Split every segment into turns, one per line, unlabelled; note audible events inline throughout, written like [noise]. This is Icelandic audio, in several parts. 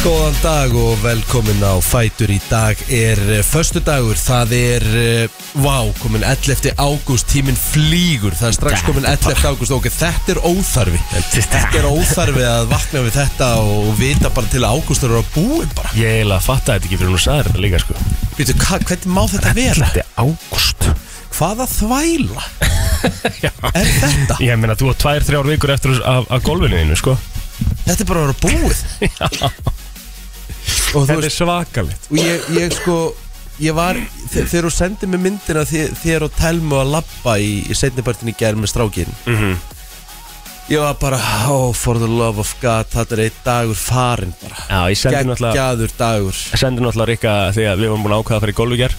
Góðan dag og velkomin á Fætur í dag er uh, Föstu dagur, það er uh, Vá, komin 11. ágúst Tíminn flýgur, það er strax
Þetta
komin 11. ágúst Ok, þetta er óþarfi Þetta er óþarfi að vakna við þetta Og vita bara til að ágúst eru að búi bara
Ég eiginlega fatta þetta ekki fyrir hún sagði þetta líka sko
Býtu, hvernig má þetta vera?
Þetta er ágúst
Hvaða þvæla er þetta?
Ég meina þú á tvær, þrjár vikur eftir af, af golfinu þínu sko
Þetta er bara að vera búið Og þú veist,
svakalitt
og ég, ég sko Ég var, þe- þegar þú sendið mér myndina þe- Þér og Telmu að labba í, í Seinnipartin í gerð með strákin Ég var bara, oh for the love of God Þetta er einn dagur farinn bara
Já, ég sendi náttúrulega
Geggjaður dagur
Sendi náttúrulega Rikka þegar við vorum búin að ákvaða að fara í golfu hér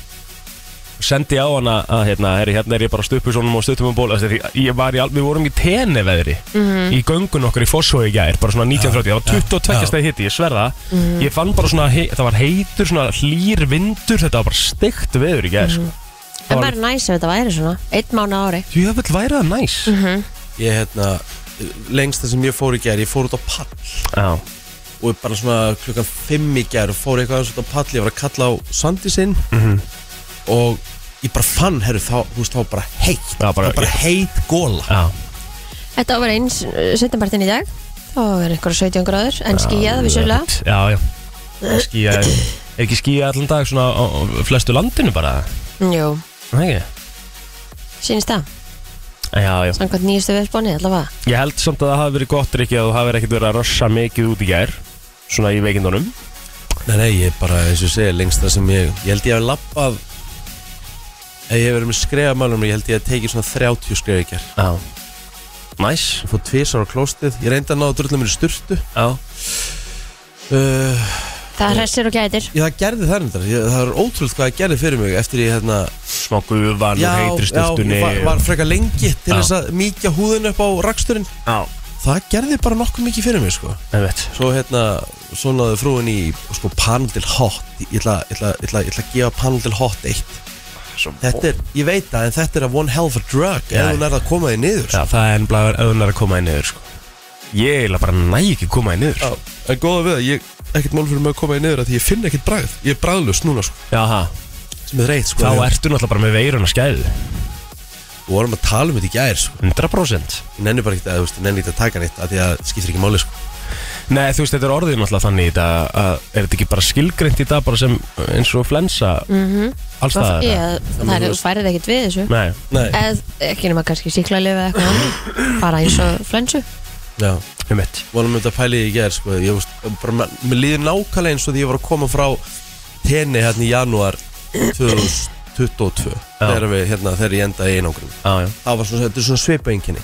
Sendi á hana að hérna, herri, hérna er ég bara stupusónum og stuttum um ból Þessi, ég var í, al- Við vorum í teneveðri Í göngun okkur í Fossói í gær Bara svona 1930, það var 22 stæði hitti, ég sverða mm. Ég fann bara svona, hei, það var heitur Svona hlýr vindur, þetta var bara steikt veður í gær sko.
En bara næs ef þetta væri svona Eitt mánu ári
Því að vel væri það næs
Ég hérna, lengst það sem ég fór í gerð Ég fór út á pall
Já,
Og bara svona klukkan 5 í gerð Fór eitthvað aðeins út á pall Ég var að kalla á Sandi sinn Og ég bara fann, herru, þá, þú veist, þá var bara heitt
Já, bara-
Það var bara heit góla
já,
Þetta var eins setjumpartin í dag Þá er einhverja 17 gráður En skýjað vissulega
já, já Skýja, er ekki skýja allan dag svona á, á flestu landinu bara
Mm, Jú,
Nei, ekki?
sínist það
já, já
Samkvæmt nýjustu viðspóni allavega
Ég held samt að það hafi verið gott ekki að þú hafi ekkert verið að rossa mikið út í gær Svona í veikindunum
Nei, nei, ég er bara, eins og ég segi, lengst það sem ég Ég held ég hef lappað Ef ég hef verið með skrefamálum Ég held ég hef tekið svona 30 skref í ger
Já Næs
Ég fór tvisar á klóstið Ég reyndi að náða drullum minni styrtu
Já
uh,
Það hressir og gætir
Ég það gerði það reyndar ég, Það er ótrúlega hvað það gerði fyrir mig Eftir ég, hérna
Smá gufan og heitri styrtunni
ég var, var frekar lengi Til
Já.
þess að mýkja húðun upp á raksturinn
Já,
Það gerði bara nokkuð mikið fyrir mig, sko
ég veit
Svo, hérna, svo náðu frúin í Sko, panel til hot Ég ætla ég ætla- ég ætla- ég ætla að gefa panel til hot eitt
Svo-
Þetta er, ég veit það, en þetta er að one hell of a drug
Já.
ef hún er að koma því niður
Já, það er ennblæður öðunar að koma í niður sko Ég eiginlega bara næ ekki að koma í niður sko.
en góða við það, ég ekkert mál fyrir mig að koma því niður að því ég finn ekkert bragð, ég er bragðlust núna sko,
Já, ha.
sem er reyð sko
þá ertu náttúrulega bara með veirun að skæðu
Við vorum að tala um þetta í gær sko,
100%
ég nenni bara ekkert að, þú veist, ég nenni ekkert að taka neitt að því að það skiptir ekki máli sko
Nei, þú veist, þetta er orðið náttúrulega þannig í dag að er þetta ekki bara skilgreint í dag bara sem uh, eins og flensa mm alls það
Það, ég, það Mhm. er, þú færið ekkert við þessu
Nei,
Nei,
Eð, Ekki nema kannski síklarlif eða eitthvað annað. Bara eins og flensu
já,
um mitt
vorum við þetta pæli í gær sko, ég veist, bara, með- mér líður nákvæmlega eins og því ég var að koma frá tenni hérna í janúar 2022 þegar við, hérna, þegar ég endaði í einangrun
Já, já,
það var svona, þetta er svona svipaenginni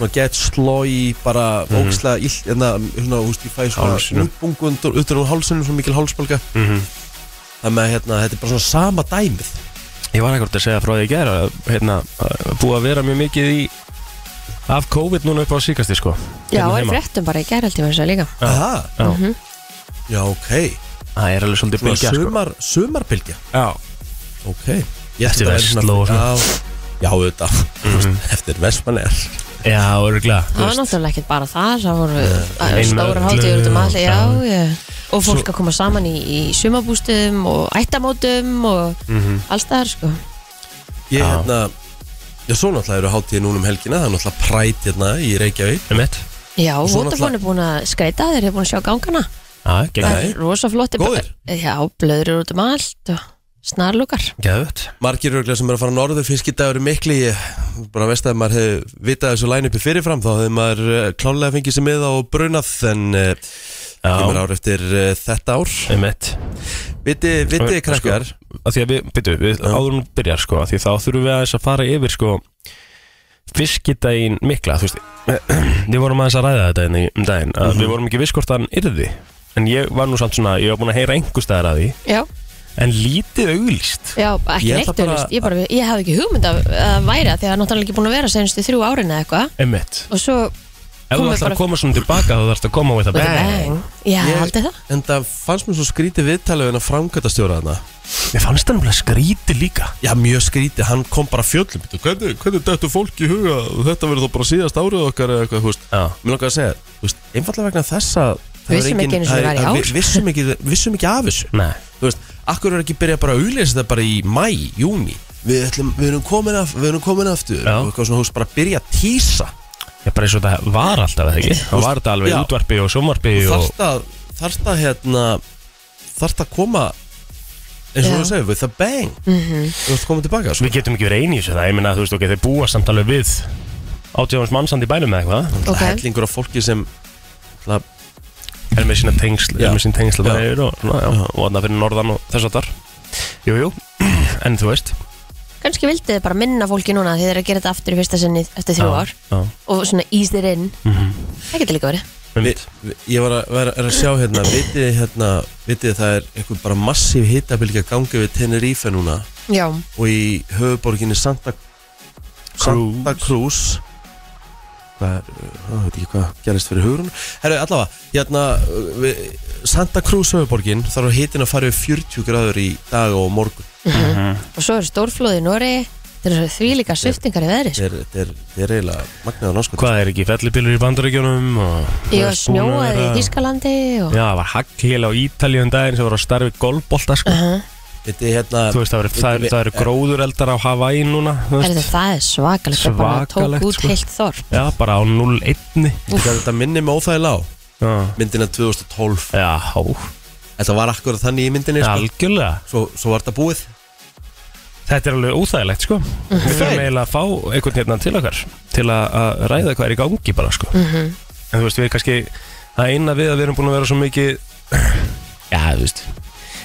svona get slói, bara
Mhm.
mm. ókslega illt, en það, svona, þú veist, ég fæ svona
Hálsinum.
útbungu undur, utan úr hálsunum svona mikil hálsbólga mm
Mhm.
-hmm. það með, hérna, þetta er bara svona sama dæmið
ég var ekkert að segja frá því í gera hérna, að búið að vera mjög mikið í af COVID núna upp á síkasti sko
Já, Mhm.
Hérna
en
heima.
fréttum bara í gæraltíma þessu líka
Já.
Aha.
Já,
já, ok
það er alveg svolítið
svona
bylgja sko
sumar, sumarpilgja
Já,
ok, ég ætla
Eftir
að vera
Vestló og svona. Mhm.
já, já, auðvitað mm -hmm. eftir vestmannegar
já, örgulega
Það var náttúrulega ekkert bara það Það voru
Ein
uh, stóra
með
hátíður út um
öllu
allir Já,
og-
já Og fólk að koma saman í, í sumabústum og ættamótum og
Mhm.
alls það sko.
ég,
Já.
hérna, já, svo náttúrulega eru hátíði núna um helgina það er náttúrulega præt hérna í Reykjavík
Um mitt
Já,
svo
Vodafone er búin að skreita þeir eru búin að sjá gangana
Já,
Það
geggjað
er rosa flotti
Góðir?
Já, blöður út um allt og snarlúkar
Geðvögt
margir örglega sem er að fara norður fiskidagur er mikli ég bara veist að ef maður hefði vitað þessu læn uppi fyrirfram þá hefði maður uh, klálega fengið sér miða og brunað en uh, kemur
Já,
ár eftir uh, þetta ár
um mitt
viti, viti krakkar
að sko, því að við, byrju, við áður um byrjar sko, að því þá þurfum við aðeins að fara yfir sko, fiskidaginn mikla þú veist, [clears throat] við vorum aðeins að ræða þetta hérna í- um daginn, að
Mhm.
við vorum ekki viss hvort hann yrði, en ég var nú samt svona ég var búin að heyra einhver staðar að því
Já,
en lítið auglýst
já ekki
Ég ætla
neitt
bara-
auðvist ég, bara- ég hafði ekki hugmynd af að væri það því að það er náttúrulega ekki búin að vera senstu þrjú árin eða eitthvað
Emmett,
og svo
ef þú
Komum við
ætlar
bara-
að koma svona tilbaka þá þarfst að koma with a
With a
bang
Já,
Ég-
haldið það
en það fannst mér svo skrítið viðtalið en að framkvæmta stjóra þarna
Mér fannst það náttúrulega skrítið líka
já mjög skrítið, hann kom bara fjöllum Bíddu, hvernig, hvernig dættu fólk í huga að þetta verður þá bara síðast árið okkar eða eitthvað, þú veist
Já,
mér langar að segja, þú veist, einfallega vegna þess að það var
Vissum
engin-
ekki einu sinni
það er-
var í
það-
ár.
vi- vissum ekki, vissum ekki af þessu
Nei
þú veist, akkur er ekki byrja bara að auðlýsa þetta bara í mæ, júni við, ætlum, við, erum komin af, við erum komin aftur
Já.
og eitthvað svona, þú veist, bara að byrja að tísa
Ég bara eins og þetta var alltaf eða ekki Það var þetta alveg
Já.
í útvarpi og sjómarpi og
þarft að, þarft að hérna þarft að koma eins og
Já. Mhm.
þú segir, with a bang þú veist, koma tilbaka sko.
Við getum ekki verið einið þessu það Ég meina þú veist ok, þeir búa samt alveg við Átjáðans mannsand í bænum eða eitthvað
ok.
okay. hellingur af fólki sem það,
Er með sína tengsl,
Já.
er með sína tengsl
Já.
bara yfir og, svona, já,
Já.
og annað fyrir norðan og þess að þar Jú, [clears throat] jú, en þú veist
Kanski vildið þið bara minna fólki núna því þeir eru að gera þetta aftur í fyrsta sinni eftir þrjú ár
Já, Mhm.
og svona ease þeir inn Það getur líka verið
um,
vi, vi, ég var að, var, er að sjá hérna vitið þið hérna, vitið þið það er einhver bara massíf hitabilgja gangi við Tenerife núna
Já,
og í höfuborginni Santa
Cruz.
Santa Cruz hvað er, það veit ekki hvað gerist fyrir hugurinn herru allavega, hérna uh, við, Santa Cruz höfuborgin þarf að hitin að fara yfir 40 gráður í dag og á morgun
og svo eru stórflóði í Nóri þeir eru því líka sviftingar í veðri sko.
þetta er, þetta er, þetta er eiginlega magnaður náskot
Hvað er ekki fellibílur í bandaríkjunum og
Ég
þú veist,
var
búin að
snjóaði í
vera-
Þískalandi og...
Já, það var hagglíla á Ítalíu um daginn sem var að starfi golfbolta sko.
þetta er hérna
Þú veist, það eru- það eru- það eru gróðureldar á Hawaii núna þú
Herðu,
veist.
það er svakalegt, það bara
Svakalegt,
tók út
sko.
heilt þorp
Já, bara á 0-1
þetta, þetta minni með óþægilega á
Já,
myndina 2012
já hó,
þetta var akkurat þannig í myndinni sko.
algjörlega
svo, svo var þetta búið
Þetta er alveg óþægilegt sko Við þurfum eiginlega að fá einhvern hérna til okkar Til að, að ræða hvað er í gangi bara sko En þú veist, við erum kannski Það eina við að við erum búin að vera svo mikið Já, þú veist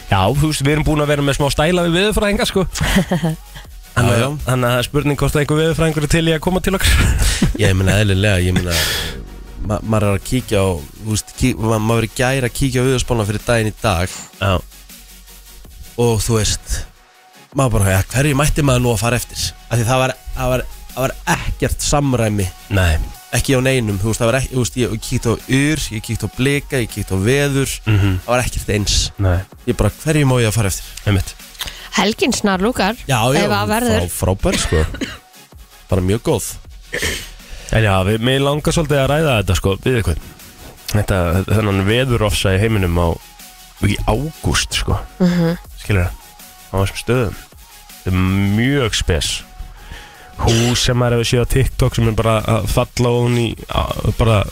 Já, þú veist, við erum búin að vera með smá stæla við viðurfræðinga sko Þannig
Já, já.
að- þannig að það er spurning hvort að einhver viðurfræðingur er til í að koma til okkar
Já, ég meina eðlilega, ég meina ma maður er að kíkja á þú veist, kí ma maður er gæri að kíkja á auðarspána fyrir daginn í dag
Já,
og þú veist maður bara, ja, hverju mætti maður nú að fara eftir af því það var, það var, það var ekkert samræmi,
nei
ekki á neinum þú veist, það var ekki, þú veist, ég kíkt á ur ég kíkt á blika, ég kíkt á veður
mm -hmm.
það var ekkert eins,
Nei,
ég bara, hverju má ég að fara eftir
einmitt
Helgin snar lúkar
Já, já,
Ef að verður.
frábær sko bara mjög góð
En já, við, mér langar svolítið að ræða þetta sko Við eitthvað Þetta, þennan veðurofsa í heiminum á Í ágúst sko mm -hmm. Skilur það Á þessum stöðum Þetta er mjög spes Hús sem maður hefur séð á TikTok sem er bara að falla ofan í á- bara,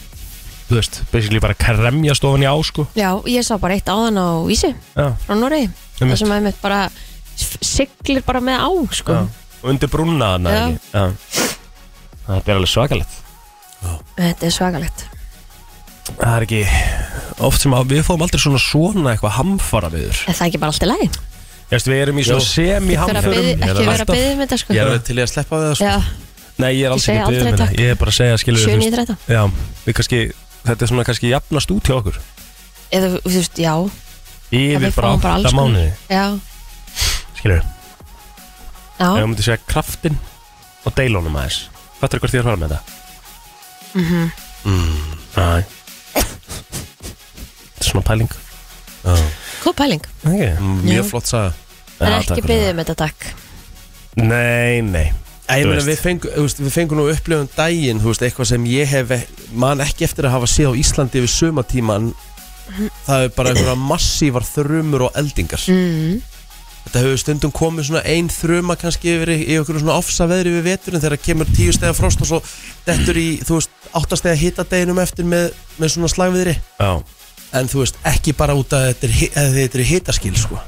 þú veist, basically bara kremjast ofan í á sko
Já, ég sá bara eitt áðan á Ísi
Já,
frá Nóri
Einmitt.
Það sem að mitt bara s- siglir bara með á sko.
já. Og undir brúna þarna
Já.
ekki? Já Það er alveg svakalegt
Þetta er svakalegt
Það er ekki oft sem að við fáum aldrei svona svona eitthvað hamfara viður
En það er ekki bara allt í lagi
Ég veist, við erum í
Jú.
svona
Vera að
semi-hamförum
biðja- Ekki vera að byggja með þetta sko.
ég er alveg til ég að sleppa við það sko
Já,
Nei, ég er alls
Ég segi
ekki að biðja
aldrei
um þetta
takk.
Ég er bara að segja, skilur
7 í 13
Já, við kannski Þetta er svona kannski jafnast út hjá okkur
Eða, þú veist, já
Yfir
við
bara
fáum bara alls
alltaf
konar.
mánuði
Já,
Skilur,
já
ef ég myndi segja kraftin og deilónum aðeins Fattur hvert ég er að fara með þetta? Mhm mm Þetta er svona pæling
Já.
Góð pæling
okay.
mjög flott saga
En
Já, takk
ekki
fyrir
byggðið með þetta takk
Nei, nei
Æ, ég
Þú
meina
veist.
við fengum, þú veist, við fengum nú upplifun daginn, þú veist, eitthvað sem ég hef e- man ekki eftir að hafa séð á Íslandi við sömatíman það er bara einhverja massívar þrumur og eldingar
mm.
þetta hefur stundum komið svona ein þruma kannski yfir í, í okkur svona ofsa veðri við veturinn þegar kemur tíu stega frost og svo dettur í, þú veist, áttastega hitadeginum eftir með, með svona slagviðri
Já,
en þú veist, ekki bara út að þetta er, hi- að þetta er hitaskil, sko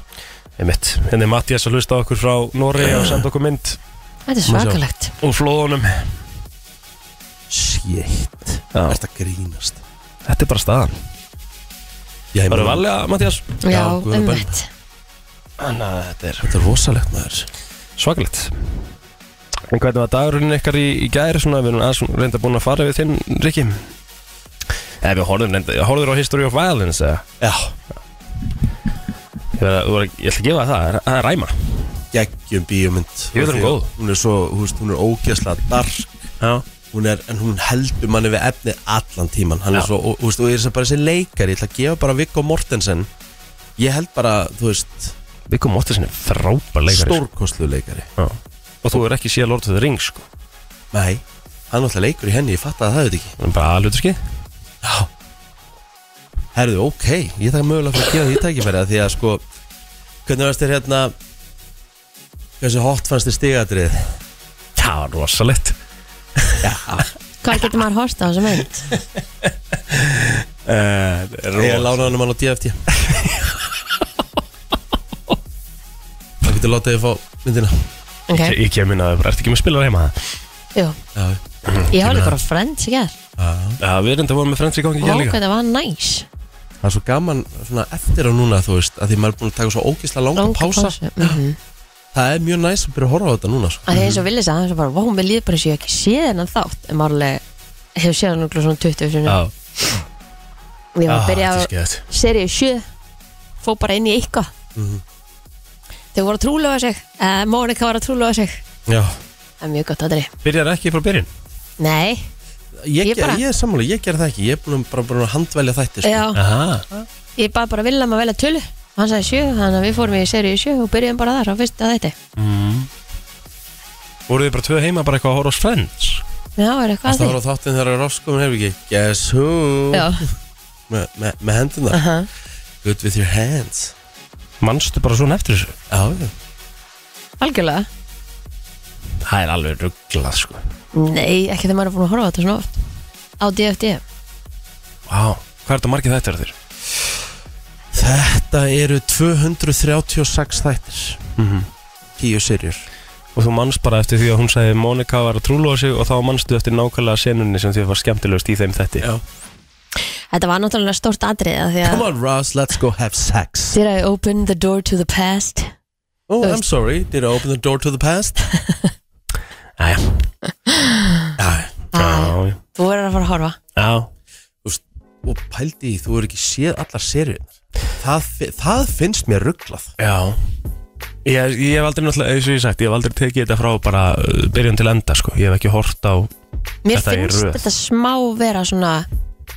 ég mitt Henni Mattias Hérna að hlusta á okkur frá Noregi og senda okkur mynd
Þetta
Má
er
sjá.
svakalegt
og flóðunum
Shit,
Já.
þetta grínast
Þetta er bara staðan
Já, ég
Það eru
meina,
valega, Mattias
Já,
Já, guð
um
bæn.
mitt
Þannig að þetta er
þetta er rosalegt maður
svakalegt En hvernig var dagurinn ykkar í, í gæri svona, við erum aðeins svona reynda búin að fara við þinn, Rikki Eða við horfðum reynda, horfður á History of Violence eða
Já,
Ég, verð að- þú verð að- ég ætla að gefa þér það, það er- það er ræma
geggjum bíómynd
Ég veit hún góð.
Hún er svo, hú veist, hún er ógeðslega dark
Já
hún er, En hún heldur manni við efnið allan tíman Hann
Já.
er svo, og, hú veist, og ég er þess að bara þessi leikari Ég ætla að gefa bara Viggo Mortensen Ég held bara, þú veist,
Við komum óttið sinni frábær leikari sko.
stórkostlu leikari
Já. Og þú er ekki síðan Lord of the Rings sko.
Nei, hann er alltaf leikur í henni, ég fatt að það veit ekki
Það er bara aðlutur skið
Já herðu, ok, ég þakka mögulega fyrir að gefa því tækifæri af Því að sko, hvernig varst þér hérna Hversu hot fannst þér stigatrið
Það var rosalegt
Hvað getur maður horst á þessu mynd?
[laughs] uh,
Ég lánaði hann um hann á DFT Það getur látið þið fá myndina
Ok,
Ég, ég kem inn að það bara, ertu ekki með spilar heima það?
jú
Já,
Ég horfði bara á Friends í gerð
já.
Já, við erum þetta voru með frendri í gangi
Vá,
hér líka
hvað það var næs
Það er svo gaman svona eftir á núna þú veist að því maður er búin að taka svo ógisla langa,
Langa
pása.
pásu, mhm.
Það er mjög næst að byrja að horfa á þetta núna sko.
Það er eins og vilja það er eins og bara Vá, mér líður bara eins og ég hef ekki séð hennan þátt En maður alveg hefur séð hann núkla svona 20 sinni
Já,
Ég
Ah,
var að byrja á
þetta er skemmt.
seríu 7 Fó bara inn í eitthvað Þau voru að trúlega sig uh, Mónika var að trúlega sig
Já.
Það er mjög gott aðri
Byrjar ekki frá byrjun?
Nei,
Ég,
Ég
ég,
bara-
ég er sammála, ég ger það ekki. Ég er búin að, bara búin að handvelja þætti sko.
já,
Aha.
ég bað bara Villam að velja tölu Hann sagði 7, þannig að við fórum í seríu 7 Og byrjum bara þar á fyrsta þætti
Voruð þið bara tvö heima bara eitthvað að horfa á Friends?
Já, er eitthvað
Það
að
var á þáttin þegar Roscoe hefur ekki Guess who
því Já, Ah.
me, me, með hendina
aha
Good with your hands
Manstu bara svona eftir þessu?
Já, já.
Algjörlega?
Það er alveg rugglað sko
Nei, ekki þegar maður er búin að horfa á þetta svona oft Á DFD
Vá, hvað er þetta margir þetta er þér?
Þetta eru 236 þættir
Mm -hmm.
10 serjur
Og þú manst bara eftir því að hún sagði Mónika var að trúlóa sig og þá manstu eftir nákvæmlega senunni sem þið var skemmtilegust í þeim þetti
Já.
Þetta var náttúrulega stórt atrið af Því
Come
að
on Ross, let's go have sex
Did I open the door to the past?
Oh,
Þú
I'm
veist.
sorry, did I open the door to the past?
Jæja.
Já,
Æ,
Já, já.
Þú verður að fara að horfa
Já,
þú veist, og pældi í, þú er ekki séð allar serjurnar það, fi- það finnst mér rugglað
já Ég, ég hef aldrei náttúrulega, eins og ég hef sagt, ég hef aldrei tekið þetta frá bara uh, byrjun til enda sko Ég hef ekki hort á
Mér
Þetta er
finnst
röð.
þetta smá vera svona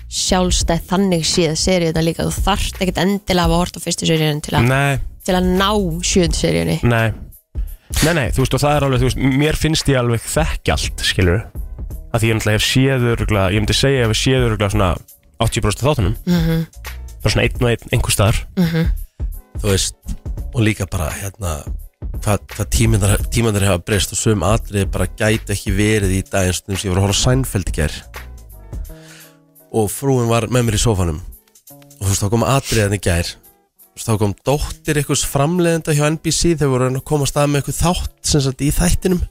sjálfstæð þannig síða serið þetta líka, þú þarft ekkert endilega að hafa hort á fyrstu seríunum til, að-
Nei,
til að ná sjöndu seríunni
nei Nei, nei, þú veist og það er alveg, þú veist, mér finnst ég alveg þekki allt, skilur Að því ég náttúrulega hef séður, ég myndi segja ég hef séður svona 80% af þáttunum mm
Mhm.
-hmm. Bara svona einn og einn, einhver staðar
þú veist, og líka bara hérna, hvað hva tímandar, tímandar hefa breyst og sögum atrið bara gæti ekki verið í dag eins og þess að ég var að horfa á Seinfeld í gær og frúin var með mér í sófanum og þú veist, þá kom atriðan í gær Þú veist, þá kom dóttir einhvers framleiðenda hjá NBC þegar voru að reyna að koma að stað með eitthvað þátt sem sagt í þættinum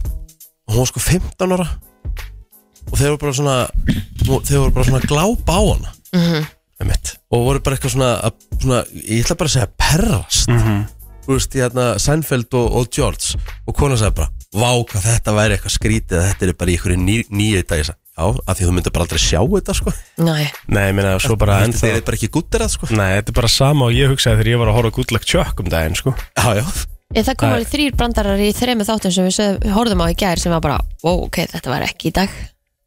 og hún var sko 15 ára og þeir voru bara svona þeir voru bara svona að glápa á hana
Einmitt.
og voru bara eitthvað svona, að, svona ég ætla bara að segja perrast
Mhm.
þú veist, ég hérna Seinfeld og, og George og konan sagði bara vá hvað þetta væri eitthvað skrítið að þetta er bara í einhverju ný, nýju dag ég sagði, já, af því þú myndir bara aldrei sjá þetta sko,
Næ,
Nei, ég meina, svo bara
þetta
ennþá
er bara ekki guttir að sko,
Nei, þetta er bara sama og ég hugsaði þegar ég var að horfa á Good Luck Chuck um daginn, sko
já, já
Ég, það kom
Nei.
alveg þrýr brandarar í þremi þáttum sem við sög, horfðum á í gær sem var bara, wow, ok, þetta var ekki í dag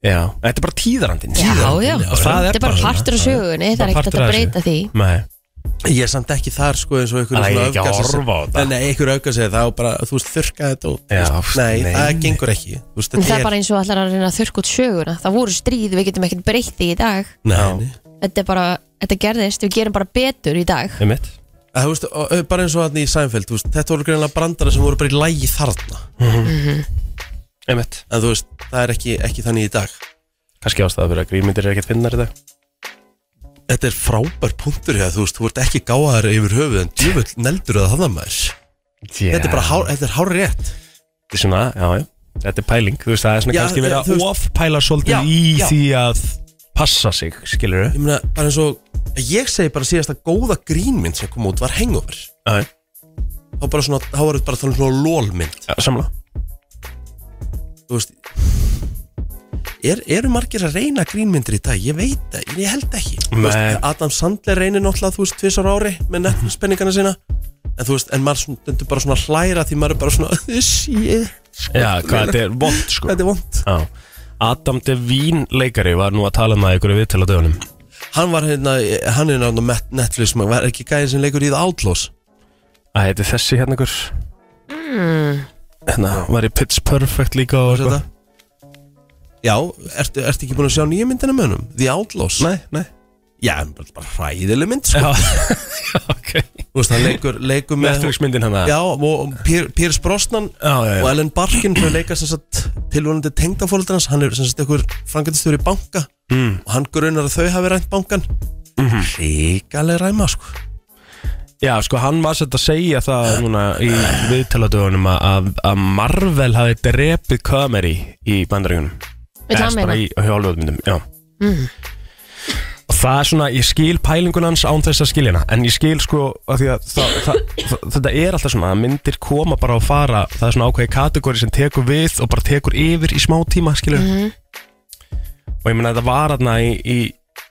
Já, þetta er bara tíðarandinn
Já, já,
já,
það er
þetta er bara
bara
partur á
svona.
sögunni, það
Bara
er ekkert
partur
hægt
af þessu.
að breyta því
Nei,
ég er samt ekki þar sko eins og einhverju
Það er ekki að
öfgar sem-
horfa á þetta.
Nei, nei, einhverju auka segir það og bara, þú veist, þurrka þetta og, þú
Já,
veist, nei,
nei.
það gengur ekki þú veist,
En
þetta
það er bara eins og allar að reyna að þurrka út söguna Það voru stríð, við getum ekkert breytt því í dag
nei, nei.
Þetta er bara, þetta gerðist, við gerum bara betur í dag
ég mitt
Að, þú veist, og- og bara eins og hann í Seinfeld þú veist, þetta voru greinlega brandara sem voru bara í lægi þarna
Ég mitt
en þú veist, það er ekki, ekki þannig í dag
Kannski ástæða fyrir að grímyndir er ekkert finnar í dag
Þetta er frábær punktur hér, þú veist, þú ert ekki gáðar yfir höfuð en djúvöld neldur það þannig maður
yeah.
Þetta er bara hár, þetta er hár rétt
Þetta er svona, já, já Þetta er pæling, þú veist, það er svona
Já,
kannski verið
já, þú
að
veist-
ofpæla svolítið
Já,
í
já.
því að passa sig, skilur
Ég meina, bara eins og, ég segi bara síðast að góða grínmynd sem kom út var hangover
Já,
Þá bara svona, þá var þetta bara þannig svona lólmynd
já, samla
Þú veist er, Eru margir að reyna grínmyndir í dag? Ég veit það, ég held ekki Þú
Nei.
veist, Adam Sandler reynir náttúrulega, þú veist, tvisar ári með netfinspenningana sína En þú veist, en maður svona, stendur bara svona að hlæra því maður er bara svona, [laughs] shit,
Já, hvað þetta er vond, sko
þetta er vond
Já Adam Devine leikari var nú að tala um það í einhverju viðtala dögunum
Hann var hérna, hann er náttúrulega Netflix maður var ekki gæðin sem leikur í The Outlaws
Æ, þetta er þessi hérna einhver Hérna, var í Pitch Perfect líka og
Hmm. Þetta? Já, ertu, ertu ekki búin að sjá nýja myndina með honum? The Outlaws?
Nei, nei
Já, bara, bara hræðileg mynd sko.
Já, [laughs] ok
Þú veist, hann leikur, leikur með
Netflix-myndin hann
Já, og Pier- Piers Brosnan
já, já,
og
já.
Ellen Barkin þau leika sem sagt tilvonandi tengdafóldur hans hann er sem sagt einhver frangatistjóri í banka mm. og hann grunar að þau hafi rænt bankan mm
Mhm.
-hmm. ríkaleg ræma sko
já, sko hann var sett að segja það núna í viðtaladögunum að- að að Marvel hafi drepið Comedy í bandaríunum
Vill hann meina? Mm.
bara í hjálfjóðmyndum, já Og það er svona, ég skil pælingun hans án þess að skilja hana En ég skil sko, af því að það, það, það, þetta er alltaf svona að myndir koma bara og fara Það er svona ákveði kategóri sem tekur við og bara tekur yfir í smá tíma, skilja
Mhm.
Og ég meina þetta var þarna í, í,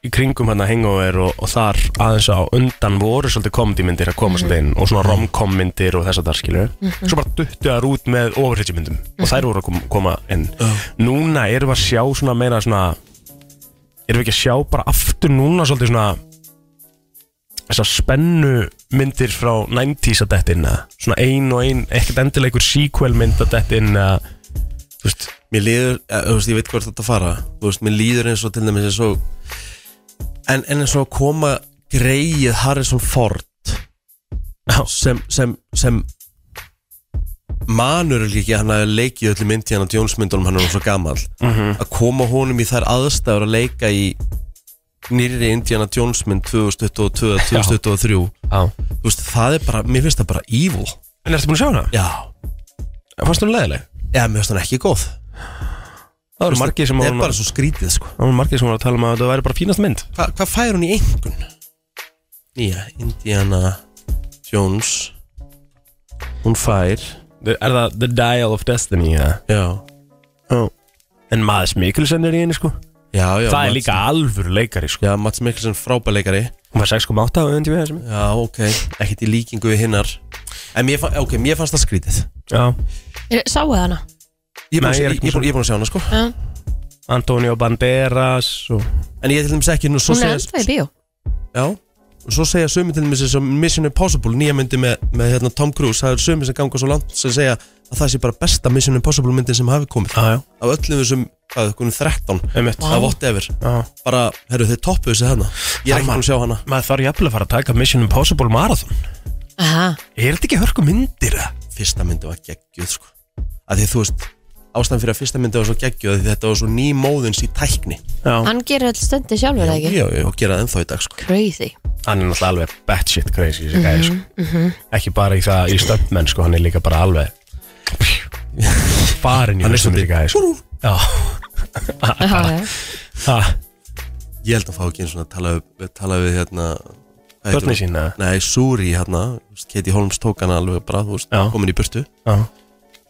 í kringum hérna hangover og, og þar aðeins á undan voru svolítið komdýmyndir að koma svolítið inn Og svona romcom myndir og þess að það skilja Svo bara duttu þær út með overhitjumyndum Og þær voru að kom, koma inn Núna erum við að sjá svona meira svona erum við ekki að sjá bara aftur núna svolítið svona þessar spennu myndir frá 90s að dettin svona ein og ein, ekkert endilega einhver sequel mynd að dettin þú veist,
mér líður, eh, þú veist, ég veit hvort þetta fara þú veist, mér líður eins og til dæmis eins og en, en eins og að koma greið Harrison Ford sem, sem, sem manur er ekki að hann hafi leikið í öllum myndi hann að Jónsmyndunum hann er svo gamall
Mhm.
að koma honum í þær aðstæður að leika í nýri Indiana Jones mynd 2022 2023
á.
þú veist, það er bara, mér finnst það bara evil
en ertu búin að sjá hana?
já,
fannst hún leðileg?
eða mér finnst það ekki góð
það voru margir sem
það
voru
er bara svo skrítið sko
það voru margir sem voru að tala um að það væri bara fínast mynd
Hva, hvað fær hún í einhvern? Nýja, Indiana Jones Hún fær
er það The Dial of Destiny ja.
Já,
en maður Mikkelsen er í henni sko
já, já
það er
Mads-
líka alvöru leikari sko
Já, Mats Mikkelsen frábæleikari
hún var 6.8 á öðundi við þessum
Já, ok, ekkert í líkingu við hinnar En mér, fa okay, mér fannst það skrítið
já
Er- Sáu þið hana?
Ég er búin að
Nei,
sjá-
ég er
ég-
ekki
ég er búin- ég er búin að sjá hana sko
Já.
Antonio Banderas og
En ég er til dæmis ekki nú svo
Hún er
segja
ennþá í bíó
Já Og Svo segja sömu til dæmis eins og Mission Impossible Nýja myndi með, með hérna, Tom Cruise Það er sömu sem ganga svo langt sem segja að það sé bara besta Mission Impossible myndin sem hafi komið
aðjá,
Af öllum þessum, hvað, um einhvern 13
einmitt
Það vott efir
Já.
bara, herru þið toppuðu sig hana ég er ekki búin að sjá hana
maður þarf jafnvel að fara að taka Mission Impossible Marathon
Aha,
er þetta ekki hörku myndir eða?
fyrsta myndi var geggjuð sko að því þú veist, ástæðan fyrir að fyrsta myndi var svo geggjuð að þetta var svo ný móðins í tækni
já,
hann gerir öll stöndi sjálfur eða ekki
já, já, og gera það ennþá í dag sko
Crazy
[laughs] hann er náttúrulega alveg batshit crazy mm -hmm, sko. ekki bara í það í stöndmenn sko, hann er líka bara alveg [laughs] farin í
Hann er
þessum
svolítið-
líka sko. já,
Aha, já.
ha,
ég held að fá ekki eins og að tala, við- tala við hérna hvað heitir
börni
hún?
sína
Nei, Suri hérna, þú veist, Katie Holmes tók hana alveg bara, þú veist,
Já.
komin í burtu
já,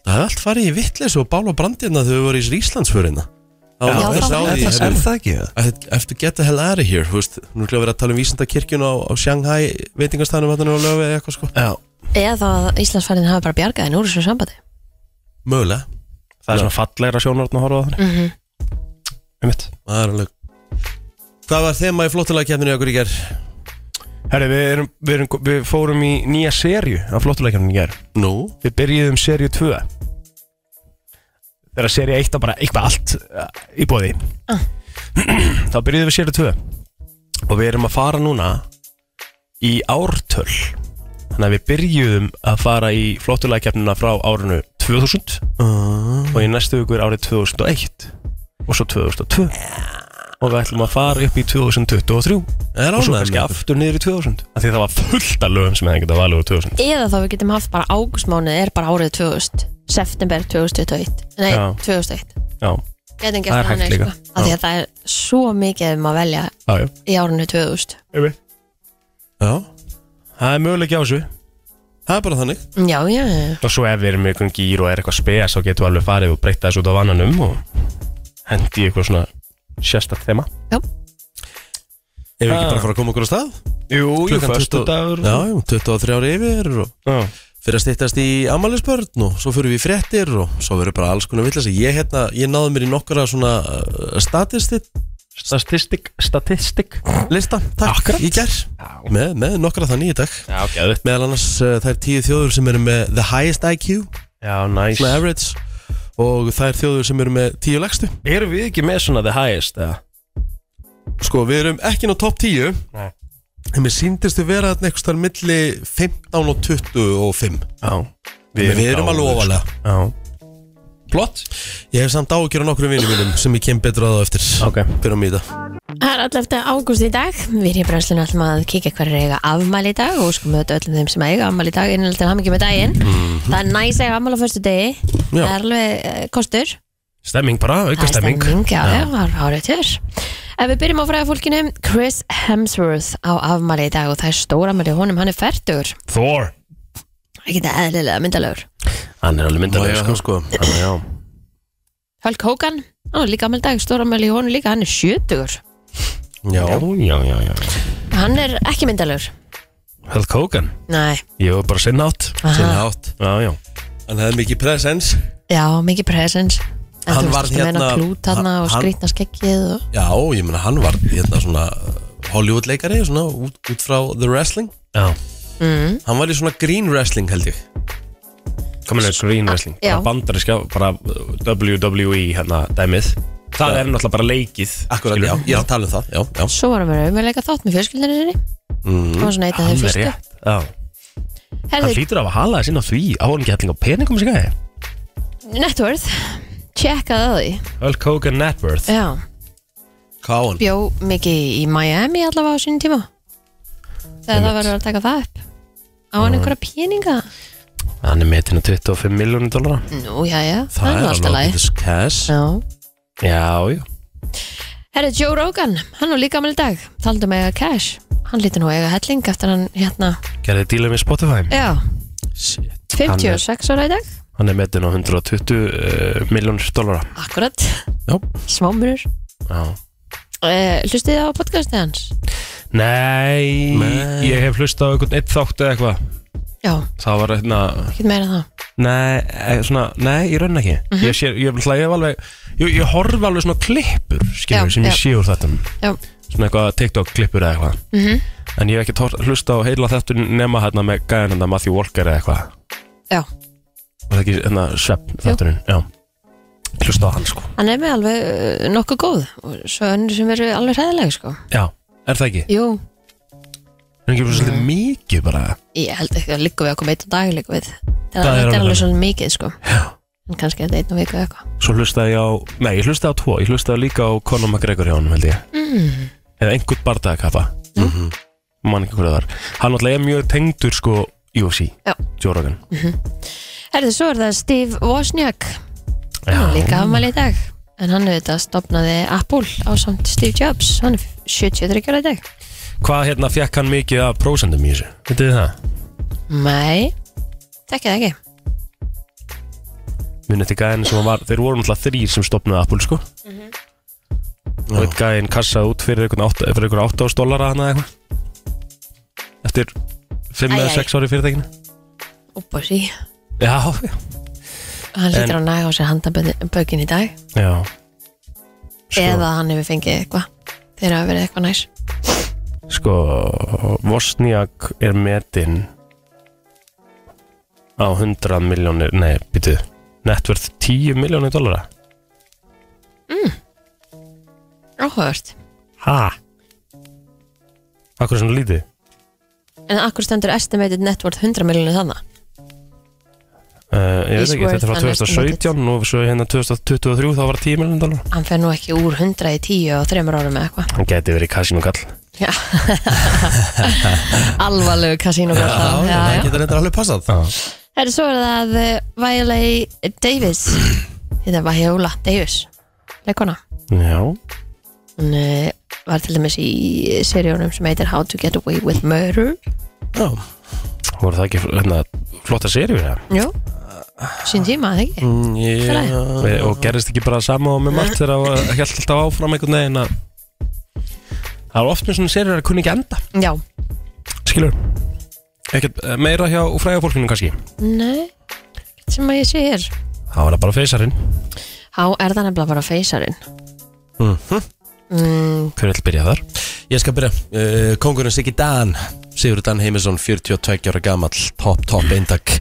Það hefði allt farið í vitleysu og bál á brandina þegar við voru í Íslandsförina
Já,
það
það
var-
var
það-
það
það ekki það?
I have to get the hell out of here þú veist, nú erum við að vera að tala um vísindakirkjun á, á Shanghai veitingastæðanum hann og lögu eða eitthvað sko
já,
Eða þá að Íslandsfærin hafi bara bjargað henni úr þessu sambandi
mögulega,
það er svona fallegra sjónarðn að horfa á þannig mm einmitt
það er alveg hvað var þema í flottulega kemdinu okkur í ger?
herri, við, erum, við, erum, við fórum í nýja serju af flottuleikjarnum í gerð
Nú,
við byrjuðum serju 2 þegar serju 1 var bara eitthvað allt uh, í bóði þá byrjuðum við serju 2 og við erum að fara núna í ártöl þannig að við byrjuðum að fara í flottulækjafnina frá árinu 2000
Ah.
og í næstu viku er árið 2001 og svo 2002 og við ætlum að fara upp í 2023
er
og svo
ánægð
kannski
með okkur
aftur niður í 2000 af því það var fullt af lögum sem hefði getað valið úr 2000
Eða þá við getum haft bara águstmánuð er bara árið 2000 September 2021 Nei,
Já.
2001
já, Það
Getum gert
er hægt
þannig,
líka.
sko. Af því að það er svo mikið um að velja
já, já,
í árinu 2000
ef við
Já,
Það er möguleik á þessu
það er bara þannig
Já, já, já
Og svo ef við erum með einhvern gýr og er eitthvað spes þá getum við alveg farið og breyta þessu út á vannanum og hendi í eitthvað svona sérstakt þema
Ef við
Ah.
ekki bara að fara að koma okkur á stað
Jú, jú,
Klukkan 20
föstudagur
Já, jú, 23 ári yfir og
Já.
fyrir að stýttast í ammælisbörn og svo fyrir við í fréttir og svo verður bara alls konar villast ég, hérna, ég náði mér í nokkara svona uh, statistik
Statistik, statistik
lista, takk,
Akkurat.
í ger
Já,
með, með nokkara þannig í dag
gæðið
meðal annars uh, þær tíu þjóður sem eru með the highest IQ,
Já, næs
svona average og þær þjóður sem eru með tíu legstu
Erum við ekki með svona the highest eða?
Sko, við erum ekki ná topp 10
Nei.
En mér síndist við vera þarna einhvers þar milli 15 og 25
Já
Við, við erum alveg ofalega
Já Plott
Ég hef samt ágjör á nokkrum vinnum mínum sem ég kem betur að á eftir
Ok.
Fyrir að mýta
Það er alltaf eftir ágúst í dag Við erum brennslinu alltaf að kíkja hverju eiga afmæli í dag og sko mötu öllum þeim sem eiga afmæli í dag innan til hamingjum með daginn Það er næs að eiga afmæli á fyrstu degi
Já.
Það er alveg eh, kostur
Stemming bara, auka
Það er
stemming
stemming, já, já, það er hárið til Ef við byrjum á fræða fólkinu Chris Hemsworth á afmæli í dag og það er stóra afmæli hjá honum, hann er færtur
Thor
Ekki það eðlilega myndalegur
Hann er
Má ég
alveg myndarlegur
það, sko?
Þannig, já
Hulk Hogan, hann er líka afmæli í dag stóra afmæli hjá honum líka, hann er sjötugur
Já,
Já, já, já
Hann er ekki myndalegur
Hulk Hogan
Nei,
Ég var bara sinn átt
sinna
Aha.
átt
Já, já
Hann hefði mikið presens
já, mikið presens En
Hann
þú
var
veist, þú meina
hérna-
klút hana og
hann-
skrýtna skeggið og
Já, ég meina hann var hérna svona Hollywood-leikari, svona út, út frá The Wrestling
Já
Hann var í svona Green Wrestling held ég
Komin er Green Wrestling
Já.
Bara bandaríska Bara uh, WWE hérna dæmið Það
Já.
er náttúrulega bara leikið
Akkurat,
skilur.
já, ég er að tala um það Já, já
Svo var hann verið umveðleika þátt með fjölskyldinu sinni mm. Það var svona eitt af þeim
Alveg
fyrstu
rétt Já Hann
Herði,
hlýtur af að hala þessi inn á því Á hann ekki helling á peningum sig aðeins
Networth, tjekkaði að því
Hulk Hogan net worth
Já,
Káan
bjó mikið í Miami allavega á sínum tíma Þegar það
Einmitt.
verður að taka það upp Á hann einhverja peninga
Hann er metin á 25 miljónir dólara
Nú, já, já, það, er nú alltaf
alveg
læg
ágætis cash
Já
Já, já
Herri, Joe Rogan, hann var líka með í dag Taldi um að eiga cash Hann lítur nú að eiga helling eftir hann hérna
Gerði díla með Spotify
Já,
Shit
56 ára í dag
Hann er metin á 120 uh, miljónir dólara
Akkurat,
Já,
smámunur
Já
uh, Hlustið þið á podcastið hans?
Nei,
Nei.
Ég hef hlustað á einhvern eitt þátt eða eitthvað
Já,
Það var hérna
ekki meira en það
Nei, eh, svona, nei, ég raun ekki
Mhm.
Ég sé, ég vil hlæja alveg Ég, ég horf alveg svona klippur, skilur,
Já,
sem ég
já.
sé úr þetta
Já,
Svona eitthvað TikTok klippur eða eitthvað
Mhm.
En ég hef ekki tór, hlusta á heila þetta nema hérna með gæðan hérna Matthew Walker eða eitthvað
já
Var það ekki hérna svepp þátturinn Já Hlusta á hann sko
Hann er með alveg uh, nokkuð góð og svo önnur sem eru alveg hræðilega sko.
Já Er það ekki?
Jú,
Er ekki bara
Mm.
svolítið mikið bara
ég held ekki að líka við okkur meitt og dag líka við
Það
Það,
er
þetta
alveg
er alveg
þannig.
svolítið mikið sko. en kannski er þetta einn og viku eða eitthvað
Svo hlustaði ég á Nei, ég hlustaði á tvo Ég hlustaði líka á Conor McGregor hjá honum held ég
mm.
Eða einhvern bardagakappa mm -hmm. Man ekki hverja það var Hann alltaf er mjög tengdur sko UFC
Já. Mm.
Joe Rogan
Herðu, svo er það Steve Wozniak hann er líka afmæli í dag en hann auðvitað stopnaði Apple á samt Steve Jobs hann er 73 ára í dag
Hvað hérna fekk hann mikið af prósendum í þessu? Vitið þið það?
Nei, þekki það ekki
Munið til gæðin sem hann var Þeir voru náttúrulega þrýr sem stopnaði Apple sko Og
Já.
einn gæðin kassaði út fyrir einhvern átta- fyrir einhvern 8.000 dólara hann eða eitthvað Eftir 5
Æ,
eða
æ.
6 ári fyrirtækinu
Úpa sí,
Já, já
hann
En-
lítur á næg á sér handabökin í dag
Já Sko,
eða hann hefur fengið eitthvað þegar hafa verið eitthvað næs
sko Vosniak er metinn á 100 miljónir, nei, býtu netverð 10 miljónir dollara
Áhugavert
Ha? Akkur er svona lítið?
En akkur stendur estimated net worth 100 miljónu þannig
Uh, ég veit
Is
ekki, þetta er
worth
frá 2017 og svo hérna 2023 þá var 10 miljónir dollara
Hann fer nú ekki úr 100 í 10 og 3 árum eða eitthvað
Hann geti verið kasinokall
Já [laughs] Alvarlegu kasínu
já, já, það getur þetta alveg passað
Já,
Það er svo er það eh, Viola Davis Þetta var Hjóla Davis Leikona
já,
Hún eh, var til dæmis í seríunum sem heitir How to get away with murder
Já,
voru það ekki hérna, flotta serið ja?
Jú Sín tíma, það ekki
Mm, já
uh, og gerðist ekki bara sama og með margt þegar það var- hélt alltaf áfram einhvern veginn að það var oft með svona serið að kunni ekki enda
Já
skilur ekkert eh, meira hjá fræga fólkinu kannski
Nei ekkert sem að ég sé hér
það var það bara feysarinn
Há er það nefnilega bara feysarinn
Mhm.
mm,
hver vil byrja þar
Ég skal byrja uh, Kongurinn Siggi Dan Sigur Dan Heimisson, 42 ára gamall Top, top, eindak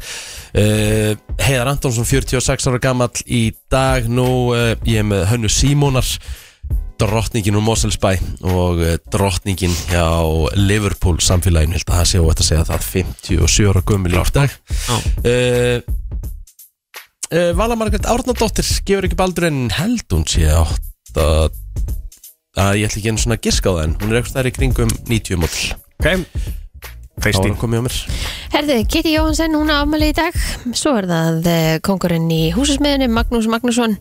uh, Heiðar eh, Antonsson, 46 ára gamall Í dag nú uh, Ég er með Hönnu Símónar drottningin úr Moselsbæ og eh, drottningin hjá Liverpool samfélaginu, held að það sé óvægt að segja það 57 ára gömul í dag uh, uh, Vala Margrét Árnadóttir gefur ekki baldur en held hún sé átt að ég ætla ekki einu svona að giska á það en hún er eitthvað stærri kringum 90 mótil
Ok,
þá er
Kristín
hún komið á mér
Herði, Kitty Jóhansen, hún á afmæli í dag Svo er það eh, kongurinn í húsasmiðinni Magnús Magnússon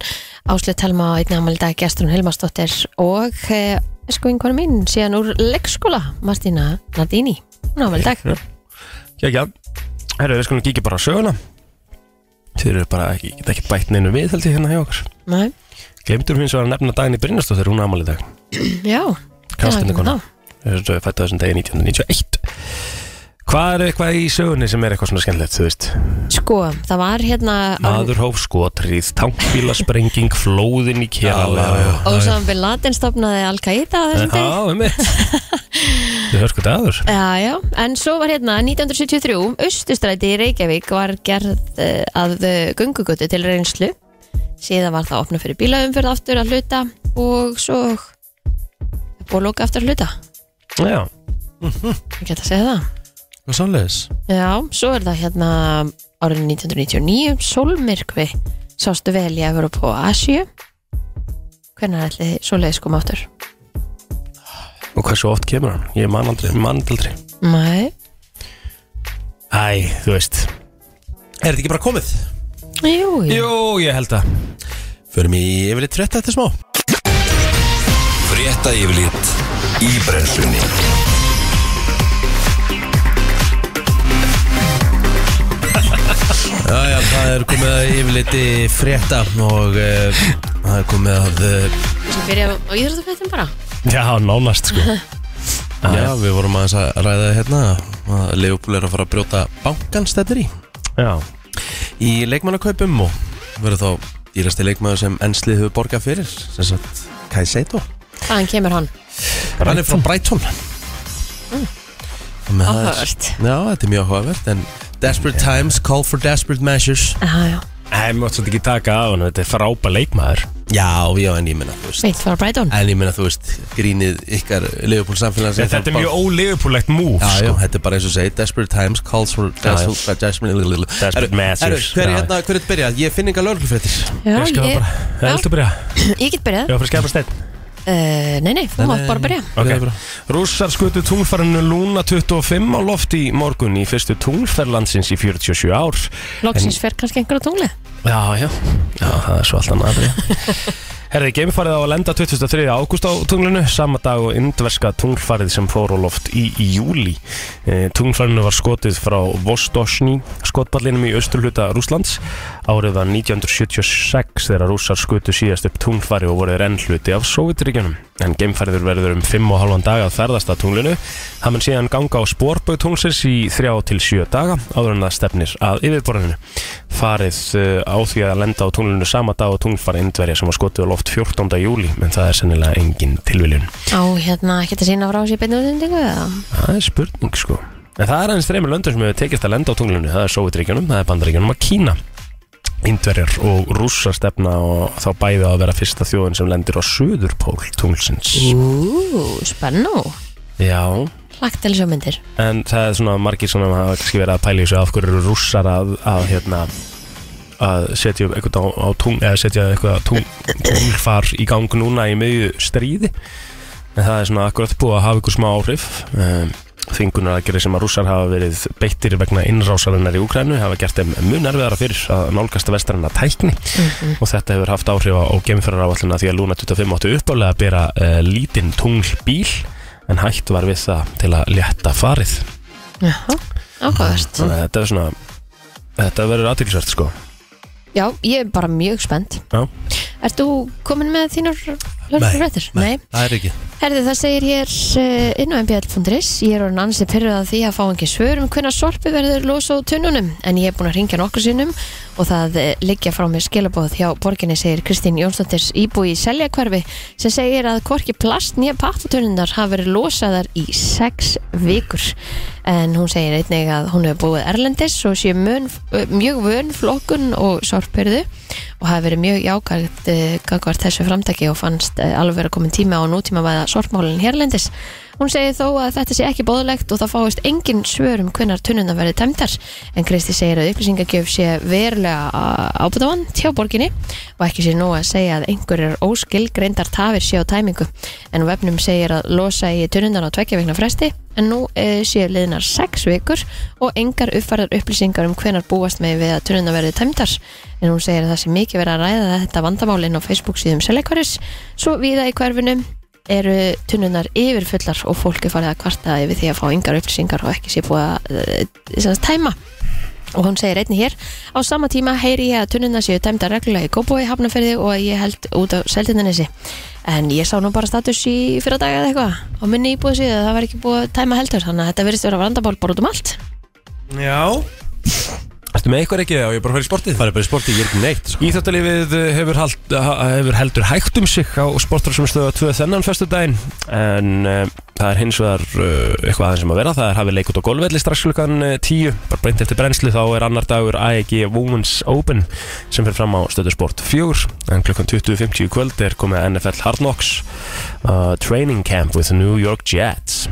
Áslu Telma á einni afmæli í dag Gjastrún Hilmarsdóttir og eh, sko einhvern mín síðan úr leikskóla Martina Nardini Hún á afmæli í dag
Já, já Herru, við skulum kíkja bara á söguna Þið eru bara ekki, geta ekki bætt neinu við held ég hérna hjá okkur
Nei,
Glemtur hún svo að nefna daginn í Brynjastóttir, hún ámali dag
Já,
Kastinni
Já,
kona Fættu þessum degi 1991 Hvað er eitthvað í sögunni sem er eitthvað svona skemmtilegt, þú veist?
Sko, það var hérna
Maður hóf skotrið, tankbílasprenging, flóðin í Kerala
Ósaman Bin Laden stopnaði Al-Qaida á þessum degi
Já, um mitt Þú höfðu sko dagur
Já, já, en svo var hérna 1973, Östustræti í Reykjavík var gerð uh, að uh, göngugötu til reynslu síðan var það opnað fyrir bílaumferð aftur að hluta og svo búið að loka aftur að hluta
Já,
ég get að segja það
Hvað sannleis?
Já, svo er það hérna árið 1999, sólmyrkvi sástu vel í Evropa og Asíu hvernig ætli svoleiðis koma aftur?
og hversu oft kemur hann? Ég man aldrei, man aldrei
Nei,
Æ, þú veist
Er þetta ekki bara komið?
jú, jú.
Jú, ég held að
Förum í yfirleitt frétta eftir smá
Frétta yfirlit í brennslunni
Já, já, það er komið að yfirleiti frétta og uh, það er komið að uh,
Ég byrja á íþróttafréttum bara
Já, nánast [laughs] sko
Já, við vorum aðeins að ræða hérna að Leopold er að fara að brjóta bankans þetta er í
Já,
í leikmannakaupum og verður þá dýrasti leikmann sem ennslið hefur borgað fyrir sem sagt Kai Seito
Hvaðan kemur hann?
Hann er frá Brighton Mm. Þannig að það er-
Áhugavert.
Já, þetta er mjög áhugavert en Desperate times call for desperate measures
Já, já,
Nei, maður svolítið ekki taka af hann, þetta er frábæð leikmaður
Já, já, en ég minna, þú veist
veit frá Brighton
En ég minna, þú veist, grínið ykkar Leopold samfélags
Þetta er mjög ólegupúlegt múf
Já, já,
sko.
þetta er bara eins og segið Desperate times calls for desperate, desperate,
Desperate measures,
Hver er
já.
hérna, hver er þetta byrjað? Ég finn enga lögreglufréttir
Já,
Ég skal bara,
já.
það viltu byrja?
[clears throat] ég get byrjað
Já, fyrir skepa stein
uh, Nei, nei, þú mátt bara byrja
Ok.
Byrjaðu bara.
Rússar skutu tunglferðinu Luna 25 á loft í morgun í fyrstu tunglferðlandsins í 47 ár
Loksins fer kannski einhverja tungli
Já, já, já, það er svo allt annað [laughs] aðrið Herði, geimfarið á að lenda 23. ágúst á tunglinu, sama dag og indverska tunglfarið sem fór á loft í, í júli. E, tunglfarinu var skotið frá Vostochny, skotballinum í austurhluta Rúslands. Árið var 1976 þegar rússar skutu síðast upp tunglfari og voruð enn hluti af Sovjetríkjunum. En geimfariður verður um 5 og halvan dag að ferðast að tunglinu. Það mun síðan ganga á spórböð tunglsins í 3 til 7 daga áður en það stefnir að yfirborðinu farið uh, á því að lenda á tunglinu sama dag og tunglfari indverja sem var skotið á loft 14. júli, en það er sennilega engin tilviljun.
Á, hérna, ekki að sína frá sér beinni útlendingu eða?
Það er spurning sko. En það er aðeins þreymur löndum sem hefur tekist að lenda á tunglinu. Það er Sovjetríkjunum, það er Bandaríkjunum og Kína. Indverjar og rússar stefna og þá bæði á að vera fyrsta þjóðin sem lendir á söðurpól tunglsins.
Ú, spennu
Já,
Lagt til þessu myndir
en það er svona margir svona hafa kannski verið að pæla í þessu af hverju eru rússar að, að hérna að setja upp eitthvað á, á tungl eða setja eitthvað tungl, tunglfar í gang núna í miðju stríði en það er svona akkurat búið að hafa ykkur smá áhrif um, þingunar að sem að rússar hafa verið beittir vegna innrásarinnar í Úkrænu hafa gert þeim mun erfiðara fyrir að nálgast vestarinnar tækni og þetta hefur haft áhrif á, á gemfæraráallina því að Luna 25 áttu uppálega að bera uh, lítinn tunglbíl en hægt var við það til að létta farið
Já, ákvæðast
þannig að þetta er svona þetta verður aðtilsvært sko
Já, ég er bara mjög spennt
Já.
Ert þú komin með þínar lögfrættir?
það er ekki
Herði, það segir hér uh, inn á mbl.is Ég er orðin ansið pyrruð að því að fá ekki svör um hvenna sorpi verður losa á tunnunum en ég er búin að ringja nokkur sinnum og það uh, liggja frá mér skilabóð hjá borginni segir Kristín Jónsdóttir íbúi í Seljakverfi sem segir að hvorki plast nýja pappatunnunar hafa verið losaðar í sex vikur en hún segir einnig að hún hefur búið Erlendis og sé mun, eh, mjög vön flokkun og sorpyrðu og hafi verið mjög jákvægt eh, gagvart þessu framtaki og fannst eh, alveg verið komin tíma á nútíma með sorpmálinn hérlendis. Hún segir þó að þetta sé ekki bóðlegt og það fáist engin svör um hvenar tunnuna verði tæmdar en Kristi segir að upplýsingagjöf sé verulega ábúðavann hjá borginni og ekki sé nú að segja að einhverjar óskilgreindar tafir sé á tæmingu en á vefnum segir að losa í tunnunan á tveggja vegna fresti en nú eh, séu liðnar sex vikur og engar uppfærðar upplýsingar um hvenar búast með við að tunnuna verði tæmdar en hún segir að það sé mikið verið að ræða þetta vandamálinn á Facebook síðum selekvaris svo víða í hverfinum eru tunnunar yfirfullar og fólki farið að kvarta yfir því að fá engar upplýsingar og ekki sé búið að eh, sem sagt, tæma Og hún segir einnig hér, á sama tíma heyri ég að tunnuna séu tæmda reglulega í Kópói hafnaferði og að ég held út á Seldindanesi. En ég sá nú bara status í fyrir daga eða eitthvað og minni íbúið síðu að það var ekki búið að tæma heldur þannig að þetta verðist vera vandabál bara út um allt.
Já Ertu með eitthvað ekki eða á ég bara fyrir sportið?
Það er bara sporti, ég er ekki neitt sko.
Íþjóttalífið hefur, hald, ha- hefur heldur hægt um sig á sportrarsumstöðu 2 þennan fyrstu daginn en uh, það er hins vegar uh, eitthvað aðeins sem að vera, það er hafið leik út á golfvelli strax klukkan eh, 10, bara breynt eftir brennslu þá er annar dagur AEG Women's Open sem fyrir fram á stöðu sport 4 en klukkan 20.50 í kvöld er komið að NFL Hard Knocks uh, Training Camp with the New York Jets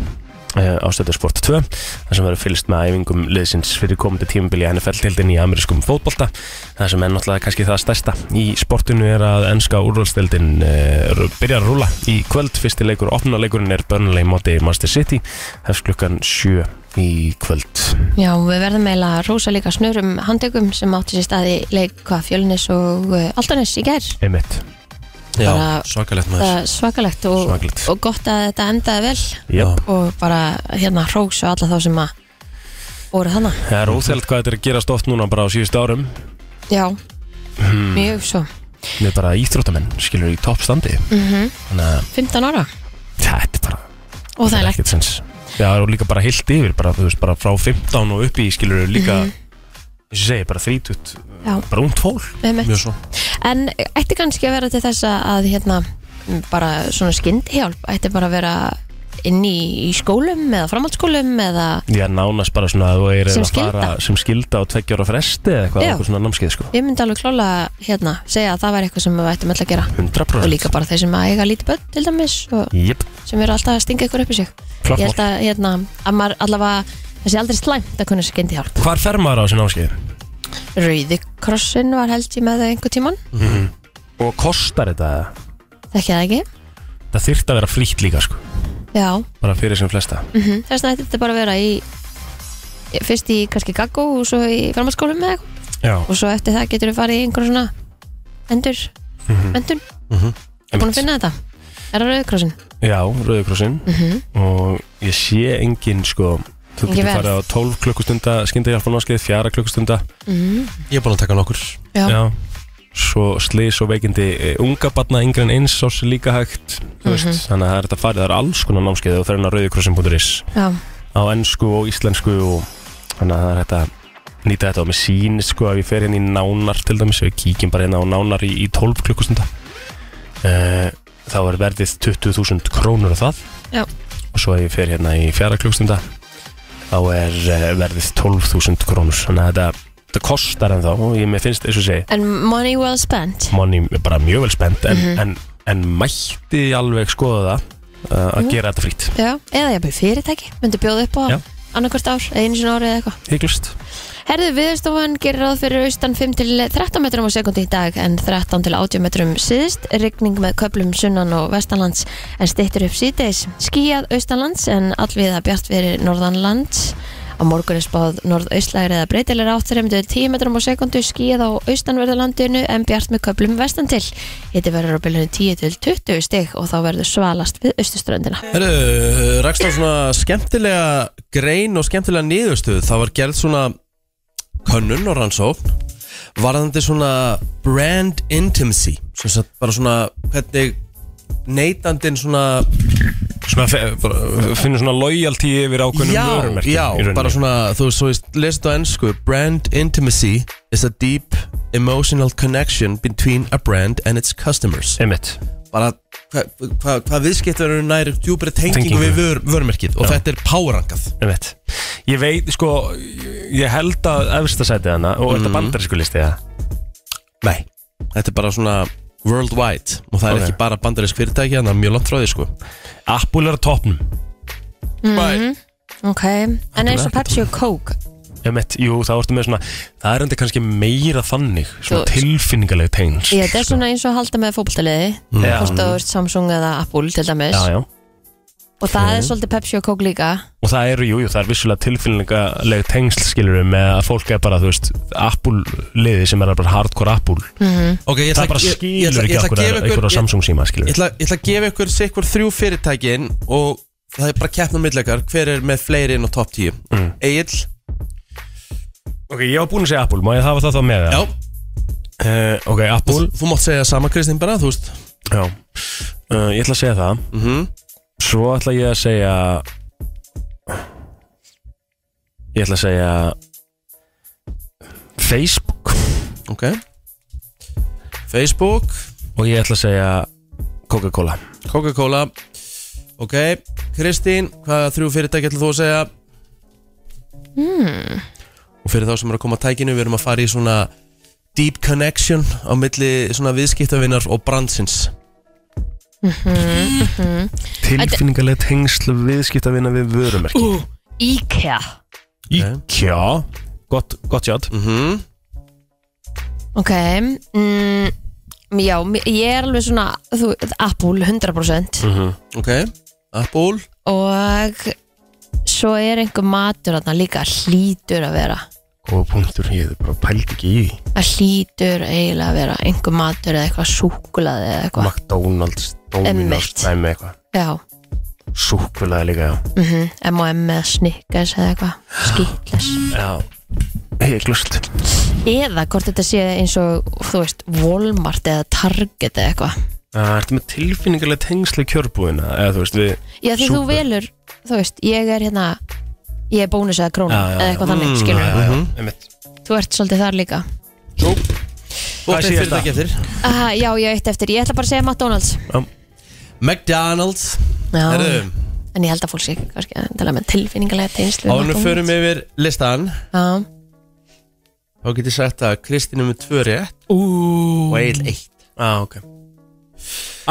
eh, á stöðu sport 2 þar sem verður fylgst með æfingum liðsins fyrir komandi tímabili NFL-tildin í amerískum fótbolta það sem er náttúrulega kannski það stærsta í sportinu er að ennska úrvalstildin uh, byrjar að rúla í kvöld fyrsti leikur, opnuleikurinn er Burnley móti Manchester City, hefst klukkan 7 í kvöld
Já, við verðum eiginlega að rosa líka snörum handtökum sem átti sér staði leik hvað fjölunis og eh, altanis í gerð.
einmitt,
Já,
Bara-
svakalegt maður
Það er svakalegt og,
svaglegt
og gott að þetta endaði vel
yep.
og bara hérna hrós og alla þá sem að voru hana.
það er óþælt hvað þetta er að gerast oft núna bara á síðustu árum
Já, mjög svo.
við bara íþróttamenn, skilur í toppstandi þannig að
15 ára
þetta er bara
og það er lægt
ekkert sens Já, og líka bara heilt yfir, bara, þú veist, bara frá 15 og upp í skilur líka
Mhm.
mm ég segi, bara 30,
Já.
bara ungt fól
einmitt.
Mjög svo
en ætti kannski að vera til þess að- að hérna bara svona skyndihjálp ætti bara að vera inn í, í skólum eða framhaldsskólum eða
Já, nánast bara svona að þú er
Sem
að fara sem skilda á tveggjára fresti eða eitthvað,
Já.
eitthvað svona námskeið sko
ég myndi alveg klála hérna segja að það væri eitthvað sem við ættum öll að gera
100%
og líka bara þeir sem að eiga lítið börn til dæmis og
Jep,
sem eru alltaf að stinga ykkur upp í sig
Klárt
ég held að hérna að maður allavega það sé aldrei slæmt að kunna skyndihjálp
hvar fer maður á þessi námskeið?
Rauði krossin var held ég með þau einhver tíman
Og kostar þetta?
þekki það ekki
Það þyrfti að vera frítt líka sko
já
bara fyrir sem flesta
Mhm. Þess vegna ætti þetta bara að vera í fyrst í kannski gaggó og svo í framhaldsskólum eða eitthvað
Já,
og svo eftir það getur við farið í einhverjum svona endur, endun búin að finna þetta er það rauðkrossin
Já, Rauðikrossin
mm -hmm.
og ég sé engin sko þú
Engin
getur
verð.
farið á 12 klukkustunda skyndahjálparnámskeið, fjara klukkustunda
Ég er búin að taka nokkur
já.
Já. Svo slís og veikindi eh, unga batna yngri en eins ás er líka hægt mm
Mhm.
veist, Þannig að það er þetta farið, það er alls konar námskeið og það er hérna rauðikrossin.is
Já.
á ennsku og íslensku og þannig að það er þetta nýta þetta og mér sýnir sko að ég fer hérna í nánar til dæmis, ef við kíkjum bara hérna á nánar í, í 12 klukkustunda uh, þá er verðið 20.000 krónur og það
Já.
og svo ef ég fer hérna í fjara klukkustunda þá er uh, verðið 12.000 krónur þannig að þetta, þetta kostar en þá og ég mér finnst eins og segi
en money well spent
manni bara mjög vel spennt en,
Mhm.
en, en mætti alveg skoða það uh, að
Jú.
gera þetta frýtt
já. eða jafnvel fyrirtæki, myndi bjóða upp á
Já.
annarkvort ár, eða einu sinni ári eða eitthvað
hygglust
Herðu viðstofan gerir ráð fyrir austan 5 til 13 metrum á sekundi í dag en 13 til 80 metrum síðst rigning með köplum sunnan og vestanlands en stittur upp síðdeis skíjað austanlands en allviða bjart fyrir norðanlands á morgun er spáð norðaustlægir eða breytilegur átt 3-10 metrum á sekundu skíjað á austanverðalandinu en bjart með köplum vestan til hitti verður á bylunni 10 til 20 stig og þá verður svalast við austuströndina
Herru, rakst á svona skemmtilega grein og skemmtilega niðurstöð Það var gerð svona könnun og rannsókn Varðandi svona brand intimacy Svo sem sagt bara svona hvernig neytandinn svona
sem að fe- bara finnur svona loyalty yfir ákveðnum vörumerkjum
já,
um í rauninni.
bara svona þú veist, svo veist, lesið á ennsku Brand intimacy is a deep emotional connection between a brand and its customers
einmitt
bara hva, hva, hvað viðskiptur eru nær djúbri tengingu
Tengingu.
við vör, vörmerkið og
Já.
þetta er párangað
Ég veit Ég veit, sko, ég held að efstasætið hana og þetta bandarísku listi það
Nei, þetta er bara svona worldwide og það er
Ok.
ekki bara bandarísk fyrirtæki en það er mjög langt frá því sko
Apple er á toppnum
ok En eins og Pepsi og Coke
Ég veit, jú, það vartu með svona Það er enda kannski meira þannig Svona
Þú-
tilfinningaleg tengsl
Ég, þetta er svona eins og að halda með fótboltaliði
Mm. Já.
Hvort þú veist Samsung eða Apple til dæmis
Já, já
Og það er svolítið Pepsi og Coke líka
Og það eru, jú, jú, það er vissulega tilfinningaleg tengsl skilur við með að fólk er bara, þú veist Apple liði sem er bara hardcore Apple
Ok, ég ætla,
Það bara
ég- ég ætla-
skilur
ég
ekki
ætla að
okkur
gefa
einhverja
ég-
Samsung síma skilur
Ég
við
ætla, ég ætla að gefa ykkur sikkur þrjú fyrirtækin og það er bara keppnum millekar hver er með fleiri inn á topp 10 mm. Egil,
Ok, ég var búin að segja Apple, má ég hafa það þá með
já,
það? Eh, ok, Apple
þú mátt segja sama Kristín bara, þú veist
Já uh, Ég ætla að segja það
Mhm.
Svo ætla ég að segja Ég ætla að segja Facebook
Ok Facebook,
Og ég ætla að segja Coca-Cola
Coca-Cola Ok, Kristín, hvaða þrjú fyrirtæki ætla þú að segja? Mm.
Hmm.
Og fyrir þá sem eru að koma að tækinu, við erum að fara í svona deep connection á milli svona viðskiptavinnar og brandsins
Tilfinningalega tengsl viðskipta vinna við vörumerki
Ú, IKEA
Eh? Íkja Gott, gott hjátt
mm
Ok mm, Já, mér- ég er alveg svona þú, Apple 100%
Mhm.
Ok, Apple
Og svo er einhver matur þarna líka Hlýtur að vera
Góða punktur, ég hef bara pælt ekki í því
Það hlýtur eiginlega að vera einhver matur eða eitthvað súkulaði eða eitthvað
McDonalds, Dominos,
Einmitt.
dæmi eitthvað
Já,
Súkvölaði líka, já
mhm, M&M eða Snickers eða eitthvað Skýtles
Já Ég glust
Eða hvort þetta sé eins og, þú veist, Walmart eða Target eða eitthvað
Það Ah, ertu með tilfinningalega tengsli kjörbúðina eða þú veist við
Já, því þú
Súper.
velur, þú veist, ég er hérna Ég er bónus eða krónu
Já, já,
eða
já. Mm,
eitthvað þannig, skilur
já, já, einmitt.
Þú ert svolítið þar líka
Þú átt
Hvað
eitt
síðasta?
fyrirtæki eftir
Aha, Já, ég eitt eftir, ég ætla bara að segja McDonalds
McDonalds
Já,
Ah,
Herru,
en ég held að fólk sé kannski að tala með tilfinningalega teinslu
ánum förum yfir listan
Já,
Þá get ég sagt að Kristín er með tvö rétt
Ú,
og Egil eitt
á, Ah, ok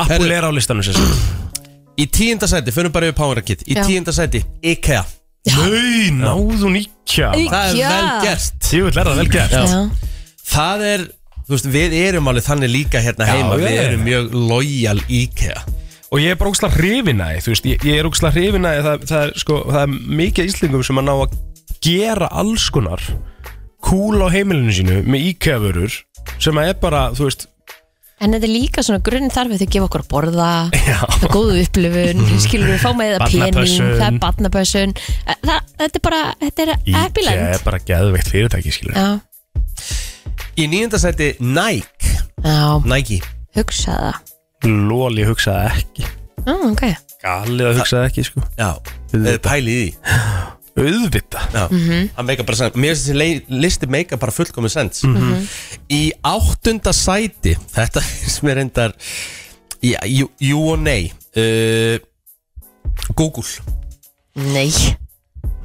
Apple
Herðu.
er á listanum sem sagt
Í tíunda sæti, förum bara yfir Powerkit Í
Já.
tíunda sæti, IKEA
Nei, náðun íkja
Það er
Já.
vel gert
Ég vil læra það vel gert
já,
Það er, þú veist, við erum alveg þannig líka hérna
Já,
heima
já,
Við
já.
erum mjög lojal IKEA
Og ég er bara ógslag hrifinæði, þú veist Ég, ég er ógslag hrifinæði, það, það, er, sko, það er mikið íslingum sem að ná að gera alls konar Kúl á heimilinu sínu með íkjavörur Sem að er bara, þú veist
En þetta er líka svona grunn þarfið þau gefa okkur að borða
Já,
það er góðu upplifun,
Mhm.
skilur við fá með það pening,
Barnapössun.
það er barnapössun það, þetta er bara, þetta er
IKEA
epiland
er bara geðveikt fyrirtæki, skilur
Já,
Í níunda sæti, Nike
já,
Nike
hugsa það
Lól, ég hugsaði ekki
Já, ok,
Galið að hugsaði ekki, sko
Já, við erum pælið í því
Auðvita
Já, það meika bara sens Mér finnst þessi lei- listi meika bara fullkomið sens Í áttunda sæti Þetta [laughs] finnst mér reyndar Já, jú, jú og nei uh, Google
nei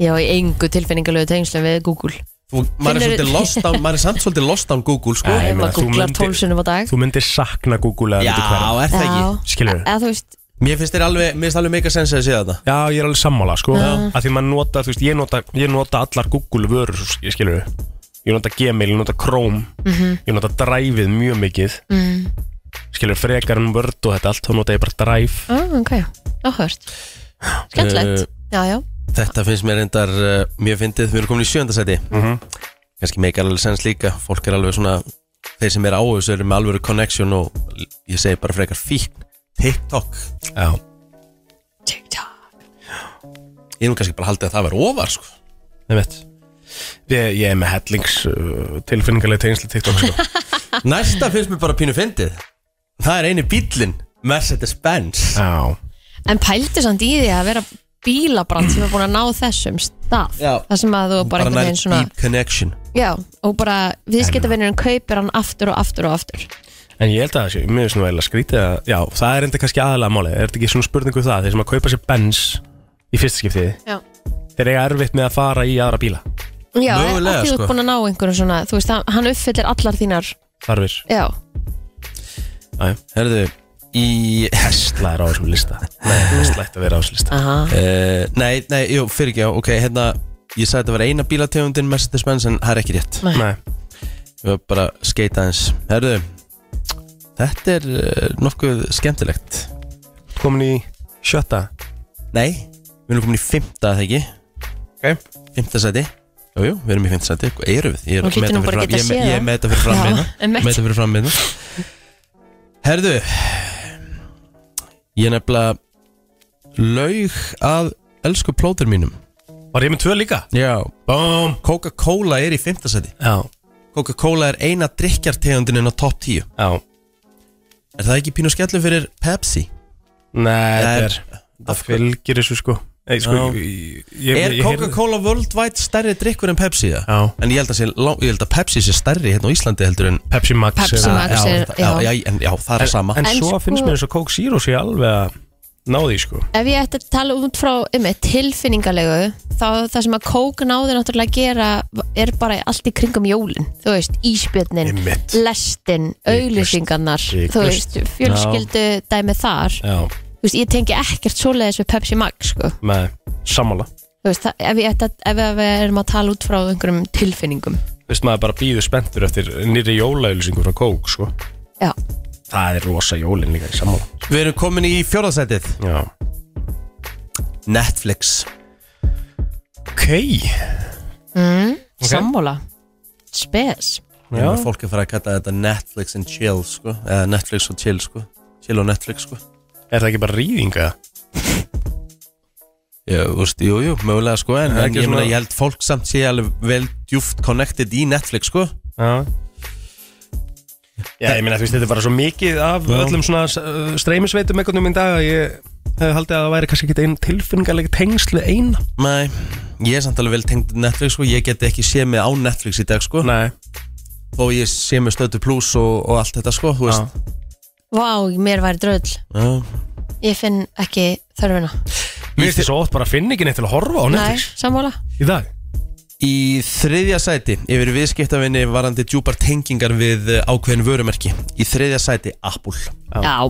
Ég á í engu tilfinningalögu tengslu við Google
Þú, maður, er
Finnurðu-
svolítið lost á, maður er samt svolítið lost án Google sko.
Nei, ég
Ef
meina,
maður
þú
googlar
myndir-
tólfsunum á dag
Þú myndir sakna Google eða
Já,
myndir hverja
er það ekki
Skilurðu?
Eða þú veist,
Mér finnst þér alveg, mér finnst alveg meika sens að sé þetta
Já, ég er alveg sammála, sko Að því maður nota, þú veist, ég nota, ég nota allar Google vörur, svo sk- skilur við Ég nota Gmail, ég nota Chrome Ég nota Drive-ið mjög mikið mm. Skilur, frekar en Word og þetta allt Þá nota ég bara Drive
á, ok, áhört Skemmtilegt, já, já
Þetta finnst mér reyndar uh, mjög fyndið Við erum komin í sjönda sæti Kannski meikar alveg sens líka Fólk er alveg svona Þeir sem er á þessu eru með alvöru connection Og ég segi bara frekar fíkn TikTok
Já
TikTok
Ég nú kannski bara haldið að það veri ofar
[laughs]
sko.
Nei veit Ég, ég er með hellings uh, tilfinningarlega tegnsli TikTok, sko
Næsta finnst mér bara pínu fyndið Það er eini bílinn Mercedes-Benz
[laughs] Já
En pældu samt í því að vera bílabrand sem er búin að ná þessum stað
Já.
Það sem að þú bara einhvern veginn svona
deep connection
Já, og bara viðskiptavinnurinn kaupir hann aftur og aftur og aftur
En ég held að það sé mjög svona eiginlega skrítið að, já, það er enda kannski aðalega málið, er þetta ekki svona spurningu um það, þeir sem að kaupa sér bens í fyrsta skiptið,
Já.
þeir eiga erfitt með að fara í aðra bíla,
Já,
Mögulega,
að því þú
sko.
ert búin að ná einhverjum svona Þú veist, hann- hann uppfyllir allar þínar
þarfir,
Já,
aðja,
Herðu, í
hestla er á þessum lista, nei, hestla ætti að vera á þessum lista,
aha
Uh, nei, nei, jú, fyrir ekki á, ok, hérna Ég sagði þetta var eina bílategundin Mercedes-Benz en það er ekki rétt
Nei.
nei,
Við varum bara að skeita eins Herðu, þetta er uh, nokkuð skemmtilegt
komin í sjötta,
Nei, við erum komin í fymta, það ekki
ok,
Fymta sæti Jú, jú, við erum í fymta sæti, hvað erum við? Ég er
Þú hlýtur
með
nú
þetta
bara að
fyrir
geta
fram-
séð
ég- ég
það.
með þetta fyrir fram
Já,
hérna
einmitt.
Með þetta fyrir fram hérna Herðu Ég er nefnilega Laug að elsku plótur mínum
var ég með tvö líka,
Já
bóm,
Coca-Cola er í fymta sæti
já,
Coca-Cola er eina drikkjartegundin en á topp 10
já,
Er það ekki pínu skellu fyrir Pepsi?
nei,
Það
þetta
er-
er, það fylgir þessu sko, ei, sko,
Já.
ég, ég,
Er
ég, ég heyrði-
Coca-Cola worldwide stærri drikkur en Pepsi það?
Já.
En ég held, að sé, lá- ég held að Pepsi sé stærri hérna á Íslandi heldur en
Pepsi Max,
Pepsi
eða-
Max.
já,
er-
það- já, já, en, já, það er
en,
sama
en,
En
svo
sko-
finnst mér eins og Coke Zero sé alveg að ná því sko,
Ef ég ætti að tala út frá um tilfinningalegu þá það sem að kók náði náttúrulega að gera er bara allt í kringum jólin þú veist, íspjörnin,
Einmitt.
lestin auglýsingarnar,
Hiklaust.
þú veist fjölskyldu dæmi þar
já,
þú veist, ég tengi ekkert svoleiðis við Pepsi Max sko.
með sammála
þú veist, það, ef, ég ætti að, ef að við erum að tala út frá einhverjum tilfinningum
Þú veist maður bara býður spenntur eftir nýri jólaauðlýsingu frá Coke sko.
já,
Það er rosa jólin líka í sammála
Við erum komin í fjórðasætið
Já
Netflix
Ok
sammála spes,
Já. Fólk er farið að kalla þetta Netflix and chill sko. Eða Netflix og chill sko. Chill og Netflix sko.
Er það ekki bara rýðinga?
Já, þú veist, jú, jú, mögulega sko En, en
ekki
ég, meina,
svona-
ég held fólk samt sé alveg vel djúft connected í Netflix sko.
Já Já, ég meina þú veist þetta er bara svo mikið af öllum svona uh, streymisveitum einhvern veginn í dag að ég hefði haldið að það væri kannski ekkert einn tilfinningalega tengsl við eina
Nei, ég er samt alveg vel tengd Netflix sko, ég geti ekki séð mig á Netflix í dag sko
Nei
Þó ég sé mig stötu pluss og, og allt þetta sko, þú veist
vá, mér væri dröll
Já,
ég finn ekki þörfina
Mér finnst þið svo oft bara að finna ekki neitt til að horfa á
Nei,
Netflix
sammála
Í dag
Í þriðja sæti, yfir viðskiptavinni varandi djúpar tengingar við eh, ákveðin vörumerki Í þriðja sæti, Apple
Já,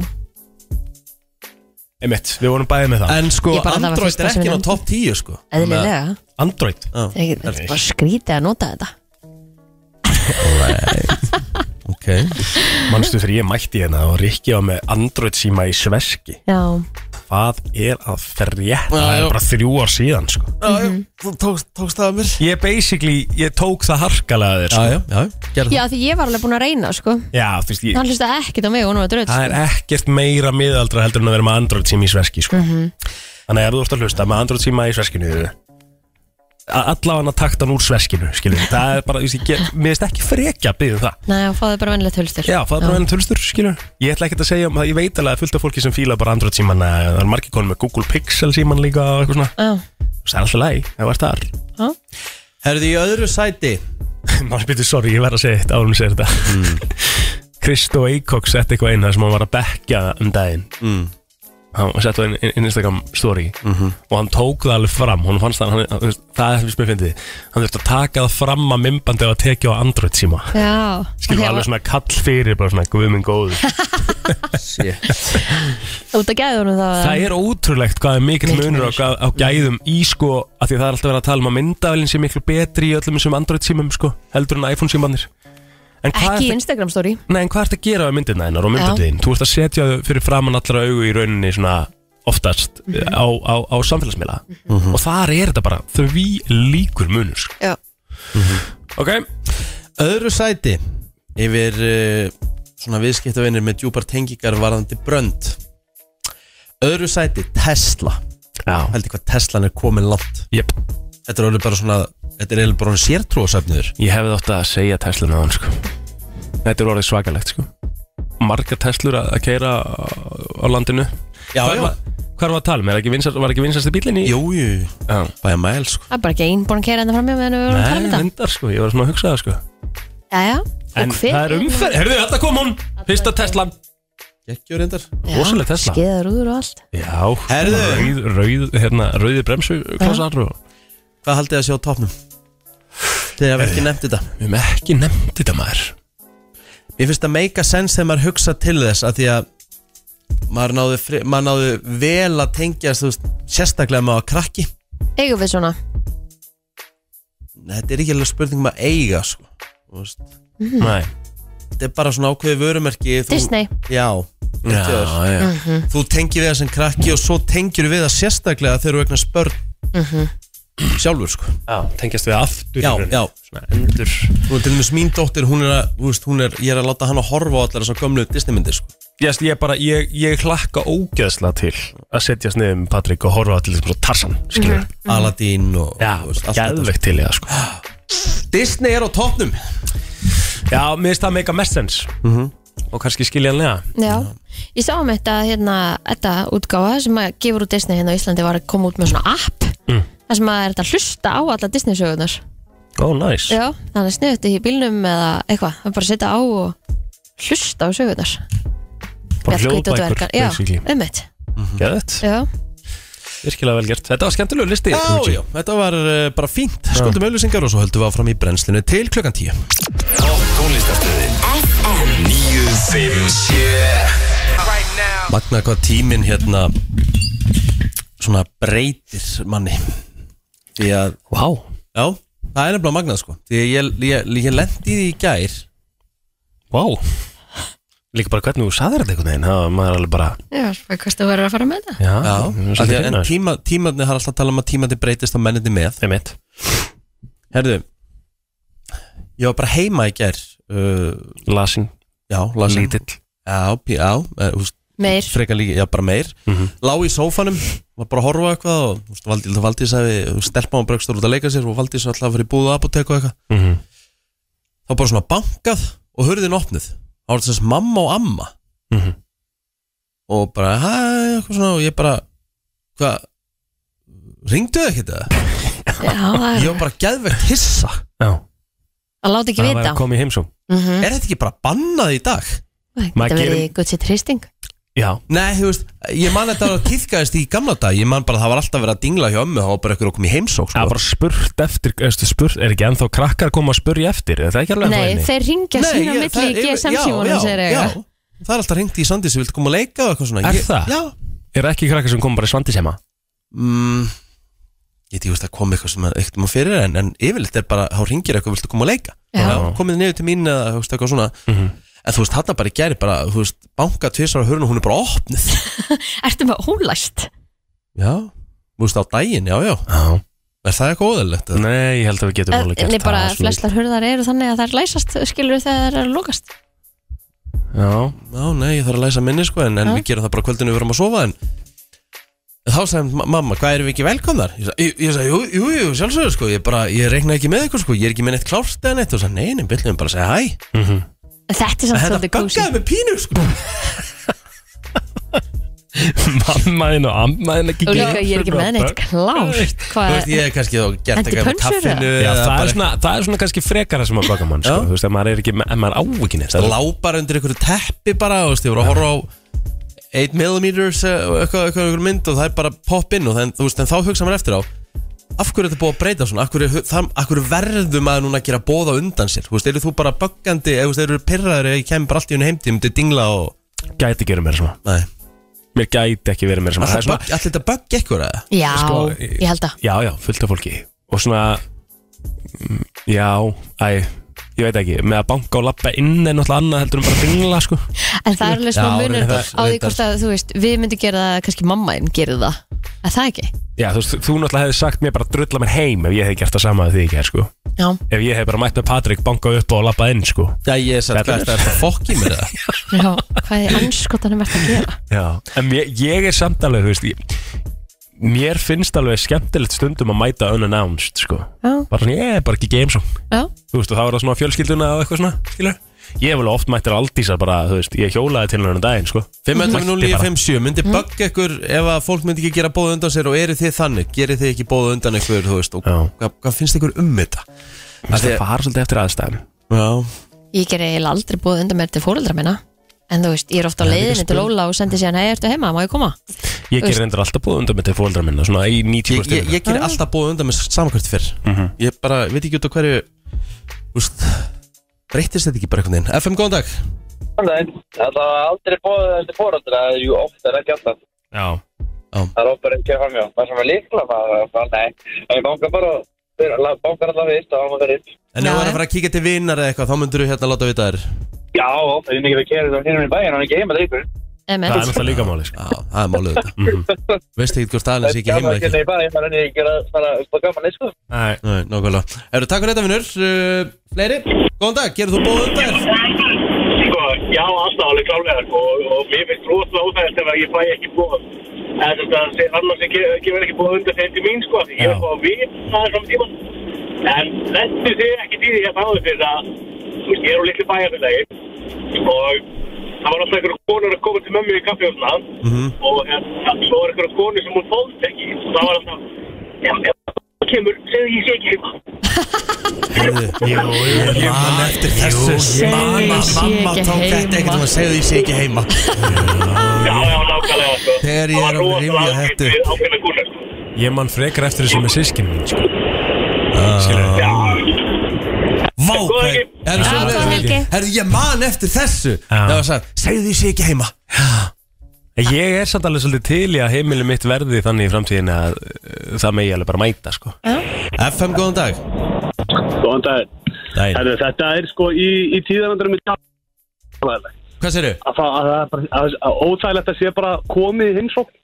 Einmitt, við vorum bæðið með það
En sko,
Ég bara- það var
Android
fyrsta
er
sem ég
ekki á
nefndi.
topp 10 sko
eðlilega
Android
Það er ekki- það er bara skrítið að nota þetta
Ok
Manstu þegar ég mætti hérna og Rikki var með Android síma í sveski
Já,
Hvað er að frétta? Það
já.
er bara þrjú ár síðan sko.
Þú tókst, tókst það að mér
Ég basically, ég tók það harkalega þér sko.
Já, já, já, gerðu
já því ég var alveg búin að reyna sko
Já, þú veist, ég,
Hann hlustaði ekkert á mig og hún var dröð
það er
sko.
ekkert meira miðaldra heldur en að vera með Android síma í sveski sko. Þannig að ef þú ert að hlusta með Android síma í sveskinu þínu, að allavega takta hann úr sveskinu skilur. við. það er bara, þú veist, ég, get- mér veist ekki frekja að byggja það
Nei, hann fáði bara vennilegt hulstur
Já, það er bara enn tölstur, skilur Ég ætla ekkert að segja, um það, ég veit alveg að fullt af fólki sem fíla bara Android síman Það er margir konum með Google Pixel síman líka og eitthvað svona
Já,
Það er alltaf læg, það var þar
já.
Herðu í öðru sæti
Maður byrju, sorry, ég verð að segja eitt árum sér þetta [laughs] Kristó Eikok sett eitthvað inn þar sem hann var að bekja um daginn mm. Hann sett það inn, inn, inn Instagram story -hmm. Og hann tók það alveg fram Hún fannst það, hann, hann, það er sem ég finnst Hann þurfti að taka það fram að mymbandi að tekja á Android síma
já.
Skilur
Því að-
alveg svona kall fyrir, bara svona guðminn góður
Út að gæða honum það
Það er ótrúlegt hvað er mikill
Mikill
munur á,
munur.
hvað- á gæðum í sko af því það er alltaf verið að tala um að myndavælinn sé miklu betri í öllum þessum Android símum sko heldur en iPhone símanir En hvað,
Ekki í
ertu,
Instagram story
nei, en hvað ertu að gera á myndina þínar og myndatiðin? Þú ert að setja þau fyrir framann allra augu í rauninni svona oftast
Mhm.
eh, á, á, á samfélagsmiðla og þar er þetta bara því líkur munur sko.
Já,
Ok,
Öðru sæti yfir uh, svona viðskiptavinnir með djúpar tengingar varðandi brönd Öðru sæti, Tesla
já,
Hældi hvað Teslan er komin langt
jöp
Þetta er alveg bara svona Þetta er eiginlega bara svona sértrúasöfniður
Ég hefði átt að segja Tesla með hann sko Þetta er orðið svakalegt sko Marga Teslur að keira á, á landinu
Já,
Hvað
já.
var- Hvað var að tala um? Er ekki vinsast, var ekki vinsast í bílinni?
Jú, jú,
Já.
bæja mæl sko
það er bara ekki einn búin að keira þetta fram hjá meðan við vorum að tala um
Nei,
þetta
reyndar sko, ég var svona að hugsa það sko
Já, já,
En
og hver hérna?
það er umferð, herðu þetta kom hún
Að
Fyrsta Teslan
Gekkiður reyndar
Rosaleg Tesla.
Skeiðar úr og allt
Já,
Herðu.
rauð, rauð, hérna, rauði bremsu Klossar og
Hvað haldið þið að sjá á topnum? Þegar við ekki nefnt þetta
Við hefum ekki nefnt þetta maður
Mér finnst það make a sense þegar maður hugsa til þess að Því að maður náði, fri, maður náði vel að tengjast þú veist, Sérstaklega ef maður var krakki
Eigum við svona
Nei, Þetta er ekki alveg spurning um að eiga sko. Þú veist,
Nei
Þetta er bara svona ákveði vörumerki þú,
Disney
Já, já,
Já, já
Þú tengir við það sem krakki og svo tengir við það sérstaklega þegar þú vegna spörn Sjálfur sko
Já, tengjast við aftur í
Já,
rauninni.
já.
Svona endur
Nú til dæmis mín dóttir, hún er að, þú veist, hún er, ég er að láta hann að horfa á allar þessar gömlu Disneymyndir, sko.
Yes, ég bara, ég, ég hlakka ógeðsla til að setjast niður með Patrik og horfa til þessum Tarsan, skilur
Aladdin og, Mhm. þú veist, allt þetta,
gæðvegt til
[gasps]
ég það sko
sko. Disney er á toppnum.
Já, mér finnst það meika mest sens
Mhm.
Og kannski skiljanlega
Já, ég sá um þetta hérna, þetta útgáfa sem að gefur út Disney hérna á Íslandi var að koma út með svona app mm. þar sem að er þetta að hlusta á alla Disney sögunar
Ó, oh, næs nice.
Já, þannig að sniðu þetta í bílnum eða eitthvað, það er bara að setja á og hlusta á sögunar
Bara
Bjallhvít og
hljóðbækur,
dvergar. Já,
basically.
einmitt
Gæðvegt,
Já,
virkilega vel gert Þetta var skemmtilegur listi
Já, já, þetta var uh, bara fínt. Skuldum auðlýsingar og svo höldum við áfram í brennslinu til klukkan 10.
Topp tónlistarstöðin FM 957
Magna hvað tíminn hérna svona breytir manni. Því að,
Vá
já, það er nefnilega magnað, sko. Því að ég, ég, ég lendi því í gær.
Vá Líka bara hvernig þú saðir þetta einhvern veginn Það var maður alveg bara
já, svo hvað þú verður að fara með það
Já,
Já, af því að- en
tíma
tíma, tímarnir, það er alltaf að tala um að tímarnir breytist og mennirnir með.
Það er mitt
Herðu, ég var bara heima í gær uh,
Lasin,
Já, lasin
lítill
Já, pí- já, eh, þú veist,
Meir,
frekar líka, já, bara meir Lá í sófanum, var bara að horfa á eitthvað og þú veist, Valdís, Valdís hefði stelpa á bregstur út að leika sér og Valdís var alltaf að fara í búð og apotek og eitthvað
mm -hmm.
þá bara svona bankað og hurðin opnuð þá var þess mamma og amma
Mhm.
og bara, hæ, eitthvað svona og ég bara, hvað ringdu þau ekkert það?
já, það er
Ég var bara geðvegt hissa
Já,
að láta ekki
það var
vita
að koma í heimsum
mm -hmm.
Er þetta ekki bara bannað í dag?
Þetta
Maður
verið
gerir-
gutt sér tristing
Já,
Nei, þú veist, ég man þetta að týðkaðist í gamla dag Ég man bara að það var alltaf verið að dingla hjá ömmu Það var bara ykkur okkur í heimsók
það
sko.
var bara spurt eftir eftir, spurt, Er ekki ennþá krakkar að koma að spurja eftir Er það ekki alveg
Nei,
ennþá inni?
þeir ringja
Nei,
sína á
ég-
milli í
það-
GSM
já,
símanum
já,
sér
já.
eiga
Það er alltaf hringt í Sandi sem vilt koma að leika og eitthvað svona
Er
Ég-
það?
Já
Er ekki krakkar sem koma bara í svandi sema
mm, Ég veit, ég veist að koma eitthvað sem er ekkert maður fyrir en, en yfirleitt er bara, þá ringir eitthvað, viltu koma að leika
Já.
Komið niður til mín eða þú veist, eitthvað svona
Mhm.
En þú veist, þarna bara í gæri bara, þú veist, banka tvisar á hörun og hún er bara opnuð
Ertu með ólæst?
Já, þú veist, á daginn, já, já
Já
Er það eitthvað óðalegt? eða?
Nei, ég held að við getum
En
alveg gert
en ég Eh, bara,
það svona-
flestar hurðar eru þannig að þær læsast skilur þegar þær eru lókast
Já, [laughs]
Já, nei, ég þarf að læsa minni sko En, en
Já.
við gerum það bara kvöldinu við verum að sofa En en þá sagði ma- mamma, hvað erum við ekki velkomnar? Ég sagði, ég- ég sagði jú, jú, jú, sjálfsögur sko Ég bara, ég reikna ekki með ykkur sko Ég er ekki með neitt klárt eða neitt Og sagði, nei, nei, byrjum bara að segja hæ
En Þetta er samt
Þetta
svolítið kósi
buggaði með pínu sko
mammaðin og ammaðin ekki
Og líka ég er ekki með neitt klárt
Þú veist,
Hvað
ég hef kannski þá gert
Hendi
eitthvað með
pönsur eða?
kaffinu
Já,
eða
það, er
bara
svona, það er svona kannski frekara sem að baka mann sko.
Já.
Þú veist, ef maður er ekki, ef maður á ekki neitt það er-
Lápar undir einhverju teppi bara Þú veist, ég voru að horfa á 8mm eitthvað, eitthvað, eitthvað mynd og það er bara popp inn og þann, þú veist, en þá hugsa maður eftir á af hverju er þetta búið að breyta svona af hverju, það, af hverju verðum að núna að gera bóða undan sér þú veist, eru þú bara böggandi eða þú veist, eru pyrraður eða ég kemur bara allt í hennu heimtíð um til dingla og
Gæti ekki verið meira svona
nei,
Mér gæti ekki verið meira svona Það er
alltaf,
svona
bögg, alltaf þetta bögg ekkur eða
Já,
Sko,
ég held að
Já, já, fullt af fólki Og svona mm, Já, æ, ég veit ekki Með að banka og lappa inn er náttúrulega annað heldur um bara að bingla sko.
En það er alveg smá
Já,
munur
reyndar,
á því
reyndar.
hvort að, þú veist, við myndum gera það kannski mammaðin gerir það, er það ekki?
Já, þú veist, þú náttúrulega hefði sagt mér bara að drulla mér heim Ef ég hefði gert það sama að því ekki sko.
Já,
Ef ég hefði bara mætt með Patrik, bankað upp og lappa inn sko.
já, ég er satt,
Þetta
hvað
er-
er þetta fokk í mér [laughs] eða
já, hvað er anskotanum ert að gera?
Já, en ég, ég er samt alveg, þú veist ég, Mér finnst alveg skemmtilegt stundum að mæta unannounced sko.
Já,
Bara svona, ég er bara ekki geimsum
já,
Þú veist, og það var það svona fjölskylduna og eitthvað svona Skilur? Ég hef alveg oft mættir aldísar bara, þú veist Ég hjólaði til hennar daginn, sko
5.09.57, myndi bögg ekkur ef að fólk myndi ekki gera bóða undan sér og eru þið þannig, gerir þið ekki bóða undan ekkur þú veist, og
Já.
hvað, hvað finnst ykkur um þetta
Það fara svolítið eftir aðstæðum
já,
ég ger eiginlega aldrei búið undan mér til fóreldra minna en þú veist, ég er ofta á
Það er líka
leiðinni til
spurning.
Óla og sendi sér, hei, ertu heima, má ég koma?
Ég
Veist-
ger reyndar alltaf búið undan með til fóldra minna Svona í
Ég,
90
ég, ég gerir alltaf búið undan með samankvært fyrr
Mhm.
Ég bara veit ekki út á hverju Úst Breytist þetta ekki bara einhvern veginn FM, góðan dag
Nei, það var aldrei bóðið undir fóröldra, það er jú oft er ekki alltaf.
Já,
Það er oftar ekki að framjá. Það sem er líkla, það er bara, nei, það er bankar bara, bankar alltaf fyrst og ámað fyrir.
En ef
Já,
þú var
já.
að fara að kíka til vinar eða eitthvað Þá myndur þú hérna láta vita þér
Já, oftar, ég er ekki að kera það hérna í bæin, hann er ekki heima leikur.
það er
Emmett,
náttúrulega líka máli sko.
Já, það er málið þetta [laughs]
Mhm.
Veist ekki hvort aðeins ekki
gaman
heima eða
að
ekki
kera í bæin, maður er ekki að fara, það er gaman, nei, sko.
Nei,
Nei, nákvæmlega Eru, takk fyrir þetta, vinnur uh, Fleiri, góðan dag, gerir þú bóð undan þér?
Sko, já, alltaf alveg klálega, sko, og mér finnst rosalega óþægist ef ég fæ ekki bóð. En þetta, annars ekki, ekki verið ekki bóð undir þeim til mín, sko, því ég
Já.
er búið að vita það er svona tíma. En þetta sé ekki tíði ég fáði fyrir að, þú veist, ég er úr litlu bæjarfélagi og það var alltaf einhverjum konur að koma til mömmu í kaffi og svona
Mhm.
og hérna, svo var einhverjum konur sem hún þóðst ekki og það var alltaf, já, já, kemur, segðu ég sé ekki heima.
jú, jú,
Ég man eftir þessu
ég
Mamma,
man eftir þessu.
mamma
Ég sé ekki
tók þetta
heima.
ekkert um og segði ég sé ekki heima
Já, já, nákvæmlega, sko.
Þegar ég er að rifja þetta upp.
Ákveðna konur, sko.
Ég man frekar eftir þessu með sískin mín sko. Skilur
Já,
Vá,
Góðan
hvað-
helgi.
Herru,
Já,
sömuleiðis,
góðan helgi.
Herru, ég man eftir þessu
Já.
Það var sagt, segðu ég sé ekki heima
Ég er samt alveg svolítið til í að heimili mitt verði þannig í framtíðin að uh, það megi alveg bara mæta sko.
FM, góðan dag
Góðan daginn.
Dæin.
Herðu, þetta er sko í, í tíðarandrum í dag. Að
Hvað séru?
það að það er bara, að, að óþægilegt að sé bara komið í heimsókn.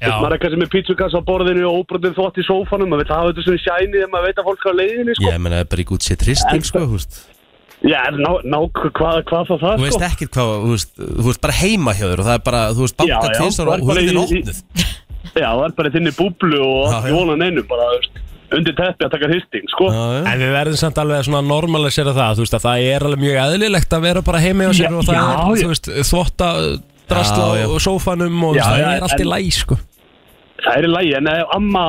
Já.
Maður er kannski með pítsukassa á borðinu og óbröndin þvott í sófanum. Maður vil hafa þetta svona shiny þegar maður veit að fólk er á leiðinni, sko.
Ég meina, það er bara í gút sér tristing, sko, húst
Já, en ná, ná, hvað, hvað þá það,
Þú
sko?
veist ekkert hvað, þú veist, þú veist bara heima hjá þér og það er bara, þú veist,
Já,
banka
já,
tvisar
bara-
og
bara í-
hurðin
í-
opnuð
Já, það er bara í þinni búblu og
Já,
allt
já.
í vonan einum, bara, þú veist, undir teppi að taka hristing, sko.
Já, já.
En við verðum samt alveg að svona normalisera það Þú veist að það er alveg mjög eðlilegt að vera bara heimi á sér
Já,
Og það
já,
er,
já.
þú veist, þvotta drastla
Já, já.
á sófanum Og
Já,
það
já,
er allt í
en-
læg sko.
Það er í lagi, en ef amma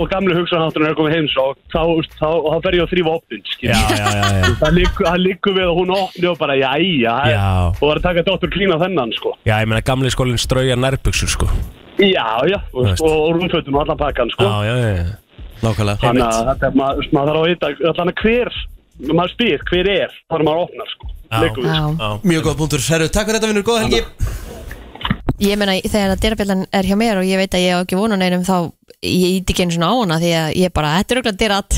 og gamlu hugsanhátturinn er komið heims og þá, þá, þá, þá fer ég að þrýfa opnin, skil.
já, já, já.
Það liggur- það liggur við að hún opni og bara, jæja,
[laughs] Já.
og var að taka dóttur klína þennan, sko.
Já, ég meina gamli skólinn strauja nærbuxur sko.
Já, já, og,
Veist.
og rúmfötum og allan pakkan, sko.
Já, já, já, já.
Nákvæmlega
Þannig að þetta er, maður, maður þarf að vita, allan að hver, maður spyr hver er, þar maður opnar, sko.
Já.
Liggur við,
já.
sko.
já.
Mjög góð punktur, herru, takk fyrir þetta vinnur, góða helgi
Ég meina, þegar að dyrabjallan er hjá mér og ég veit að ég á ekki vonu neinum þá ég íti ekki einu svona á hana því að ég bara, þetta er okkur að dyrat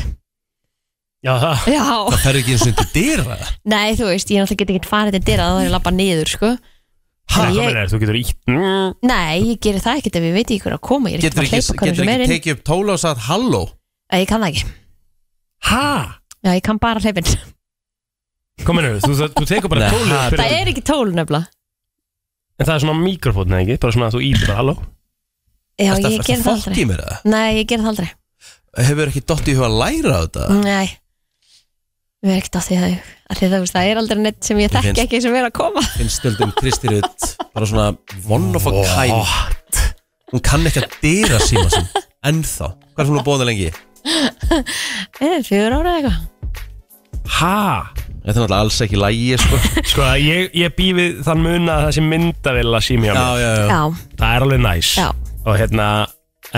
Já, það
Já,
Það fer ekki eins og þetta dýra
nei, þú veist, ég náttúrulega get ekki farið til dyrat þá er ég labba niður, sko
Ha, ég...
Þannig ég,
Meinar, þú getur ítt mm.
Nei, ég gerir það ekkert ef ég veit ekki hver að koma Ég er
Getur
ekki
ekki,
að hleypa
getur
hvernig sem er
ekki
inn
tekið upp tóla og sagt halló
Nei, Ég kann það ekki,
Ha?
já, ég kann bara hleypin
Kom innur, þú, þú, þú tekur bara
Nei,
tólið
ha,
fyrir-
Það er ekki tól nefnilega
En það er svona mikrofótn eða ekki, bara svona að þú ítir bara halló
Já,
Ertu að-
ég
ertu
ger
að
það
fokka
aldrei
í mér það?
Nei, ég ger það aldrei
Hefur ekki dott í huga að læra á þetta?
Nei Við erum ekkert á því að að því það, veist, það er aldrei neitt sem ég
Mér
þekki
finnst-
ekki sem er að koma
finnst stöldum Kristi Rutt bara svona one of a kind
What?
hún kann ekki að dyra síma sinn ennþá, hvað er hún búin það lengi?
Eh, Fjögur ára eða eitthvað
Ha?
Þetta er náttúrulega alls ekki lægi sko.
Sko, ég, ég bý við þann mun að það sé myndavill að sími
já,
á mér
já, já,
Já,
Það er alveg næs
Já.
Og hérna,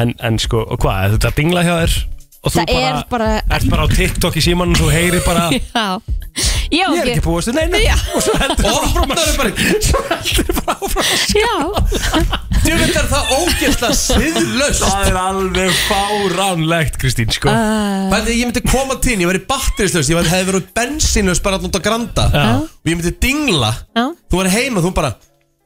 en, en sko, og hvað, þetta dingla hjá þér Og þú
það er bara
ert bara á TikTok í símanum og þú heyrir bara Ég
[laughs] Já Já,
er ekki búist, nei, nei
Já.
Og svo heldur
og það er bara
já
djúvitt er það ógeðslega siðlöst
Það er alveg fáránlegt, Kristín, sko
uh,
Bæði, ég myndi koma til, þín, ég væri batterislaus ég væri, hefði verið bensinlaus bara alltaf granda
Já.
og ég myndi dingla
Já.
þú væri heima, þú bara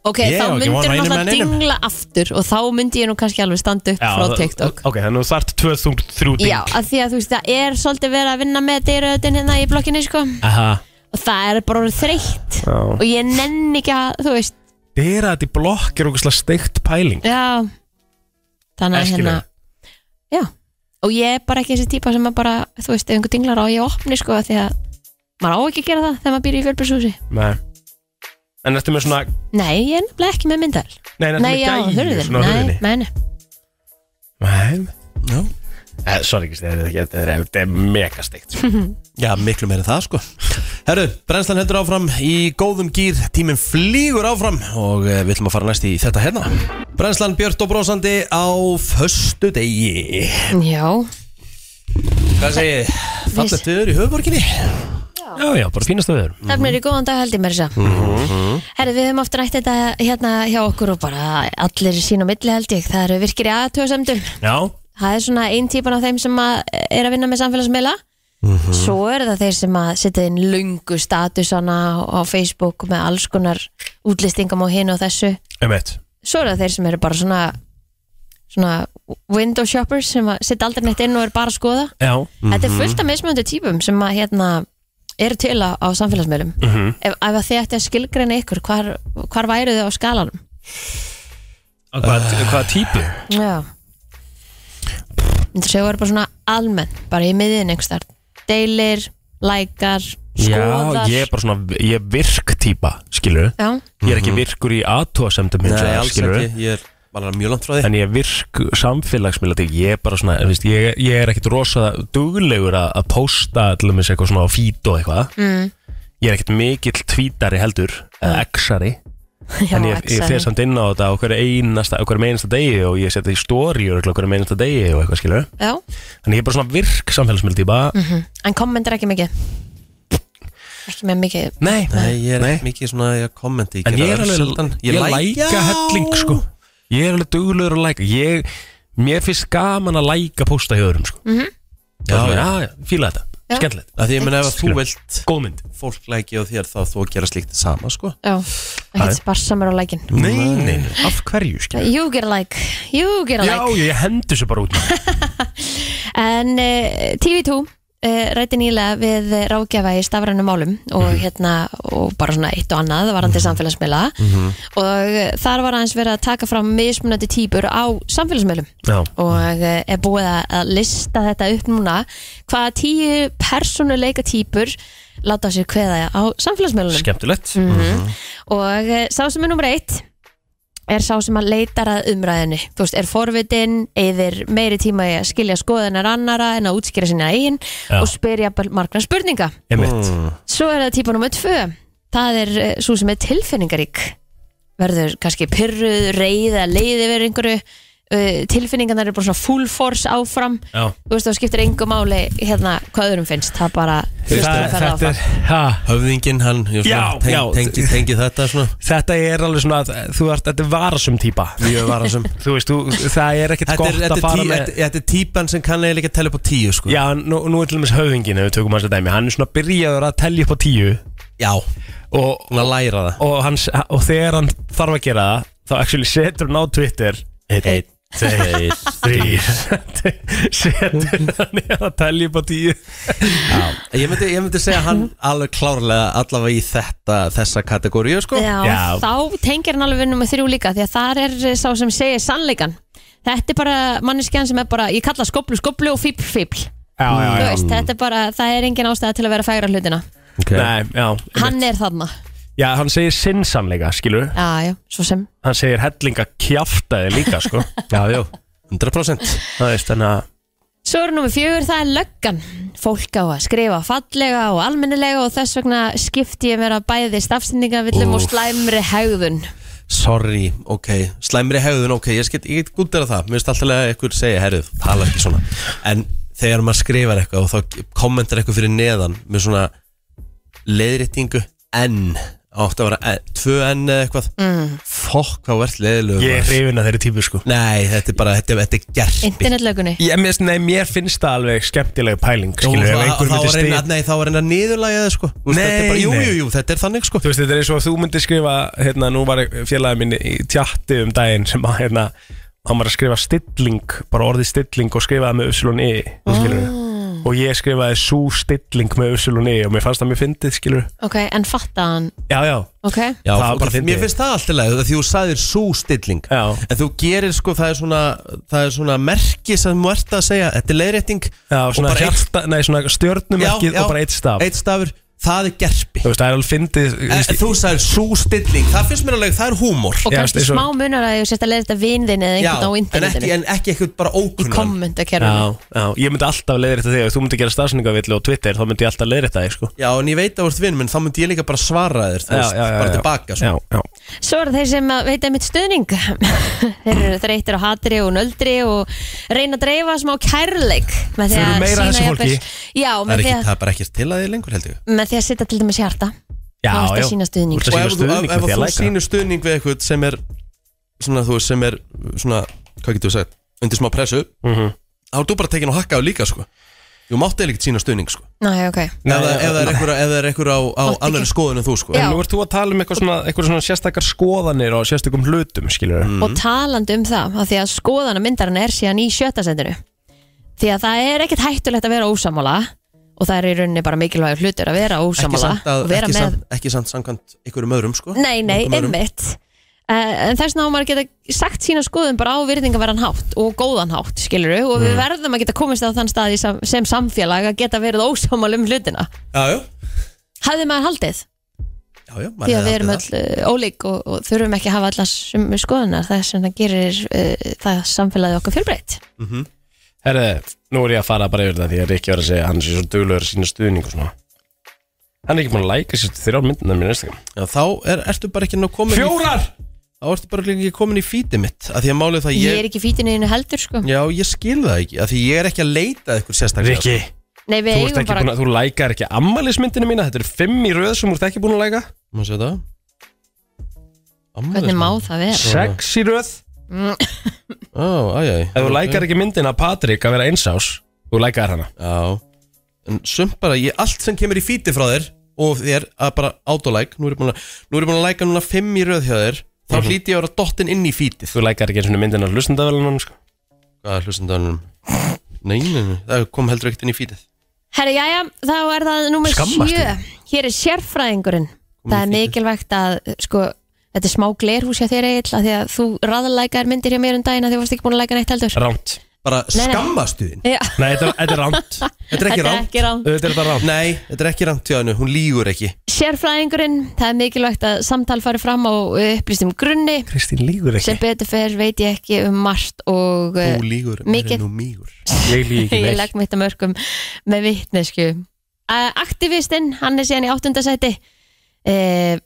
Ok,
Ég á
þá
ekki
myndir
von á einum
maður
en
það
einum.
dingla aftur og þá myndi ég nú kannski alveg standa upp frá
það-
TikTok
Ok, þannig að þú þart 2003 ding
Já, að því að þú veist, það er svolítið verið að vinna með dyröðin hérna í blokkinni, sko
Aha
og það er bara orðið þreytt
Já.
og ég nenni ekki að, þú veist,
Dera þetta í blokk er okkur steikt pæling
já þannig að hérna,
Æskileg.
já og ég er bara ekki þessi típa sem að bara þú veist, ef einhver dinglar á ég opni, sko af því að maður á ekki að gera það þegar maður býr í fjölbjörnshúsi
Nei En þetta með svona
Nei, ég er nefnilega ekki með myndal
Nei, þetta
Nei,
með
já,
gæju
hurðin,
svona á
nei,
hurðinni.
nei, nei
Nei
já,
Eh, Sorry, Kristi, þetta er ekki- þetta er- þetta er megasteikt sko.
[laughs] Já, miklu meira en það sko Herru, brennslan hendur áfram í góðum gýr Tíminn flýgur áfram Og eh, við ætlum að fara næst í þetta hérna Brennslan Björt og brósandi á Föstu degi
Já,
Hvað segið? þið? Fallegt viður í höfuborginni
Já, já, bara fínasta veður
stefnir í góðan dag held ég mér þess að Herru, við höfum oft rætt þetta hérna hjá okkur og bara allir sín á milli held ég Það eru virkir í aðtöðsemdum
Já,
Það er svona einn típan af þeim sem að er að vinna með samfélagsmiðla Svo eru það þeir sem að setja inn lungu statusana á Facebook með alls konar útlistingum á hinu og þessu
um eitt
svo eru það þeir sem eru bara svona svona window shoppers sem að setja aldrei neitt inn og eru bara að skoða
Já,
þetta er fullt af mismöndu típum sem að hérna eru til á, á samfélagsmiðlum ef, ef að þið ætti að skilgreina ykkur hvar, hvar væru þið á skalanum
hvað,
Ah.
hvaða típu?
já þess að þau eru bara svona almenn bara í miðin einhverstað deilir, lækar, skoðar
Já, ég er bara svona, ég er virk típa, skilur
já,
Ég er ekki virkur í aðtóasemdum hins
Nei,
vegar,
alls
skilurðu.
ekki, ég er bara mjög langt frá því
en ég er virk samfélagsmiðla til ég er bara svona, þú veist, ég, ég er ekkit rosa duglegur að að pósta til dæmis eitthvað svona á feed og eitthvað mm. ég er ekkit mikill tvítari heldur eða exari
já,
en ég, ég
exari.
fer samt inn á þetta á hverju einasta, á hverju einasta degi og ég setja í story og hverju einasta degi og eitthvað skilur
já.
en ég er bara svona virk samfélagsmiðla típa
en kommentar ekki mikið ekki með mikið
nei,
Nei, ég er ekki mikið svona að kommenti
en ég er alveg ég,
læ-
læka
Já.
helling sko ég er alveg duglegur að læka ég, mér finnst gaman að læka pósta hjá öðrum sko mm -hmm.
Já,
já, já,
já.
já, fíla þetta,
Já.
skemmtilegt
Af Því ég meina ef að þú
Skilurðu.
vilt
góð mynd
fólk læki á þér þá þú að gera slíkt sama sko
já,
Aðeins.
ekkert sparsamur á lækin
Nei, nei, nei, af hverju skilur
You get a like, you get a
Já,
like
já, ég hendur svo bara út [laughs] maður.
En uh, TV2 uh, rætti nýlega við eh, ráðgjafa í stafrænum málum og hérna og bara svona eitt og annað varandi samfélagsmiðla og eh, þar var aðeins verið að taka fram mismunandi típur á samfélagsmiðlum
Já,
og eh, er búið að- að lista þetta upp núna hvaða tíu persónuleika típur láta sér kveða á samfélagsmiðlunum
skemmtilegt
Mhm. og eh, sá sem er nummer eitt er sá sem að leitar að umræðinni þú veist, er forvitin, eðir meiri tíma í að skilja skoðunar annara en að útskýra sinna eigin
Já.
og spyrja margna spurninga.
Einmitt,
Svo er það típa nummer tvö það er eh, sú sem er tilfinningarík verður kannski pyrruð reyða, leiði verið einhverju uh, tilfinningarnar eru bara svona full force áfram,
já
þú veist, þá skiptir engu máli hérna hvað öðrum finnst, það bara hlustar
Það-
og ferð
Þetta er,
áfram.
ha,
Höfðingin hann, ég
Já,
svona teng,
já.
Tengi, tengi þetta svona
þetta er alveg svona að Þú ert, þetta er varasum típa
Mjög varasum
[laughs] Þú veist, þú, það er ekkit
Þetta er,
gott
þetta,
að
er
fara
tí,
með
þetta, þetta er típan sem kann eiginlega ekki að tella upp á tíu sko
Já, nú, nú er til dæmis höfðingin ef við tökum hans að dæmi, hann er svona byrjaður að telja upp á tíu
Já,
og,
hún að læra það
og, hans, og þegar hann þarf að gera það þá actually setur hann á Twitter
Einn, tveir,
þrýr [laughs] setur hann er að telja upp á tíu
Ég myndi, ég myndi segja hann alveg klárlega allavega í þetta, þessa kategóriu sko
Já,
Já.
þá tengir hann alveg vinnum með þrjú líka því að þar er eh, sá sem segir sannleikan Þetta er bara manneskjan sem er bara ég kalla skoblu skoblu og fíbl fíbl
Já, já,
Þú veist, þetta er bara, það er engin ástæða til að vera að fægra hlutina
okay.
Nei, já,
Hann er þarna
já, hann segir sinnsamleika, skilur
Já, já, svo sem
Hann segir hellinga kjaftaði líka,
[laughs]
sko Já, já,
100%
það veist, þannig að
Svo er nummer fjögur, það er löggan Fólk á að skrifa fallega og almennilega og þess vegna skipti ég mér að bæði stafsendingavillum og
Úff.
slæmri hegðun
Sorry, ok, slæmri hegðun, ok Ég get, ég get gútið að það, mér finnst alltaf að ykkur segja Herrið, tala ekki svona En þegar maður skrifar eitthvað og þá kommentar eitthvað fyrir neðan Með svona leiðréttingu N Átti að vera en, tvö N eða eitthvað mm. Fokk, hvað verðt leiðilegu
ég er hrifin að þeirri típu, sko
Nei, þetta er bara, þetta, er- þetta er gerpi
Internetlögunni
Ég, mér, nei, mér finnst það alveg skemmtilega pæling, skilur
Jú,
Ef
það-
einhver
þá
myndi
var reyna,
stið
Nei, þá var reyna niðurlægið það, sko Þú veist,
Nei,
þetta er bara, Jú,
nei.
jú, jú, þetta er þannig sko
Þú veist, þetta er eins og að þú myndir skrifa hérna, nú var félagið minni í tjatti um daginn sem að hérna, hann var að skrifa stilling, bara orðið stilling og skrifaði með Y, skilur
Ah.
og ég skrifaði sú stilling með Y og mér fannst það mér fyndið, skilur
Ok, en fatta hann
Já, já,
Ok,
Já,
Það var bara
ok,
fyndið.
mér finnst það alltaf leið því þú sagðir svo stilling
Já.
en þú gerir sko, það er svona það er svona merki sem þú ert að segja þetta er leiðrétting
já
og
svona,
bara eitt-
hjarta, nei, svona
Já,
stjörnumerkið
já,
og bara eitt staf
eitt stafur það er gerpi
Þú veist, það er alveg fyndið þú veist,
En þú sagðir svo stilling, það finnst mér alveg, það er húmor
Og
Já,
kannski
eins og-
smá munar að þú sért að leiða þetta vinðin eða
Já,
einhvern á
en ekki,
internetinu
en ekki eitthvað bara
í
ókunnan
kommentakerfinu
Já, já, ég myndi alltaf leiðrétta þig Ef þú myndi gera stafsningavillu á Twitter Þá myndi ég alltaf leiðrétta þig, sko
Já, en ég veit að þú ert vinn, menn þá myndi ég líka bara svara þér, þú
Já,
veist,
já, já,
bara
já.
tilbaka sko.
Já,
svona.
já
Svo eru þeir sem að veita einmitt stuðning [laughs] Þeir eru þreytir á hatri og nöldri og reyna að dreifa smá kærleik með því
Þau eru
að
meira
sýna
þessu fólki.
jafnvel- Já,
Það er
með því
ekki,
að
það er bara ekkert til að þér lengur held ég
með því að sitta til dæmis hjarta
Já,
Þú ert að
já.
sýna stuðning.
Þú ert
Og
að sýna
ef þú,
stuðning
ef,
með
ef
því að
þú
læka
sýnir stuðning við eitthvað sem er svona, þú veist, sem er svona, hvað getur við sagt, undir smá pressu
Mhm.
þá er þú bara tekin og hakka á líka, sko Jú, mátti eða ekkert sína stuðning, sko
Næ, ok
Ef það- ef það er
Nei,
einhver- ef það er einhver á, á
Mátti
annari
ekki.
skoðun en þú, sko
Já.
En nú ert þú að tala um eitthvað svona, eitthvað svona sérstakar skoðanir og sérstakum hlutum, skilur
Mhm.
mm.
og talandi um það af því að skoðana myndarinn er síðan í sjötasendinu því að það er ekkert hættulegt að vera ósamála og það er í rauninni bara mikilvægur hlutur að vera
Ekki
ósamála
samt, að,
og vera
ekki,
með
samt, ekki samt samkvæmt einhverjum öðrum, sko
nei, nei,
Einhverjum öðrum.
einmitt uh, en þess vegna á maður að geta sagt sína skoðum bara á virðingaverðan hátt og góðan hátt skilur og við verðum að geta komist á þann stað í sam, sem samfélag að geta verið ósamála um hlutina
Já, já,
hafði maður haldið
já, já maður
því að
hefði
við erum
haldið
öll uh, ólík og, og þurfum ekki að hafa allar sömu skoðunar það sem það gerir uh, það samfélagi okkar fjölbreytt
Herði, nú er ég að fara bara yfir þetta Því ég er ekki verið að segja að hann sé svo duglegur að sína stuðning og svona Hann er ekki búin að læka sér þrjár myndina mér næstum
það. Já, Þá er, ertu bara ekki ná komin í,
Fjórar!
Þá ertu bara ekki komin í fítið mitt að Því að málið er það
ég,
ég,
er ekki fítinu einu heldur sko
Já, ég skil það ekki að Því ég er ekki að leita að ykkur sérstaklega
Rikki,
Nei, við
þú, ert
eigum
ekki
bara
búin að- þú lækar ekki ammælismyndina mína Þetta er fimm í röð sem þú ert ekki búin að læka
Má sjá það
Hvernig má það vera?
Sex í röð
Ó, æjæ
Ef þú lækar ekki myndina af Patrik að vera einsás Þú lækar hana
Já En sumt bara, ég, allt sem kemur í fíti frá þér Og þér að bara autolæk Nú er ég búin að, nú er ég búin að læka núna fimm í röð hjá þér Þá
Mhm.
hlýti ég að vera dottin inn í fítið
Þú lækar ekki eins og myndina af hlustendavælunum sko.
Hvað er hlustandanum? Nei, nei, nei, það kom heldur ekkert inn í fítið
Herra, jæja, þá er það nummer
Skammast
sjö
þín.
Hér er sérfræðingurinn
Komum
Það er
í fítið.
mikilvægt að, sko Þetta er smá glerhús hjá þér eiginlega Því að þú raðalækar myndir hjá mér um daginn af Því að þú varst ekki búin að læka neitt heldur
Ránt
Bara
Nei, nei.
skammastu þín
Já,
Nei, þetta er- þetta er ránt [laughs]
Þetta er ekki
þetta er
rangt
ekki rámt
Þetta er þetta ránt
Nei, þetta er ekki rangt hjá hennu, hún lýgur ekki
Sérfræðingurinn, það er mikilvægt að samtal fari fram á upplýstum grunni
Kristín lígur
Sem betur fer veit ég ekki um margt og eh,
Þú lýgur,
mikið-
mér er nú mýgur
Ég
[laughs]
líg ekki
ég
neitt
legg mitt að mörgum með vittnesku uh, aktivistinn, hann er síðan í áttundasæti uh,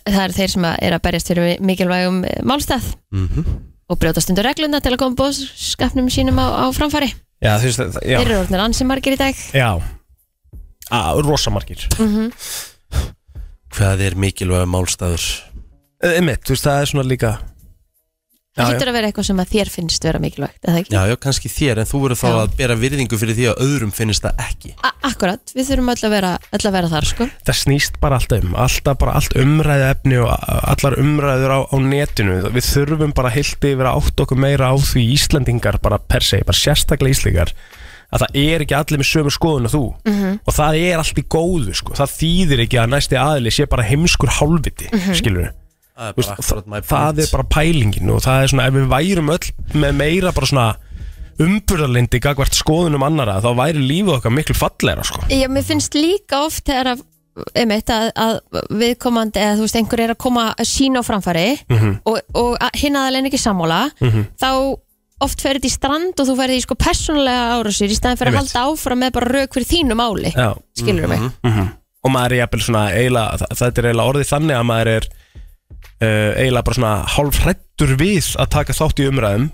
það eru þeir sem að er að berjast fyrir mikilvægum eh, málstað
mm
og brjótast undir regluna til að koma bóðskapnum sínum á, á framfæri
Já, þú veist það
þeir
Já,
eru orðnir ansi margir í dag
já. Á, rosamarkir
Hvað er mikilvæg málstæður?
Emmett, Eh, þú veist það er svona líka
það
Já, já.
hittur að vera eitthvað sem að þér finnst vera mikilvægt eða ekki?
Já, já, kannski þér, en þú verður þá
Já.
að bera virðingu fyrir því að öðrum finnst það ekki
A- Akkurat, við þurfum öll að vera, öll að vera þar sko.
Það snýst bara allt um Alltaf bara allt umræðu efni og allar umræður á, á netinu Við þurfum bara heilt yfir að átt okkur meira á því Íslendingar bara per se, bara sérstaklega Íslendingar að það er ekki allir með sömu skoðun og þú -hmm. og það er allt í góðu sko. það þýðir ekki að næsti aðli sé bara heimskur hálfviti, mm -hmm.
Það er bara
Þú veist,
akkurat my
það, það
point.
er bara pælingin og það er svona, ef við værum öll með meira bara svona umburðarlindi gagvart skoðunum annara, þá væri lífið okkar miklu fallegra sko.
Já, mér finnst líka oft þegar að, einmitt, að, að viðkomandi eða þú veist einhver er að koma sín á framfæri
Mhm.
og, og að- hinn aðalegin ekki sammála þá oft ferði í strand og þú ferði í sko persónulega árásir í staðin fyrir að
Einmitt.
halda áfram með bara rauk fyrir þínu máli
Já, Mhm.
skilur mig
og maður er jafnvel svona eiginlega, þa- þetta er eiginlega orðið þannig að maður er uh, eiginlega bara svona hálf hrættur við að taka þátt í umræðum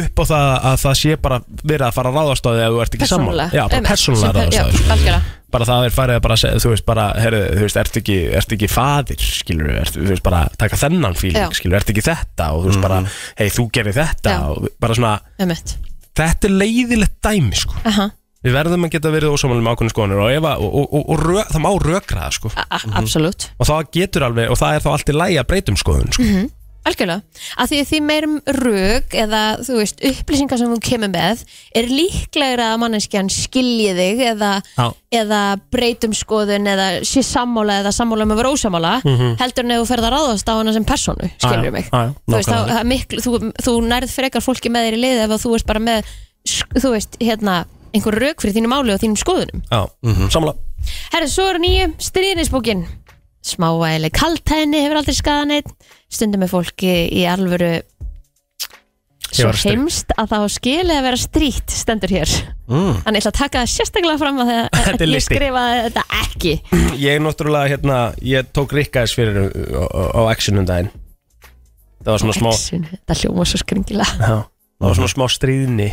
upp á það að það sé bara verið að fara að ráðast á því að þú ert ekki sammála
persónulega
Já, bara
einmitt,
persónulega
sem per-
ráðast á
já,
því sko.
algjörlega.
bara það er farið að bara segja, þú veist bara, herri, þú veist, ert ekki, ert ekki fadir, skilur við, ert, þú veist bara taka þennan
Já.
fíling, skilur við, ert ekki þetta og þú veist bara, hei, þú gerir þetta
Já.
og bara svona,
einmitt
þetta er leiðilegt dæmi, sko.
Aha,
Við verðum að geta verið ósámálum með ákveðinu skoðanir og, ef að- og, og, og, og rö, það má rökra það, sko.
a- a- absolutt
Og það getur alveg, og það er þá allt í lægi að breytum skoðun,
Mhm.
sko.
Algjörlega, að því því meirum rauk eða þú veist upplýsingar sem þú kemur með er líklegra að manneskjan skilji þig eða
Já.
eða breytum skoðun eða sé sammála eða sammála með vera ósammála heldur en ef þú ferð að ráðast á hana sem personu
Mhm. Já, já,
skilur
já,
mig
já,
þú, veist,
nákvæmlega.
þá, það er miklu, þú, þú nærð frekar fólki með þér í liði ef að þú veist bara með sk- þú veist hérna einhver rauk fyrir þínum máli og þínum skoðunum
Já, mm -hmm. samla.
Herra, svo er nýju, stríðnisbókin Smávægileg kaltæðinni hefur aldrei skaðan eitt Stundum er fólki í alvöru Svo
var strítt.
heimst að það á skili að vera strýtt stendur hér mm. Þannig ég ætla að taka það sérstaklega fram að, að,
Þetta er
að ég
listi.
skrifaði þetta ekki
Ég náttúrulega, hérna, ég tók Rikkaðis fyrir uh, á, á actionum daginn Það var svona smá
Exun, Þetta hljóma svo skringila
já, Mhm. Það var svona smá stríðni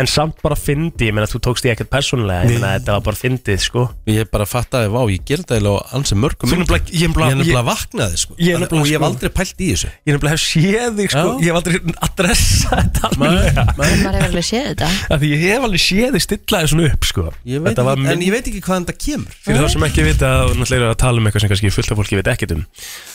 En samt bara fyndi, ég meina þú tókst því ekkert persónulega Ég meina þetta var bara fyndið, sko
Ég bara fattaði, vá, ég ger þetta eiginlega á ansi mörgum
Þú nefnilega-
myndum.
ég nefnilega-
Ég nefnilega vaknaði sko
Ég nefnilega,
Og ég hef
sko-
aldrei pælt í þessu
Ég nefnilega hef séð þig, sko
Já.
Ég hef aldrei adressað þetta alveg
En maður hefur alveg séð þetta
Því ég hef alveg séð þig stilla þig svona upp, sko
Ég veit
Þetta var
ekki- En
mynd
ég veit ekki hvaðan þetta kemur
Fyrir þá sem ekki vita og náttúrulega er að tala um eitthvað sem kannski fullt af fólki veit ekkert um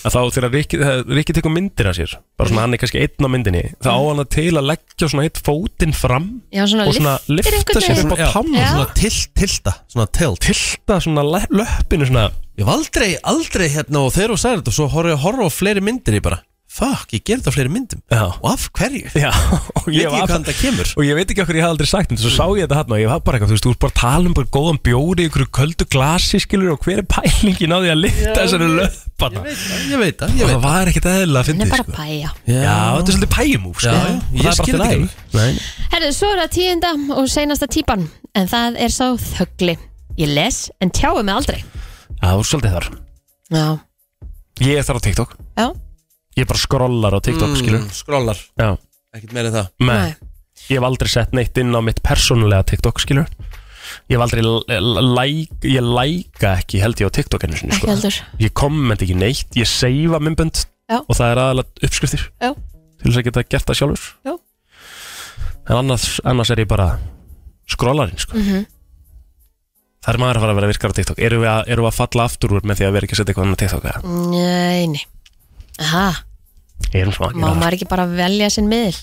að þá þegar Rikki, þegar Rikki tekur myndir af sér bara svona hann er kannski einn á myndinni þá á hann að til að leggja svona eitt fótinn fram
Já, svona
og svona
lyftir
lifta
einhvern
sér
veginn.
upp á
Já.
pám
Já.
Svona tilt, tilta, svona tilt
tilta svona le- löppinu svona
Ég hef aldrei, aldrei hérna og þegar þú sagði þetta Svo horfði að horfa á fleiri myndir ég bara Fuck, ég ger þetta á fleiri myndum
Já.
Og af hverju?
Já, og
Ég veit ekki
ég, var
hvaðan þetta kemur Mm.
og ég veit ekki okkur ég hef aldrei sagt en svo sá ég þetta hann og ég var bara eitthvað þú veist, þú veist bara að tala um bara góðan bjóri ykkur köldu glasi skilur og hver er pælingin á því að lifta þessari löppana
Ég veit það, ég veit það, ég
og
veit
það var ekkert eðlilega að
Hann
fyndi
er bara
sko.
að bæja
Já, þetta er svolítið pæjumúf
Já,
sko. Og
ég
það er bara
skil
allt í
þetta ekki
lagi. Nei.
Herðu, svo er það tíunda og seinasta típan En það er sá þögli Ég les en tjáu mig aldrei
Það var svolítið þar
Já,
Ég er þar á TikTok
já,
Ég bara skrollar á TikTok, mm. skilur
Skrollar,
Já,
ekkert meira en það
með Ég hef aldrei sett neitt inn á mitt persónulega TikTok, skilur Ég hef aldrei l- l- læk, Ég læka ekki, held ég, á TikTok einu sinni, sko.
ekki heldur
Ég komment ekki neitt Ég seifa myndbönd
Já.
Og það er aðalega uppskriftir
Já.
Til þess að geta gert það sjálfur
Já.
En annars, annars er ég bara Skrollarinn, sko
Mhm.
Það er maður að fara að vera virkar á TikTok Erum við að, erum við að falla aftur úr með því að vera ekki að setja eitthvað annað á TikTok
Mm.
eða?
Nei, nei Aha,
Erum svo að gera
má
það.
maður ekki bara velja sinn miðl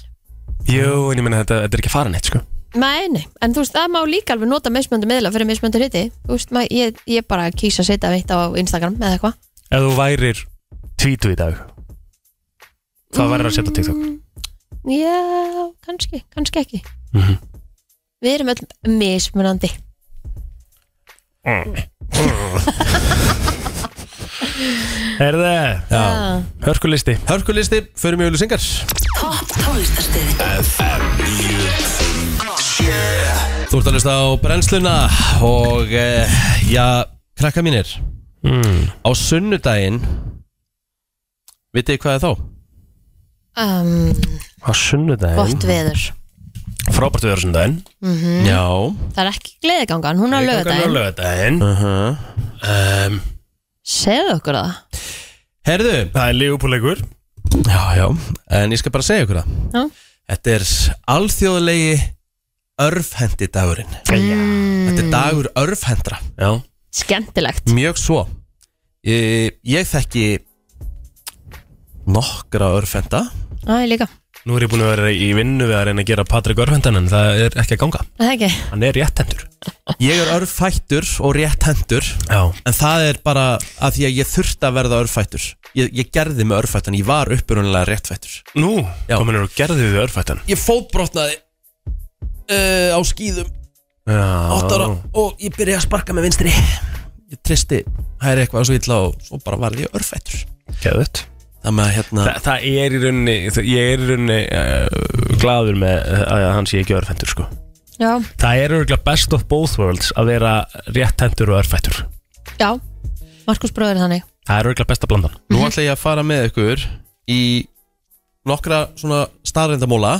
Jú, en ég meina þetta, þetta er ekki farin eitt sko
Nei, nei, en þú veist, það má líka alveg nota mismöndu miðla fyrir mismöndu hluti Þú veist, maður, ég, ég bara kýsa að setja veitt á Instagram eða eitthvað
Ef þú værir tvítu í dag Hvað værir að setja á TikTok?
Mm. Já, kannski, kannski ekki
Mhm.
Við erum öll mismunandi
Er það?
Já.
Hörkulisti
Hörkulisti, förum í auðlusingar
Topp tónlistarstöðin
Þú ert að hlusta á brennsluna og e, já, krakka mínir
mm.
Á sunnudaginn Vitið þið hvað er þá?
um,
Á sunnudaginn
Gott veður Mhm.
Frábært viður sunnudaginn
Já
Það er ekki gleðigangan, hún er á Mm. lögadaginn
Lögadaginn
uh -huh.
um,
Segðu okkur það
Herðu
Það er lífupúleikur
Já, já, en ég skal bara segja ykkur það
Já.
Þetta er alþjóðlegi örfhendi dagurinn Þetta er dagur örfhendra
Já
Skemmtilegt
Mjög svo Ég, ég þekki nokkra örfenda
Mm.
Það er líka,
Nú er ég búin að vera í vinnu við að reyna að gera Patrik Örfendan en það er ekki að ganga
Er það ekki
Hann er réttendur
Ég er örfættur og rétthendur
Já
En það er bara að því að ég þurfti að verða örfættur Ég, ég gerði mig örfættan, ég var upprunnilega réttfættur
Nú,
Já.
kominur og gerði við örfættan
Ég fótbrotnaði uh, á skýðum
Já
8 ára og ég byrjaði að sparka með vinstri Ah. Ég tristi hæri eitthvað svo illa og svo bara varði ég örfættur
Geðut
Það með að hérna
Þa, það er í rauninni, það- ég er í rauninni uh, gladur með að hann sé ekki örfendur sko.
Já,
Það er örgulega best of both worlds að vera réttendur og örfættur.
já Markus bróður er þannig
Það er örgulega best að blanda.
Nú ætla ég að fara með ykkur í nokkra svona staðrindamóla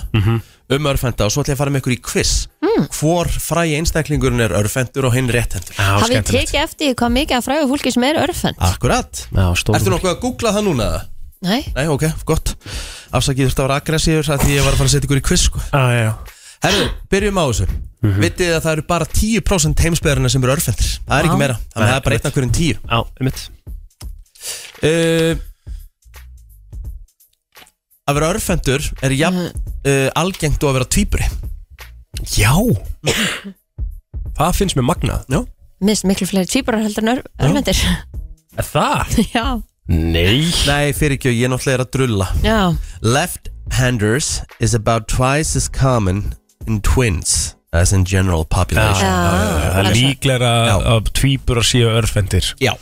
um örfenda og svo ætla ég að fara með ykkur í quiz mm. Hvor fræi einstaklingurinn er örfendur og hinn rétthendur
Já,
Hafið þið tekið eftir því hvað mikið að fræðu fólki sem er örfend
Akkurat
Já, stór.
Ertu nokkuð að googla það núna? eða?
Nei,
Nei, ok, gott Afsakið þurfti að vera aggressífur að því ég var að fara að setja ykkur í quiz sko.
Já, já.
Herðu, byrjum á þessu Vitið þið að það eru bara 10% heimsbyðarina sem eru örfendir Það er ekki meira, þannig að það er bara einn af hverjum 10
Já, um mitt.
uh, Að vera örfendur er jafn uh, algengt og að vera tvíburi
Já. Það finnst mér magnað.
Já,
minnst miklu fleiri tvíburar heldur en örf- örfendir
Er það?
Já,
Nei.
Nei, fyrir ekki, ég náttúrulega er að drulla
já
Left-handers is about twice as common in twins As in general population
Já,
Það er líklega
Já.
að tvíburar séu örfendir
Já,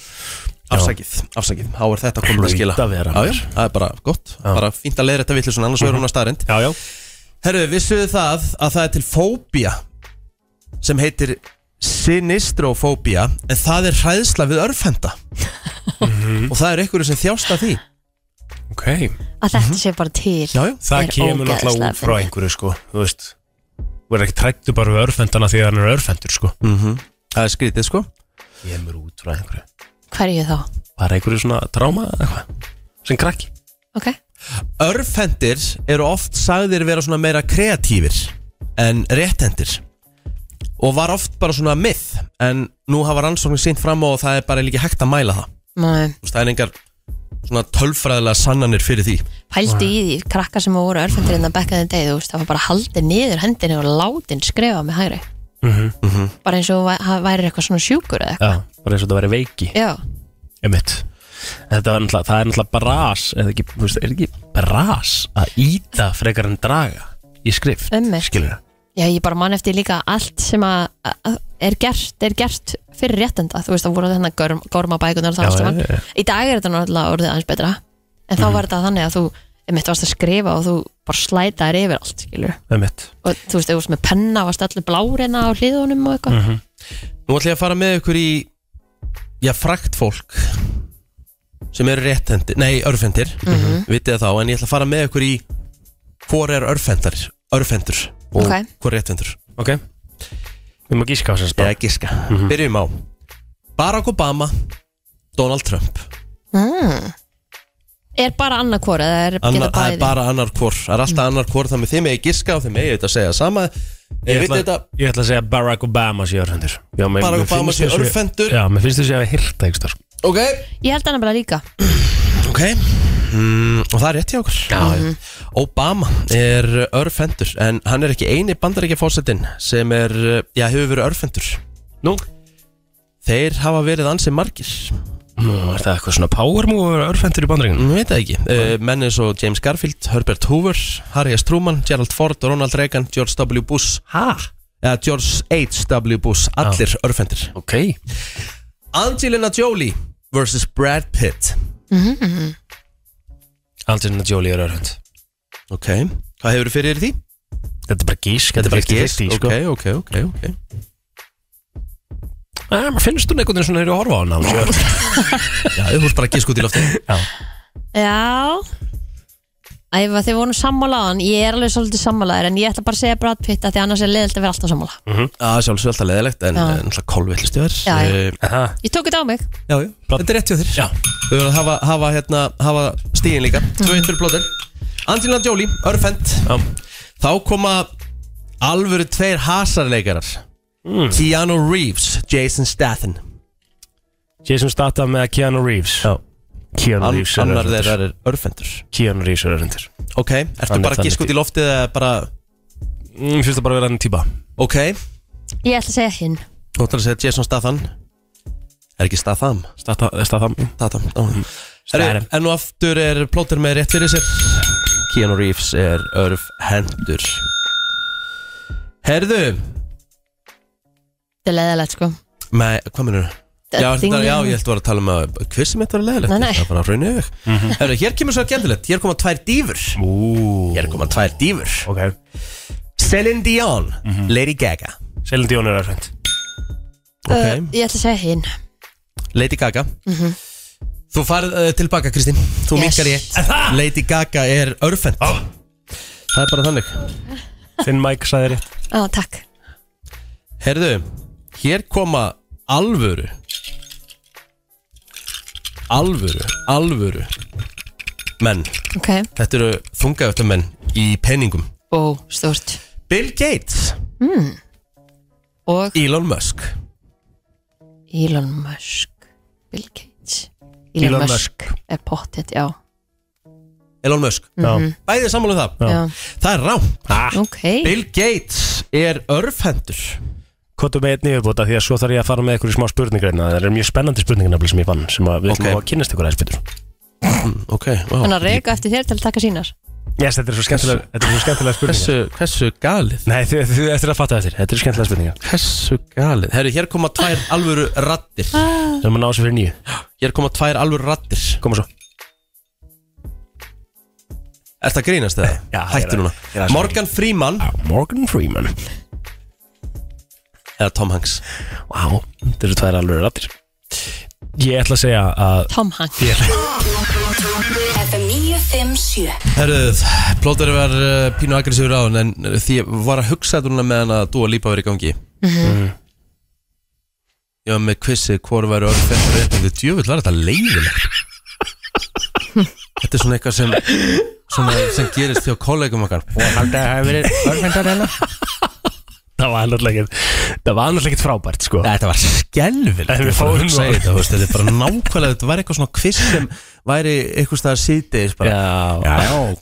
afsakið, afsakið Há er þetta komin að
Hlaut
skila
að vera,
já, Mhm. já, það er bara gott Bara fínt að leiða þetta vitlu annars verður hún að staðrind
Já, já
Herru, vissuðu það að það er til fóbía sem heitir sinistrofóbía en það er hræðsla við örfenda og það er einhverju sem þjásta því
Ok
að þetta sé bara til
Já, já.
Það
Er
kemur náttúrulega
ógeðslega
út frá
fyndið.
einhverju sko Þú veist Þú er ekki trættu bara við örfendana því að hann er örfendur sko
Það er skrítið sko
Kemur út frá einhverju
Hverju þá?
Var einhverju svona tráma eða eitthvað Sem krakki
Ok,
Örfendir eru oft sagðir vera svona meira kreatífir en réttendir og var oft bara svona myth en nú hafa rannsóknir sínt fram á og það er bara líka hægt að mæla það
maður
Þú veist, það er engar svona tölfræðilega sannanir fyrir því
pældu í því krakkar sem voru örfendir hérna innan bekkaðin degi, þú veist, það var bara haldið niður hendinni og látin skrifa með hægri bara eins og væ- það væri eitthvað svona sjúkur eða eitthvað
Já Bara eins og þetta væri veiki
Já,
Emitt Þetta var náttúrulega Það er náttúrulega bras Eða ekki Þú veist, er ekki bras Að íta frekar en draga Í skrift
Einmitt.
Skilur
já, ég bara man eftir líka allt sem að að- er gert, er gert fyrir réttenda, þú veist, það voru þennan gorm, gormabækunar og það
Já,
allt
já,
saman
já, já.
Í dag er þetta náttúrulega orðið aðeins betra en þá var þetta þannig að þú mitt varst að skrifa og þú bara slætaðir yfir allt, skilur
Emitt
og þú veist, ef þú varst með penna, varst allir blárina á hliðunum og eitthvað
Nú ætlum ég að fara með ykkur í já, frakt fólk sem eru réttendir, nei, örfendir mm
Mhm.
-hmm. vitið það þá, en ég ætla að fara með ykkur í hvor er örfendar örfendur og
Ok.
hvor er réttendur
Ok Við má gíska á þess að
eða giska, byrjum á Barack Obama, Donald Trump
Er bara annarkvor eða er
Anna,
geta
það
bæði?
er bara annar hvor, það er alltaf annar hvor þannig þið megið giska og þið megið þetta að segja sama ég
Ég
vitið
ætla,
þetta
ég ætla að segja Barack Obama sé örfendur já, mér,
Barack
mér finnst
Obama sé
þessu-
örvhentur.
Já, mér finnst þessi að hirta einhver
ok,
Ég held hann bara líka
ok mm, og það er rétt hjá okkur já, já. Obama er örfendur en hann er ekki eini bandaríkja fórsetin sem er, já, hefur verið örfendur
Nú,
þeir hafa verið ansið margir
nú er það eitthvað svona power move að vera örfendur í bandringinu
Nú veit það ekki, uh, menn eins og James Garfield, Herbert Hoover, Harry S. Truman, Gerald Ford, Ronald Reagan, George W. Bush
Hæ?
eða George H.W. Bush allir örfendir
Ok
Angelina Jolie vs. Brad Pitt
Angelina Jolie er örfend
ok, hvað hefur fyrir því?
Þetta er bara gísk Þetta
giss,
gísk
ok,
sko.
ok, ok, okay.
Æ, Ah, maður finnst hún einhvern veginn svona þegar ég horfa á hana hún sé örvhent.
já, þú veist bara gisk út í lofti
Já Æfa þið vorum sammálaðan Ég er alveg svolítið sammálaður En ég ætla bara að segja Brad Pitt að Því annars er leiðilt að vera alltaf sammála
Mm. að sjálfsög alltaf leðilegt en
Já.
eh, náttúrulega kolvillist þér
Já, já.
Eh,
Aha.
Ég tók þetta á mig
já, já, þetta er rétt hjá þér
Já.
þau verður að hafa, hafa, hérna, hafa stíðin líka
Mhm.
2-1 fyrir blóðin Angelina Jolie, örfend
Já.
þá koma alvöru tveir hasarleikarar Keanu Reeves, Jason Statham
Jason Statham með Keanu Reeves
Já.
Keanu
An
Reeves er
annar
örfendur
þeirra er örfendur
Keanu Reeves er örfendur
Ok, ertu
Hann er
bara að
þannig
giska út
tí-
í loftið eða bara
Mér Mm, finnst það bara að vera enn típa
Ok,
Ég ætla að segja hinn
þú ætlar að segja Jason Statham Er ekki Statham?
Stata- Statham
Statham, já Herru,
Statham.
En nú aftur er plóter með rétt fyrir sér Keanu Reeves er örf hendur Herðu
Þetta er leiðilegt sko
Nei, hvað minnur þú? Já,
Ding,
þetta, já,
ding.
ég held að vera að tala um að hvað sem þetta var leðilegt,
Nei, nei.
þetta var bara að raunni yfir Herru, hér kemur svo gæmdilegt, hér koma tvær dýfur
Ú
Hér koma tvær dýfur
Ok
Celine Dion, Lady Gaga
Selin Dion er örfend
uh, Ég ætla að segja hinn
Lady Gaga Þú farið uh, tilbaka Kristín Þú yes.
Yes.
minkar ég Lady Gaga er örfend Það er bara þannig
Þinn Mike sagði rétt
Á, takk
Herðu, hér koma alvöru Alvöru, alvöru Menn,
Ok
þetta eru þungaðöfta menn í peningum
Ó, stort
Bill Gates,
Og
Elon Musk
Elon Musk Bill Gates
Elon
Er pottet, já
Elon Musk,
Já
bæðið sammála um það
Já.
Það er rám
Ah.
Ok
Bill Gates er örfendur
Kvotum með einni yfirbúta því að svo þarf ég að fara með ykkur í smá spurningar hérna. Það eru mjög spennandi spurningar nefnilega sem ég vann sem að við ætlum
Ok.
að kynnast ykkur aðeins betur
Ok, wow.
Þannig að reyka eftir þér til að taka sínar
Yes, þetta er svo skemmtilega, þetta er svo skemmtilega spurningar
Hversu, hversu galið?
Nei, þið, þið, þið eftir að fatta eftir Þetta er skemmtilega spurningar
Hversu galið? Herru, hér koma tvær alvöru rattir
Sem að ná sér fyrir nýju
Hér koma tvær alvöru rattir
Koma svo
Er það grínast eða?
Já, ég
Hættu
er að-
núna
ég er að-
Morgan Freeman
Morgan Freeman
Eða Tom Hanks
Vá, þetta eru tvær alveg rættir Ég ætla að segja að
Tom Hanks
FM 957
Herru, plótur var uh, pínu agressífur á En eh, því ég var að hugsa þetta núna meðan að Dua Lipa verið í gangi Mm. Ég var með quizið Hvor væri orðið þetta rétt Þetta djöfull var þetta leiðilegt Þetta er svona eitthvað sem Svona sem gerist hjá kollegum okkar
hérna. [laughs] það var náttúrulega ekkert Það var náttúrulega ekkert frábært sko
Þetta var skelvileg
Ef við fáum nú-
þetta, þú veist, þetta er bara nákvæmlega Þetta var eitthvað svona quiz sem væri eitthvað staðar síðdeis bara
Já,
já,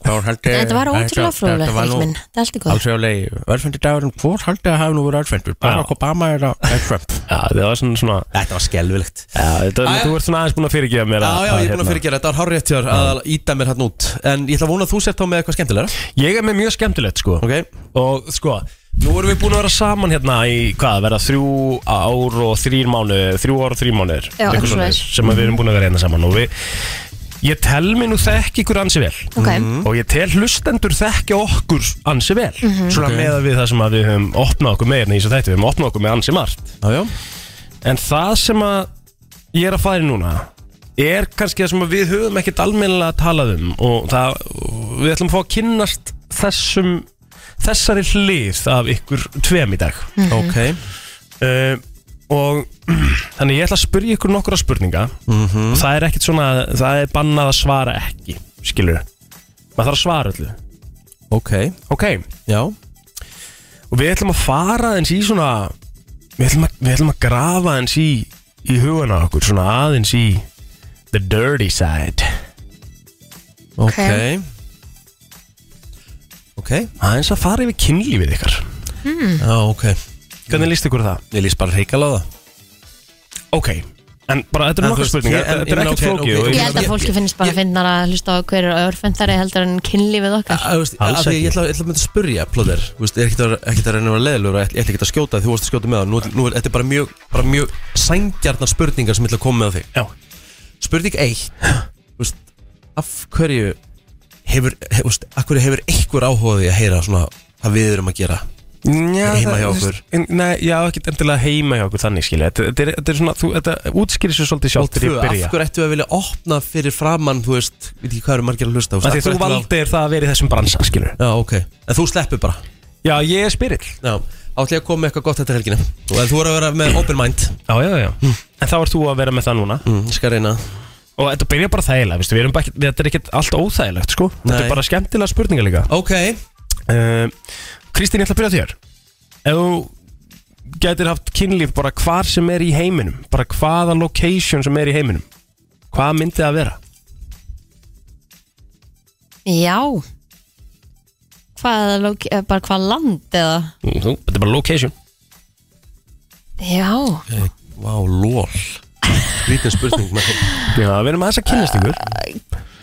hvað haldið
Þetta var ótrúlega fróðlegt Erik minn. Það er allt í góð
alþjóðlegi örfendidagurinn Hvor haldið að hafa nú verið örfendur?
Barack
Obama er að Trump
já það var svona svona
Þetta var skelvilegt
Já, þetta,
Æ.
þú ert svona aðeins búin að fyrirgefa mér
Já,
að-
já,
að,
ég er búin að
hérna,
fyrirgera, þetta var hár rétt hjá þér að íta mér hann út En ég ætla að vona að þú sért þá með eitthvað skemmtilega
Ég er með mjög skemmtilegt sko
Ok,
Og sko, nú erum við búin að vera saman hérna í hvað, verða þrjú ár og þrýr mánuðir Þrjú ár og þrýr mánuðir Eitthvað
Já, eitthvað
svoleiðis,
svoleiðis.
Sem að við erum búin að vera hérna saman Og við, ég tel mér nú þekki ykkur ansi vel
Ok,
og ég tel hlustendur þekkja okkur ansi vel svona okay. með að við það sem að við höfum opnað okkur með hérna í þessu þætti, við höfum opnað okkur með ansi margt
já, já
en það sem að ég er að fara í núna er kannski það sem að við höfum ekkert almennilega talað um og það, og við ætlum að fá að kynnast þessum þessari hlið af ykkur tveim í dag
Ok,
uh, og [clears throat] þannig ég ætla að spyrja ykkur nokkra spurninga
Mhm.
og það er ekkert svona, það er bannað að svara ekki, skilur maður þarf að svara öllu
ok,
ok,
já
og við ætlum að fara eins í svona við ætlum að, við ætlum að grafa eins í í hugana okkur, svona aðeins í the dirty side
Ok Ok,
aðeins að fara yfir kynlífið ykkar
já, ok
hvernig líst ykkur á það?
Ég lýst bara reikala á það
ok, en bara þetta
En þú
er nokkar
veist,
spurningar
ég- en-
þetta er
ég meina,
ekkert
ok, ok,
flókið og
Ég
ég-
held að
Ég-
fólki finnst bara að finna að hlusta á hverju örfendari heldur en kynlífið okkar
Þú veist,
Alls
af því að
ekki.
Ég ætla, ég ætla að mynda að spurja plóðir Þú veist, ég er ekkert að- ekkert að reyna að vera leðilegur og Ég ætla ekkert að skjóta því þú varst að skjóta með það Nú, nú er þetta er bara mjög, bara mjög sængjarnar spurningar sem ég ætla að koma með á þig
já,
Spurning 1 Þú veist, af hverju hefur, hef, þú veist, af hverju hefur einhver áhuga á því að heyra svona hvað við erum að gera
Já,
Heima hjá
það- þú
okkur.
veist, en- Nei, já, ekki endilega heima hjá okkur þannig skilja Þetta, þetta, er, þetta er svona, þú, þetta útskýrir sér svolítið
Og
sjálf til
tvö,
ég
af
byrja
hverju ættu að vilja opna fyrir framann Þú veist, veit ekki hvað eru margir að hlusta þú
Af
veist, af
Því þú
hverju ættum við að-
valdir það að vera í þessum bransa, skilur
Já, ok, en þú sleppur bara
Já, ég er spyrill
Já, átti ég að koma með eitthvað gott þetta helgina Og en þú er að vera með open mind
Já, já, já En þá ert þú að vera með það núna
mm, Ég skal reyna
Og þetta byrja bara þægilega, veistu, við erum bara ekki, þetta er ekkert allt óþægilegt, sko Þetta
Nei.
er bara skemmtilega spurningar líka
Ok,
uh, Kristín, ég ætla að byrja á þér Ef þú gætir haft kynlíf bara hvar sem er í heiminum Bara hvaða location sem er í heiminum Hvað myndi það að vera?
Já Hvað, lók- eh, bara hvað land eða
Mm, Þú, þetta er bara location
Já,
vá, lól Lítið spurning maður.
Já, við erum aðeins að kynnast ykkur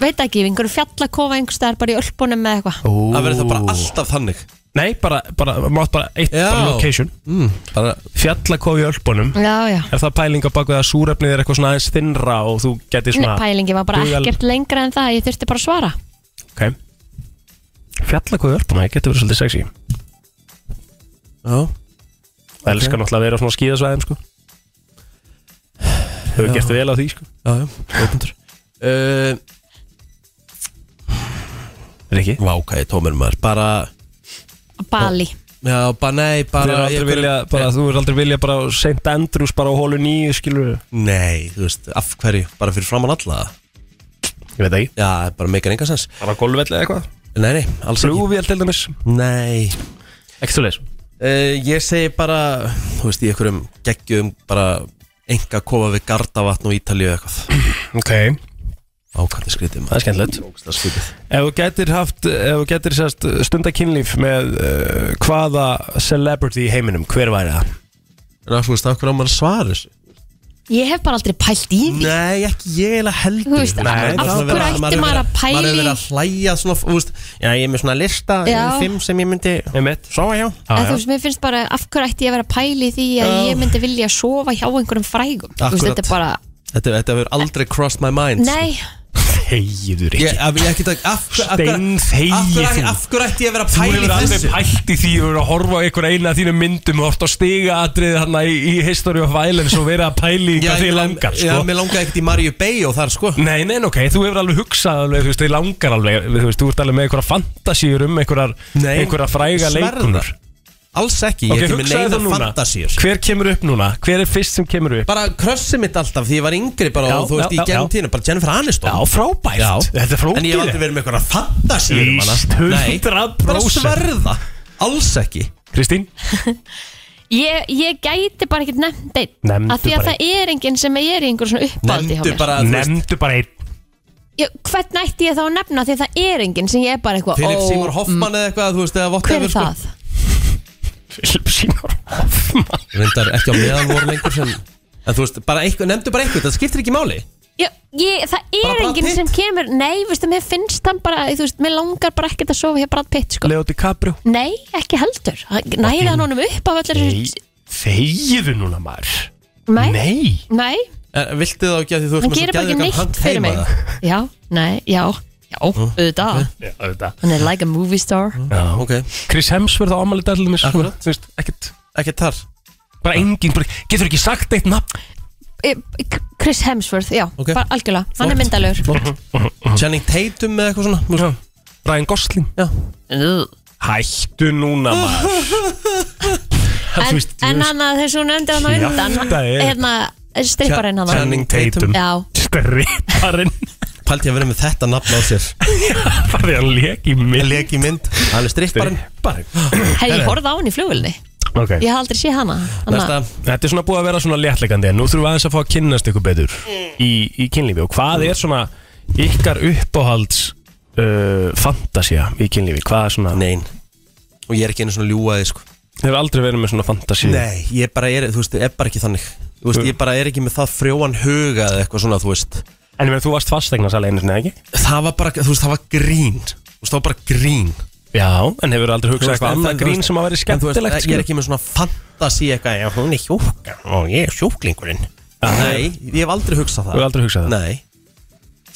veit ekki, einhverju fjallakofa einhvers staðar bara í ölpunum með eitthvað
Það verður það bara alltaf þannig
Nei, bara, bara, mátt bara eitt
Já.
bara location
mm, bara,
Fjallakofi í ölpunum
Já, já
Er það pæling á baku það að súrefnið er eitthvað svona aðeins þinnra og þú getur
Nei,
svona
pælingi var bara
dugal-
ekkert lengra en það, ég þurfti bara að svara
Ok Fjallakóði örpuna, það getur verið svolítið sexy
Já,
Það elskar náttúrulega að vera á svona skíðasvæðum sko Hefur gert vel á því sko
já, já, opendur uh,
Riki
Vá, hvað ég tómur maður Bara,
Bali,
já, bara nei
Þú
bara,
er aldrei
ég-
vilja, bara, þú er aldrei vilja bara á St. Andrews bara á hólu nýju skilur
Nei, þú veist, af hverju, bara fyrir framann alla
Ég veit ekki
Já, bara meikar enga sens
Bara golfvelli eða eitthvað
Nei, nei, alls ekki
Flugvél til dæmis
Nei,
Ekki þú leis
Uh, ég segi bara, þú veist, í einhverjum geggjum bara enga kofa við gardavatn og Ítalíu eða eitthvað.
Ok
Ákvæmdi skrítið
Það
maður.
er skemmtilegt
Það er skrítið.
Ef þú getur haft, ef þú getur sérst stundakinnlíf með uh, hvaða celebrity í heiminum, hver væri það?
En að þú veist, af hverju á maður að svara þessu?
Ég hef bara aldrei pælt í því
Nei, ekki ég eiginlega heldur
Þú veist, af
það er
hverju
svona verið að-
ætti
er
maður að
verið Maður er
pæla í-
verið að hlæja svona, þú veist Já, ég er með svona lista,
Já.
um fimm sem ég myndi
Einmitt.
Sofa hjá
Já,
En
já.
þú veist, mér finnst bara, af hverju ætti ég að vera að pæli því að
Já.
ég myndi vilja sofa hjá einhverjum frægum Þú veist,
Akkurat.
þetta er bara,
Þetta, þetta verður aldrei crossed my mind sko.
nei,
Þegiðu
Ég,
Rikki
af, ég ekki takk Af hver- af hver-
Steinþegi
af hver-
þú.
af hverju ætti ég að vera að
Þú
pæla í
hefur aldrei
þessu?
pælt í því Þú hefur að horfa á einhver eina af þínum myndum og hort á stiga atrið þarna í, í History of Violence og vera að pæli í
Já,
hvað þið
ég-
langar
Já,
sko.
mér langar ekkert í Mario Bay og þar sko
Nei, nei, ok, þú hefur alveg hugsað alveg, þú veist, þið langar alveg, þú veist, þú ert alveg með einhverja fantasíur um einhverjar,
Nei,
einhverja fræga
sverða.
leikunur
Alls ekki,
Ok,
ég er ekki með neinar
hugsaðu það núna,
fantasíur
hver kemur upp núna, hver er fyrst sem kemur upp?
Bara krössið mitt alltaf því ég var yngri bara
Já,
og þú veist
já,
í
já,
gegnum
já.
tíðina bara Jennifer Aniston
Já, frábært,
Já.
þetta er
En ég hef aldrei
flókið
verið með einhverja fantasíur um hana.
Víst,
Nei,
100%.
Bara sverða, alls ekki
Kristín?
ég, ég gæti bara ekkert nefnd einn
Nefndu
Af því að
bara
það er enginn sem er í einhverjum svona uppáldi hjá
Nefndu
mér
bara, þú veist,
Nefndu bara einn
ég, Hvern ætti ég þá að nefna af því að það er enginn sem ég er bara eitthvað
Philip
ó, mm.
Seymour Hoffman sko eða eitthvað, þú veist, eða votta
Hver er það?
Philip Seymour Hoffman
Reyndar ekki á meðan voru lengur sem En þú veist, bara eitthvað, nefndu bara eitthvað, það skiptir ekki máli
Ég, ég, það
Bara
er
Brad
enginn
Pitt?
sem kemur Nei, veistu, mér finnst hann bara Þú veist, mér langar bara ekkert að sofa hjá Brad Pitt sko.
Leo DiCaprio
Nei, ekki heldur Hann- Næði hann honum upp af allir
Nei, þegiðu núna maður
Nei,
Nei
nei,
en, Viltu það ekki að því þú
hann
veist
gerir bara ekki neitt fyrir mig Já, nei, já, já,
Hm.
auðvitað
Já, auðvitað.
Hann er like a movie star
Já.
Ok,
Chris Hemsworth á ámæli dælumis
Akkurat.
Ekkert
ekki þar
sko. Bara engin, bara, getur ekki sagt eitt nafn
Eh, Chris Hemsworth, já,
Ok.
bara algjörlega Hann er
Flott.
myndalur
Channing Tatum eða eitthvað svona þú veist.
Ryan Gosling
Já.
Hættu núna maður Það,
En,
þú veist, þú
en
veist,
hann að þessu hún nefndi hann á undan
Kjaftaði.
Hérna, stripparinn hann
Channing Tatum.
Já,
Stripparinn
Paldi að vera með þetta nafn á sér
[laughs] Bara því hann lék í
Ég
mill
leik í mynd, hann er stripparinn
[gasps]
hefði ég horfði á hann í flugulni
okay.
Ég hafði aldrei séð hana
Næsta,
Hanna,
Þetta er svona búið að vera svona léttleikandi en nú þurfum við aðeins að fá að kynnast ykkur betur
Mm.
í, í kynlífi og hvað er svona ykkar uppáhalds uh, fantasía í kynlífi hvað er svona,
nein Og ég er ekki einu svona ljúaði, sko
þið hefur aldrei verið með svona fantasíu
Nei, ég bara er, þú veist, er bara ekki þannig Þú veist, ég bara er ekki með það frjóan huga eða eitthvað svona, þú veist
en ég meina, þú varst fastegna sælega einu sinni, ekki?
Það var bara, þú veist, það var grín Þú veist, það var bara grín
Já, en hefur aldrei
Þú
hugsað
veist,
eitthvað
en það-
annað
þú veist,
grín sem að
en
vera
þú veist,
skemmtilegt sko.
Ég er
skilur?
ekki með svona fantasi eitthvað Já, hún er hjúkar og ég er sjúklingurinn Nei, ég hef aldrei hugsað það
Þú hefur aldrei hugsað það?
Nei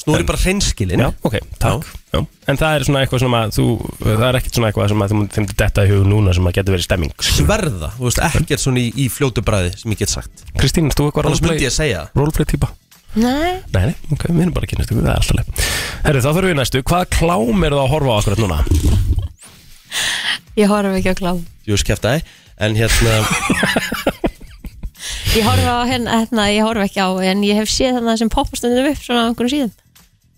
Nú er ég bara hreinskilinn
Já, ok, takk Já. En það er svona eitthvað sem að þú það er ekkert svona eitthvað sem að þú myndi- þeim til detta í hug núna sem að getur verið stemming skilur.
Sverða, þú veist, ekkert svona í, í fljótu bræði sem ég get sagt
Kristín, erst þú eitthvað
Annars myndi
roleplay,
ég segja það.
roleplay típa?
Nei,
Nei, nei, ok, við erum bara að kynast ykkur, það er alltaf leið Herru, þá þurfum við í næstu, hvaða klám eru það að horfa á akkurat núna?
ég horfði ekki á klám
Jú, skeftaði En
[laughs]
hérna,
Ég horfði á hérna, hérna, ég horfði ekki á En ég hef séð þannig sem poppast stundum upp Svona á einhverjum síðum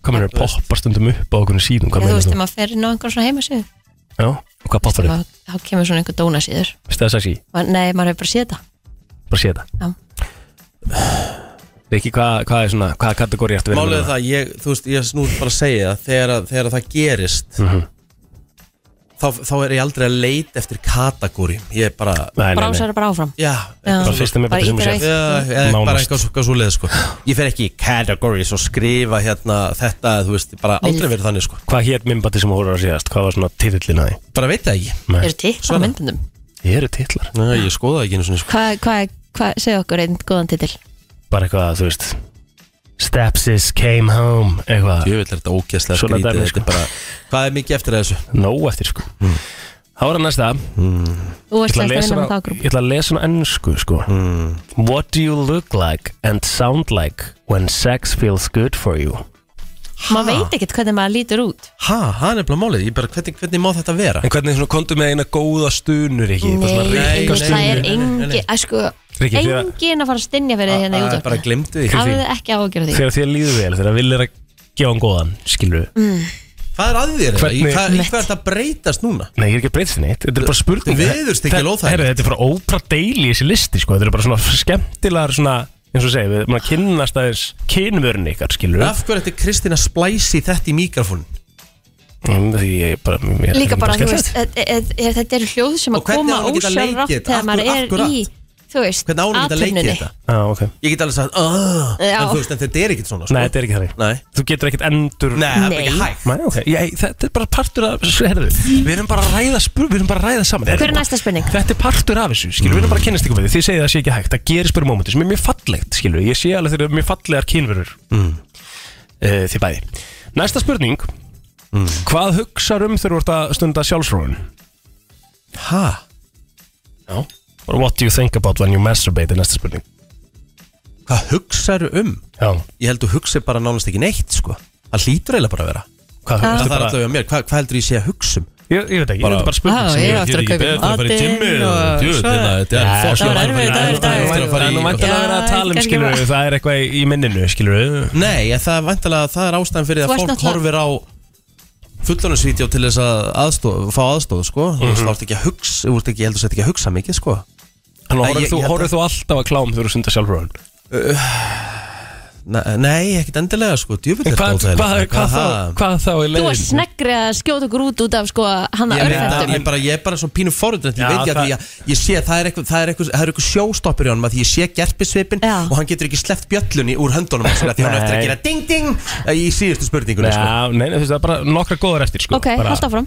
Hvað mennur poppar stundum upp á okkur síðum,
Ég,
hvað
Þú veist,
mennur
þegar
þú?
maður fer inn á einhverjum svona heimasíðu
Já, og hvað poppar upp?
Þá þá kemur svona einhver dónasíður
Veistu það að sexy?
Ma- Nei, maður hefur bara séð þetta
Bara sé þetta
Já.
Riki, hvað, hvað er svona, hvaða kategóri ertu verið
málið er það, ég, þú veist, ég snúð bara að segja það Þegar, að- þegar að það gerist
Mhm.
þá, þá er ég aldrei að leita eftir kategóri Ég er bara,
Nei, nei, nei,
Brásar er bara áfram
já,
Já.
bara fyrsta með betur
Bara
sem
ýtir
þú
á
sér
eitt.
Já, eða
Nánast.
bara eitthvað svo, svo leið sko. Ég fer ekki í categories og skrifa hérna þetta, þú veist, bara aldrei verið þannig sko.
Hvað hétt minnbati sem þú horfður að síðast, hvað var svona titillin að því?
Bara veit það ekki
Nei.
Eru titlar á
Svona.
myndundum
Ég eru titlar
Nei, ég skoðaði ekki einu svona sko.
Hvað, hvað, hvað, segja okkur einn góðan titil
Bara eitthvað, þú veist Stepsis came home, eitthvað
Ég vil þetta ógæslega
Svona
skrítið
dæmi,
þetta
sko.
er bara, Hmm. Hvað er mikið eftir af þessu?
Nó eftir, sko Þá er það næsta
Þú veist
ætla að lesa
ekki að vinna með
hana-
það grúm
ég ætla að lesa hana ennsku sko
Hmm.
What do you look like and sound like when sex feels good for you
Maður veit ekkert hvernig maður lítur út
Ha, það er nefnilega málið, ég bara, hvernig, hvernig má þetta vera?
En hvernig svona kontu með eina góða stunur ekki
Nei,
rykka
það er
stungu. Nei, nei, nei.
engin að sko,
Rikki, því að-
engin að fara að stinja fyrir þið hérna
Það
í
er bara
útvarpinu
glemdu því
Hafið þið ekki ágjörð því
Þegar þér líður vel, þegar vil er að gefa hann góðan skilur
Mm.
við
Hvað er að þér? Í
Hvernig-
hvað í hvað er þetta að breytast núna?
Nei, ég er ekki að breyta neitt, þetta er bara spurning
Veðurst ekki alveg óþægilegt.
Herra, Þetta er bara Oprah Daily þessi listi sko. Þetta er bara svona skemmtilegar svona, eins og segja, við erum að kynnast aðeins kynvörun ykkar skilur við
Af hverju ætti Kristín að splæsi þetta í mikrofón?
Mm, Því ég bara mér-
Líka bara,
skemmtilegt.
þú veist, e- e- e- þetta eru hljóð sem að
Og hvernig á
koma
maður að geta leikið þetta?
ósjálfrátt þegar maður
Akkur-
er í
akkurat.
þú veist,
Hvernig ánum þetta leikið
athöfninni.
þetta?
Já, Ah, ok
Ég get alveg sagt "Ah",
Já.
En þú veist, en þetta er ekkert svona sko.
Nei, þetta er ekki þannig
Nei.
Þú getur ekkert endur
Nei, það er bara
Nei.
ekki hægt
Nei, ok Ég, Þetta er bara partur af Herðu Við erum bara að ræða spur Við erum bara að ræða saman
Hver er næsta spurning?
Þetta er partur af þessu, skilur, við erum bara að kynnast ykkur með því Þið segið að það sé ekki hægt, það gerist bara í mómenti sem er mjög fallegt, skilur, ég sé alveg þegar mjög fallegar kynverur mm. Þið bæði Næsta spurning
Mm.
Hvað hugsar um þegar þú ert að stunda sjálfsfróun?
Hæ?
Já Or what do you think about when you masturbate er næsta spurning
Hvað hugsaðu um?
Já
Ég held þú hugsi bara nánast ekki neitt sko Það hlýtur eiginlega bara að vera Það
Hvað, veistu
er
bara,
alltaf mér, hvað, hvað heldur ég sé að hugsa um?
ég, ég veit ekki,
Bara-
þetta er bara spurning
Já,
sem
ég
ég-
á eftir að kaupa
Ég er eftir að fara í
matinn
gymmið
og
og-
svo-
Djöfull, hérna, þetta er
Já,
Það
fossið
var
að fara í-
erfiður dagur í dag.
Það er
fara í-
nú vantilega að vera að tala um,
kannski
skilur,
bara-
það er eitthvað í- í minninu, skilur
Nei, en það er vantilega, það er ástæðan fyrir að
Þú ert
fólk horfir
náttúrulega-
á fullonusvídeó til þess að aðstoð, fá aðstóð sko Þú
Mhm.
veist, þá ertu ekki að hugsa, þú ert ekki, ég heldur þetta ekki að hugsa mikið sko Nei, ég- ég held
Horfir
að-
þú alltaf að klám þegar þú sundar sjálfrón?
Ne- Nei, ekkert endilega sko, djúfitt
En Hvað, hvað, hvað, hvað,
það?
þá- hvað þá í leiðin?
Þú var sneggri að skjóta okkur út út af sko hana
Ég, veit, að-
örfættum
ég, bara, ég er bara svo pínu forutrætt Ég
Já,
veit ekki að
það-
því að ég sé að það er eitthvað, það er eitthvað, það er eitthvað sjóstoppur í honum að Því ég sé gerpisvipin
Já.
og hann getur ekki sleppt bjöllunni úr höndunum hans, af Því hann á eftir að
Nei.
gera ding ding í síðustu spurningunni sko.
Já, nei, nei, þú veist, það er bara nokkra góðar eftir sko.
Ok,
bara,
halda áfram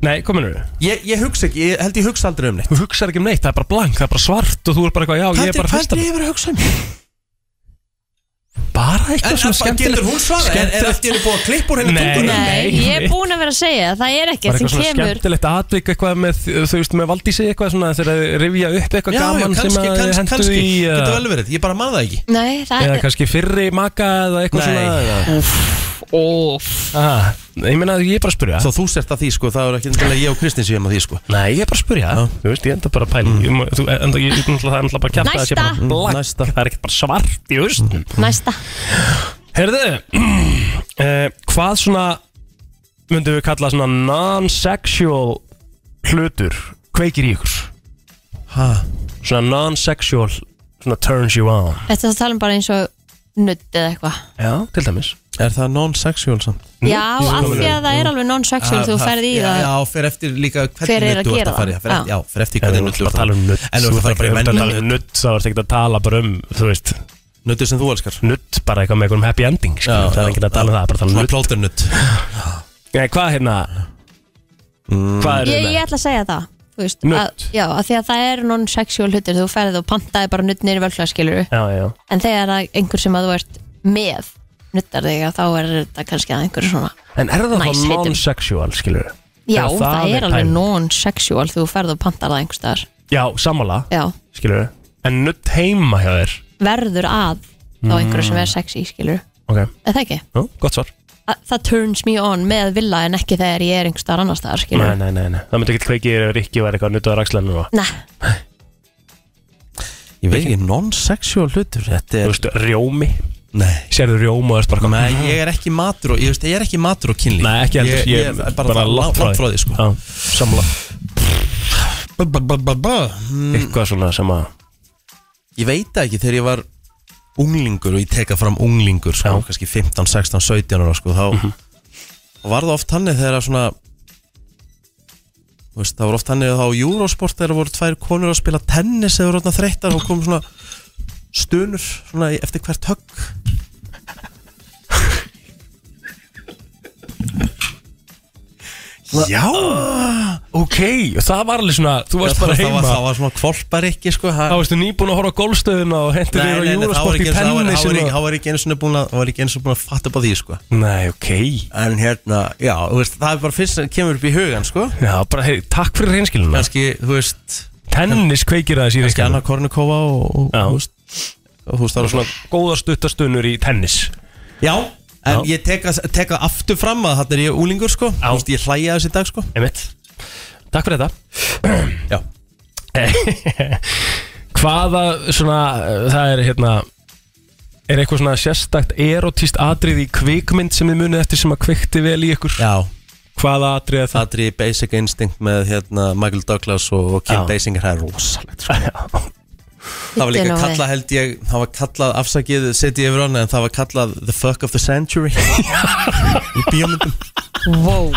Nei, kominu
ég, ég hugsa ekki, ég held ég hugsa aldrei um neitt
Þú hugsar ekki um neitt, það er bara blank, það er bara svart og þú er bara eitthvað, já,
Hvað
ég er
er
bara
hvað
fyrsta
er ég yfir að hugsa um? En,
Bara eitthvað
en
svona
bara
skemmtilegt
getur hún svara? Er, er allt í henni búið að klippa úr henni
Nei.
tungunum?
Nei,
nei.
ég er búin að vera að segja það er
Bara
ekkert
eitthvað
sem
svona
kemur
skemmtilegt atvik eitthvað með, þú veist, með Valdísi eitthvað svona þegar þeir rifja upp eitthvað
Já, já,
gaman
kannski,
sem að
kannski,
hendu
kannski
í
Getur
uh,
vel verið, ég bara maða ekki
Nei, það
eða
er
kannski fyrri maka eða eitthvað
Nei.
svona Úff, óff ah, Ég meina, ég er bara að spyrja
Svo þú sért að því sko, það er ekki endilega ég og Kristinn sem ég að því sko
Nei, ég er bara að spyrja Þú veist, ég enda bara að pæla mm. ég, má- þú, enda, ég, ég, Það er enda bara að kjarta
Næsta.
bara blank
Næsta. Mm.
Það er ekkert bara svart í austnum
næsta
Herðu [clears throat] uh, Hvað svona myndum við kalla svona non-sexual hlutur kveikir í ykkur
Ha,
svona non-sexual svona turns you on
Þetta það talum um bara eins og nudd eða eitthvað
Já, til dæmis
Er það non-sexual samt?
Já, af því að það er alveg
Ah,
non-sexual þú ferð í
Já,
það
Já, fer eftir líka
Hver
hvernig
er að
nuttu þú ert
gera
að fara í
það?
fer eftir- Já, fer eftir
En
hvernig
þú ert
nuttu
bara að tala um nutt
En þú ert að fara bara í
að
menn
tala um nutt Það ert ekki að tala bara um, þú veist
Nuttu sem þú elskar
Nutt bara eitthvað með einhverjum happy ending skilur. Það er ekki að tala um það, bara að tala um
Svona
nutt
plóter nutt
Nei, hvað hérna
Mm.
Hvað er hérna?
Ég, ég
þetta?
ætla að segja það þú veist,
Nudd.
að, Já, af því að það er non-sexual hlutir þú ferð og pantaði bara nudd nýri völflaskiluru
Já, já,
en þegar það er einhver sem að þú ert með nuttar þig að þá er þetta kannski að einhver svona
en er það
Nice
þá
heitum.
non-sexual, skilur
Já,
Þegar
það,
það er
er alveg
pæling.
non-sexual þú ferð og pantar það einhver staðar
Já, sammála,
Já,
skilur En nutt heima hjá þér
verður að þá einhver sem er sexy skiluru
Ok,
Er það ekki?
Jú, gott svar
Að- Það turns me on með villa en ekki þegar ég er einhver staðar annar
Nei,
staðar skiluru
nei, nei, nei. það myndi ekki kveikið ef Rikki var eitthvað nutt á rakslæðinu og
Nei,
Ég veit ekki, non-sexual hlutur Þetta
Þú
er
veist, rjómi,
Nei
sérðu rjóma og þess bara
Nei, ég er ekki matur og Ég veist, ég er ekki matur og kynlíf
Nei, ekki heldur,
Ég- Ég er bara, bara langt frá því sko
Já, sammála sko.
Ba, ba, ba, ba, ba.
Eitthvað svona sem að
Ég veit það ekki þegar ég var unglingur og ég teka fram unglingur sko,
Já. Mhm.
kannski 15, 16, 17 ára sko, þá var það oft hannig þegar að svona þú veist, það var oft hannig að þá á Eurosport þegar voru tvær konur að spila tennis eða voru orðnar þreyttar og kom svona stunur svona í- eftir hvert högg
Já, ok, það var alveg svona Þú varst bara
það, var,
heima
það var svona kvolpar ekki sko,
Þá
það
varstu nýbúin að horfa á golfstöðuna og hendur
Nei,
þér á
nei, nei, þá var
júrasport
ekki
í
eins og- þá var-
penni
þá var ekki- þá var ekki einu sinni búin að- þá var ekki einu sinni búin að fatta upp á því sko.
Nei, ok
En hérna, já, þú veist, það er bara fyrst sem kemur upp í hugan sko.
Já, bara hei, takk fyrir reynskiluna
Kanski, þú veist,
Tennis kveikir aðeins í
kannski
reynskiluna
annað Kornikova og, og,
Já.
og, húst, og húst, það var svona
Góða stuttastunur í tennis
Já, en
Já.
ég teka, teka aftur fram að þetta er ég úlingur sko
Já.
Húst, ég hlæja þessi dag sko
Einmitt Takk fyrir
Já,
þetta [clears throat] Hvaða svona, uh, það er hérna Er eitthvað svona sérstakt erotíst atrið í kvikmynd sem þið munið eftir sem að kveikti vel í ykkur?
Já.
Hvaða atrið er það?
það er ég Basic Instinct með hérna, Michael Douglas og, og Kim
Já.
Basinger Það er rosalegt sko Það var
Bíddu
líka
nú eh. við.
kallað held ég, það var kallað afsakið setið yfir hana en það var kallað The Fuck
[laughs]
of the Century Í bíómyndum
wow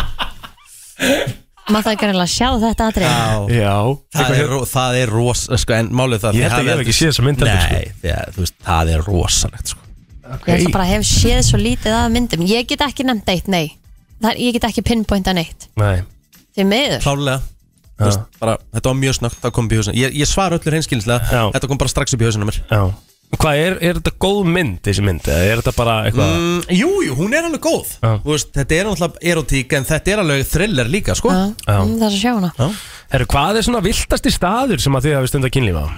maður það gerðilega að sjá þetta atrið
Já,
Já hérna.
það hérna- er, ro- það er ros, sko, en málið það
Ég
þið
held að
hafið-
ég hef ekki séð þessa mynd heldur, sko.
Nei, því að, þú veist, það er rosalegt, sko
Ég ætla bara að hef séð svo lítið af myndum Ég get ekki nefnt eitt, nei það, Ég get ekki pinpointa neitt
Nei
Því miður
Klálega Þú veist, bara, þetta var mjög snögt, það kom upp í hausinu Ég, ég svara öllu reynskilinslega,
Já.
þetta kom bara strax upp í hausinu á mér
Já Hvað er, er þetta góð mynd, þessi mynd? Eða er þetta bara eitthvað
Mm, Jú, jú, hún er alveg góð
Já.
Þú veist, Þetta er náttúrulega erotík en þetta er alveg thriller líka sko.
Já, mm, Það er að sjá hana
Herru, hvað er svona viltasti staður sem að þið hafi stund að kynlífa á?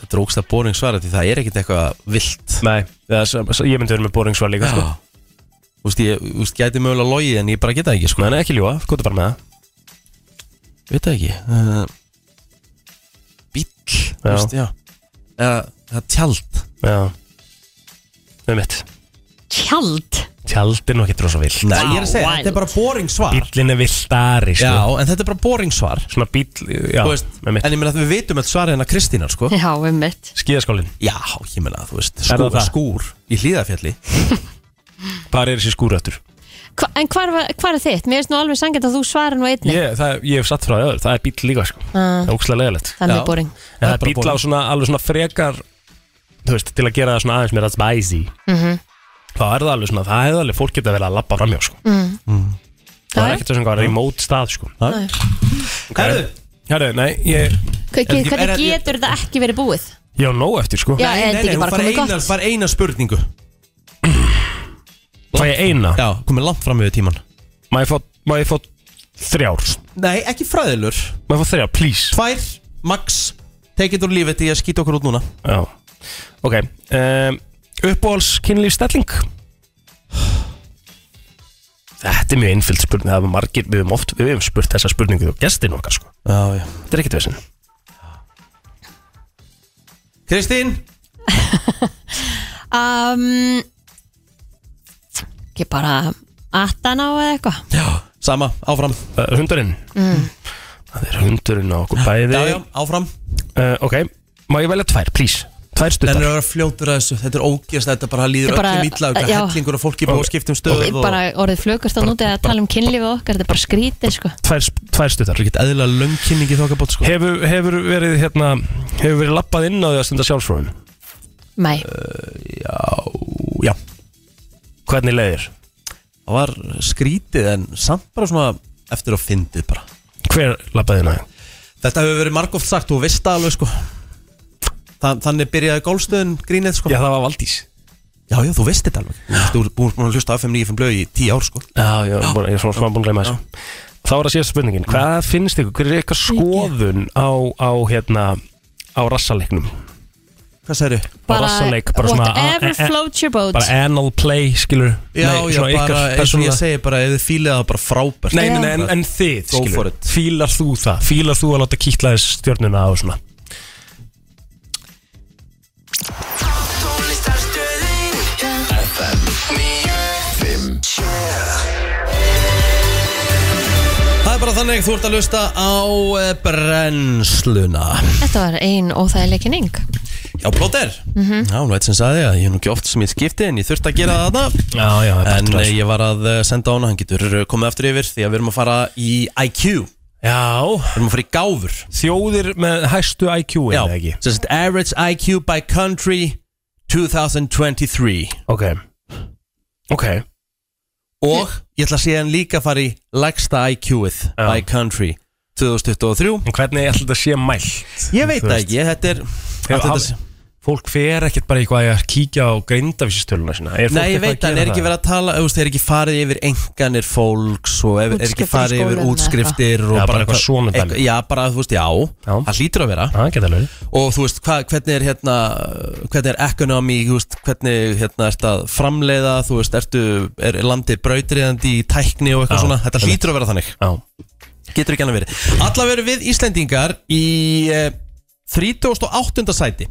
Þetta er ógst að boring svara því það er ekkit eitthvað vilt
Nei, eða, s- s- ég myndi verið með boringsvar líka sko.
Þú veist, ég þú veist, gæti mögulega logið en ég bara geta það ekki sko.
Nei, nei, ekki ljúa, hvað er bara með það?
Veit það ekki uh, Bíll þú
Já.
veist, já. Eða eða tjald
Já Með mitt
Tjald
Tjald er nú ekki drosa vilt
Nei, ég er að segja, þetta er bara boring svar
Bíllinn er viltari
Já,
sko.
en þetta er bara boring svar
Svona bíll, já,
Þú veist,
með
En
mitt
ég meina að við vitum öll svarið hennar Kristínar sko.
Já, um mitt
Skíðaskólinn,
Já, ég meina að þú veist
Er það
skúr,
það?
skúr í hlýðafjalli
hvað er þessi skúröttur?
Hva, En hvar, var- hvar er þitt? Mér finnst nú alveg sangið að þú svarar nú einni
Ég, það, ég hef satt frá það öður, það er bíll líka sko. Það er ókslega leðilegt
Það er
Já.
mjög boring
En það
Það er
er
bara
bíll á
boring.
svona, alveg svona frekar Þú veist, til að gera það svona aðeins meira spicy mm
Mhm.
Þá er það alveg svona, það hefði alveg fólk geta verið að labba framjá sko. Það
Já,
er
Mm. já.
ekkert þessum hvað remote stað sko.
Nei.
Herðu, herðu, nei, ég,
Hva-
ekki- er
Hvernig
það-
getur þetta ekki verið búið?
ég á nóg eftir sko.
Já, er
Nei,
þetta
nei,
ekki
hún
bara
fær
komið
eina,
gott?
fær eina spurningu
Fæ ég eina?
Já, komið langt fram yfir tíman
Má ég fá, má ég fá þrjár?
Nei, ekki fræðilur
Má ég fá þrjár, please?
Tvær, max, take it úr lífið Því að skýta okkur út núna
Já Ok, um, uppbóls kynlífstelling? Þetta er mjög einföld spurning Það er margir, við höfum oft, við höfum spurt þessa spurningu og gestin okkar sko
Já, já
Þetta er ekkert vesinn
Kristín
Um, Ekki bara Atana og eitthvað
Já Sama, áfram
uh, Hundurinn mm. Það er hundurinn á okkur bæði
Já, já, áfram
Uh, Ok, má ég velja tvær, please? Tvær
Þetta
stuttar
er að vera fljótur að þessu Þetta er ógjast Þetta bara líður
Þetta bara-
öllum illa Þetta er
já.
hellingur og fólki búið að skipta um stöð
Ég
og-
bara orðið flökast á núti að tala um kynlífið okkar Þetta er bara skrítið sko
Tvær, tvær stuttar
Þetta er eðlilega löngkynningi þokkabótt sko
Hefur, hefur verið hérna Hefur verið lappað inn á því að stunda sjálfsfróðin
Nei,
Já
Hvernig leiðir?
Það var skrítið en samt bara svona Eftir að fyndið bara
Hver lappaði inn á því?
Þetta hefur verið margóft sagt Þú veist það alveg sko Þa, Þannig byrjaði gólstöðun grínið sko
Já, það var Valdís
Já, já, þú veist þetta alveg Þú veist, Þú ert búin búin að hlusta á FM 95 blöð í 10 ár sko
Já, já, já. Búin, ég er svona smá búin að gleyma þessu Þá er það síðasta spurningin, hvað finnst ykkur, hver er eitthvað skoðun á, á hérna, á rassaleiknum
Hvað segir þau?
bara
rassaleik, bara svona-
whatever
eh, eh,
floats your boat
Bara anal play, skilur
Já, já, bara
svona ykkar
eins og ég
persónulega-
segi bara ef þið fílið það bara frábært
Nei, nei, nei, en, en þið,
Go for
skilur,
it.
fílar þú það, fílar þú að láta kýtla þess stjörnuna á svona
Tónlistarstöðin FM 957
Það er bara þannig, þú ert að hlusta á eh, brennsluna
Þetta var ein óþægileg kynning
Já, plóter Já, hún veit sem sagði að ég er nú ekki oft sem ég skipti en ég þurfti að gera það þarna
Já, já, það er
En
partur af
eh,
þessu.
ég var að eh, senda á hana, hann getur eh, komið aftur yfir því að við erum að fara í IQ Við
Já,
erum að fara í gáfur
þjóðir með hæstu IQ-in,
Já,
eða ekki
sem sagt Average IQ by Country 2023
Ok, ok,
Og ég ætla að sé hann líka að fara í Lægsta IQ-ið
Já.
by Country 2023
en hvernig ætla þetta sé mælt?
Ég veit
Þú
það
veist.
ekki, þetta er
Hef,
allt þetta
haf,
sé-
fólk fer ekkert bara eitthvað að kíkja á greindavísistöluna sína er fólk
Nei, ég
eitthvað
veit það, en
gera
er ekki verið að tala þú veist, er ekki farið yfir enganir fólks og er, er ekki
Útskriftir í
farið yfir
skólanum
útskriftir og
Já, bara eitthvað svona dæmi.
eitthvað- Já, bara, þú veist, já,
Já.
það hlýtur að vera
það geta alveg
og þú veist, hva, hvernig er hérna hvernig er ekonomi, þú veist, hvernig hérna, ertu að framleiða, þú veist, ertu er landið brautriðandi í tækni og eitthvað
Já,
svona, þetta
einmitt.
hlýtur að vera þannig
Já,
getur ekki annað verið Alla verið við Íslendingar í eh, 38. sæti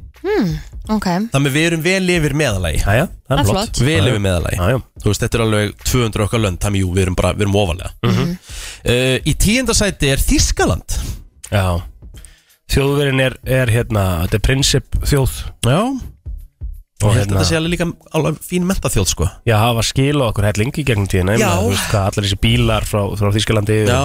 Ok,
þannig við erum vel yfir meðalagi
já, já, það
Það
er
er
flott
flott.
Vel
Já,
yfir meðalagi
Já, já,
Þú veist, þetta er alveg 200 okkar lönd Þannig, jú, við erum bara, við erum ofalega
Mhm.
uh, Í tíundasæti er Þískaland
já. Þjóðverðin er, er hérna, þetta er prinsip þjóð
Já
Og
Ég held að
hérna-
þetta sé alveg líka alveg fín mentaþjóð sko
Já, hafa skil og okkur hellingi í gegnum tíðina Ég meina,
Já.
þú veist hvað, allar þessi bílar frá, frá Þískalandi
Já,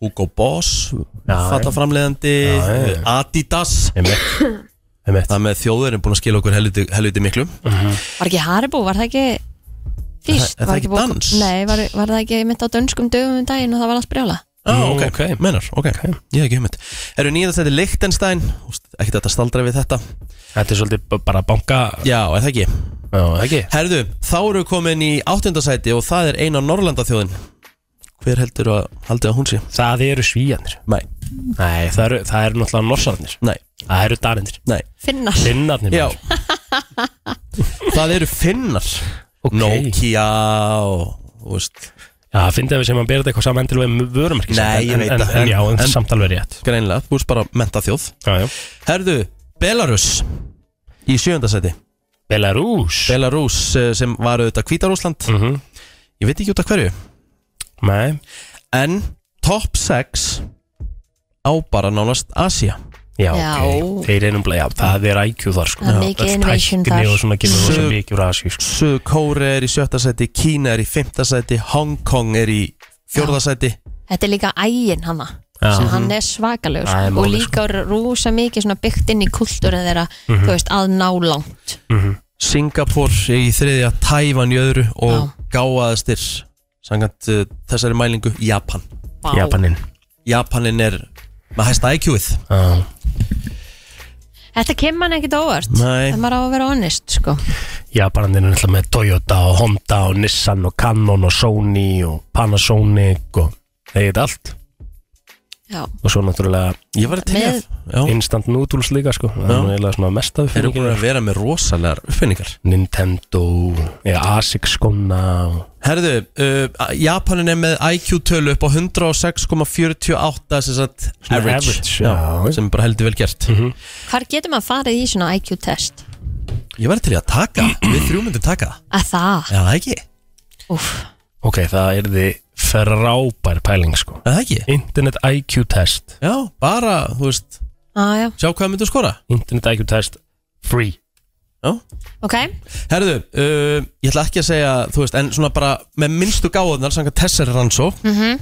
Hugo Boss
Já,
Fattaframleðandi
Já, já.
Adidas
Emmett Emmett
Það með þjóðurinn búin að skila okkur helviti, helviti miklu
Var ekki Haribo, var það ekki
Er það-
fyrst?
er það
Var
ekki
búið-
dans?
Nei, var, var það ekki mitt á dönskum dögum um daginn og það var allt brjála
Já,
Nú,
Ah, ok,
ok.
menar, ok, ég hef ekki hugmynd Eru nýjast þetta Lichtenstein, ekki þetta staldra við þetta
Þetta er svolítið b- bara banka
Já, er það ekki
Já, ekki
Herðu, þá eru við komin í áttundasæti og það er eina Norrlandaþjóðin Hver heldur að haldið að hún sé?
Það eru svíjanir
Nei,
Nei, það eru, það eru náttúrulega norsarnir
nei,
Það eru danindir
nei
Finnar
Finnarnir
Já
[laughs] maður.
Það eru finnar
Ok.
Nokia og þú veist,
Já, finnst þið að við sem að bera þetta eitthvað saman endilega með vörumarki
Nei, ég veit
en,
það.
en, en, Já, en,
En-
en samt alveg rétt
greinlega, þú veist bara mentaþjóð
Já, já
Herðu, Belarus í sjöndasæti
Belarus
Belarus eh, sem var auðvitað Hvítarúsland
Mhm.
Ég veit ekki út af hverju
Nei,
En top 6 á bara nánast Asia
já,
Já.
ok Þeir eru náttúrulega, já, það er IQ þar sko
Það er mikið
Öll
innovation
tækni
þar.
og svona kemur
Sö-
rosa mikið úr Asíu sko.
Suður Kóre er í sjötta sæti Kína er í fimmta sæti Hong Kong er í fjórða sæti
Þetta er líka ægin hana
Já.
sem
Mhm.
hann er svakalegur
Það er
sko.
málið,
og líka er rosa mikið svona byggt inn í kultúrin þeirra
Mhm.
þú veist, að ná langt
Singapur í þriðja Tævan í öðru og gáðastir samkvæmt uh, þessari mælingu Japan
Vá.
Japaninn
Japanin er með hæsta IQ-ið
Já
Þetta kemur hann ekkit óvart
Nei.
það maður á að vera honest sko.
Japanandir er náttúrulega með Toyota og Honda og Nissan og Canon og Sony og Panasonic og þeir geta allt
Já.
og svo náttúrulega
Ég var að tegja
Með-
Já
instant noodles líka sko það
Já.
er nú eiginlega svona mesta
Eru búin að
uppfinningar
vera með rosalegar uppfinningar
Nintendo, ja, Asics skóna og-
Herðu, uh, Japanin er með IQ-tölu upp á 106,48 sem sagt
Svona
average,
average, já. Mhm.
sem er bara heldur vel gert
Hvar getur maður farið í svona IQ-test?
Ég var til í að taka, við þrjú myndum taka það.
Að það,
Já, það ekki,
úff
ok, það er þið frábær pæling sko
Já, það ekki
Internet IQ test
Já, bara, þú veist,
ah, já.
sjá hvað myndu skora
Internet IQ test free
Já
Ok,
Herðu, uh, ég ætla ekki að segja, þú veist, en svona bara með minnstu gáðunar, sanga Tessari Rannsó mm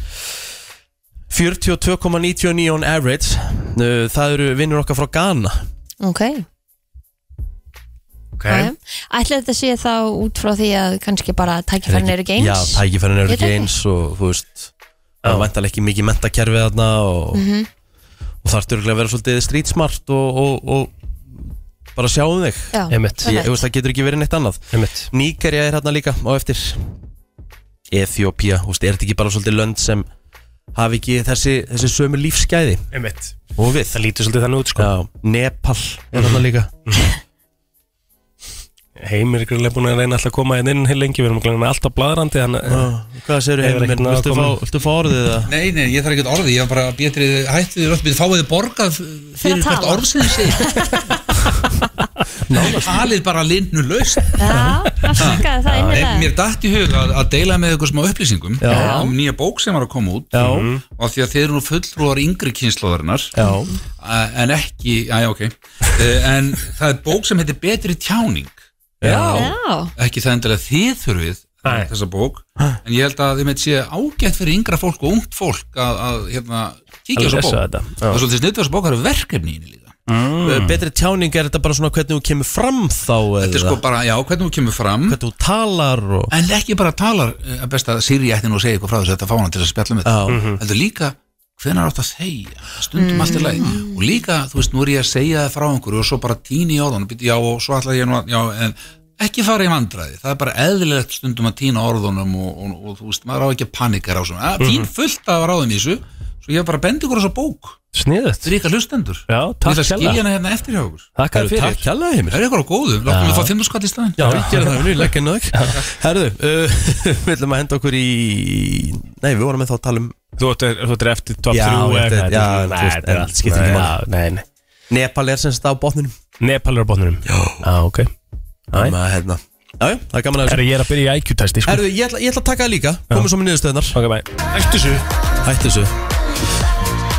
42,99 on average uh, Það eru vinnur okkar frá Ghana
ok okay. Ætli þetta sé þá út frá því að kannski bara tækifærin eru ekki
Já,
eins
tækifærin eru
Ég
ekki
tek
eins og þú veist það er vantalega ekki mikið mentakerfið þarna og, mm
Mhm.
-hmm. og þarf þurflega að vera svolítið street smart og, og, og bara sjá um þig
Já,
Emmett,
ég, þú veist, það getur ekki verið neitt annað
Emmett
Níkerja er hérna líka á eftir Ethiopia, þú veist, er þetta ekki bara svolítið lönd sem hafi ekki þessi, þessi sömu lífsgæði
Emmett
og við
Það lítur svolítið þannig út sko
Já, Nepal er hérna líka
Heimir er greinilega búin að reyna alltaf að koma hérna inn heil lengi, við erum greinilega alltaf bladrandi þannig að
Já, Mhm. Hvað segirðu
Hefur
heimir,
ekkert náð að
viltu
koma
fá, viltu fá orðið það?
Nei, nei, ég þarf ekkert orði, ég var bara betri hættið þér öll, við fáið þið borgað fyrir hvert
tala.
orð sem þið segir. Talið bara linnu laust.
[laughs]
já afsakaði það
En
innilega
Mér datt í hug að, að deila með ykkur smá upplýsingum
Já. Mhm.
um nýja bók sem var að koma út
Já,
og því að þið eru nú fulltrúar yngri kynnslóðarinnar
já,
en ekki, aðja ok, Eh, en það er bók sem heitir Betri tjáning.
já,
Já,
Ekki það endilega þið þurfið
Nei.
þessa bók, en ég held að þið með sé ágætt fyrir yngra fólk og ungt fólk að, að hérna, kíkja á
Alveg
þessa
lesa
bók.
þetta
Það er
Já.
svolítið snittu þessu bók, það eru verkefni í henni líka.
Betri tjáning er þetta bara svona hvernig þú kemur fram þá
Þetta er
eða?
sko bara, já, hvernig þú kemur fram,
hvernig þú talar og
en ekki bara talar eh, að best að Siri ætti nú að segja eitthvað frá þessu, þetta fá hana til að spjalla með
Já.
þetta. Heldur líka, hvenær átt að segja, stundum allt í lagi. Og líka, þú veist, nú er ég að segja það frá einhverju og svo bara tíni í orðunum, bíddu, já, og svo ætla ég nú að, já, en ekki fara í vandræði, það er bara eðlilegt stundum að tína orðunum og, og, og, þú veist, maður á ekki að panikar á svona. Að, Fín fullt af ráðum í þessu, svo ég bara bendi ykkur á þessa bók,
Sniðut
þetta er ykkar hlustendur.
Já,
Ég
takk
ætla að skilja
kjalla
hana hérna eftir hjá okkur.
Takk
Herru,
fyrir
takk kjærlega heimir
Það er eitthvað á góðu, láttum við fá 5 skall í staðin
Já, ég gerði það, við leggja nögg Herðu, uh, [laughs] við ætlum að henda okkur í Nei, við vorum með þá að tala um
Þú ert- þú ert eftir top
Já,
3
þetta er- já,
Nei,
en þú veist,
þetta er
en
allt
skiptir ekki
nei,
máli.
já, Nei, nei
Nepal er sem sagt á botninum
Nepal er á bóðnurum Já ok Æ.
Þannig að, hérna. Já, já, það er gaman að
Herra, ég er að byrja í IQ-testi sko
Herðu, ég ætla, ég ætla að taka það líka Komum svo með niðurstöðnar
Ok, bæ Eftir svo
Hættu þessu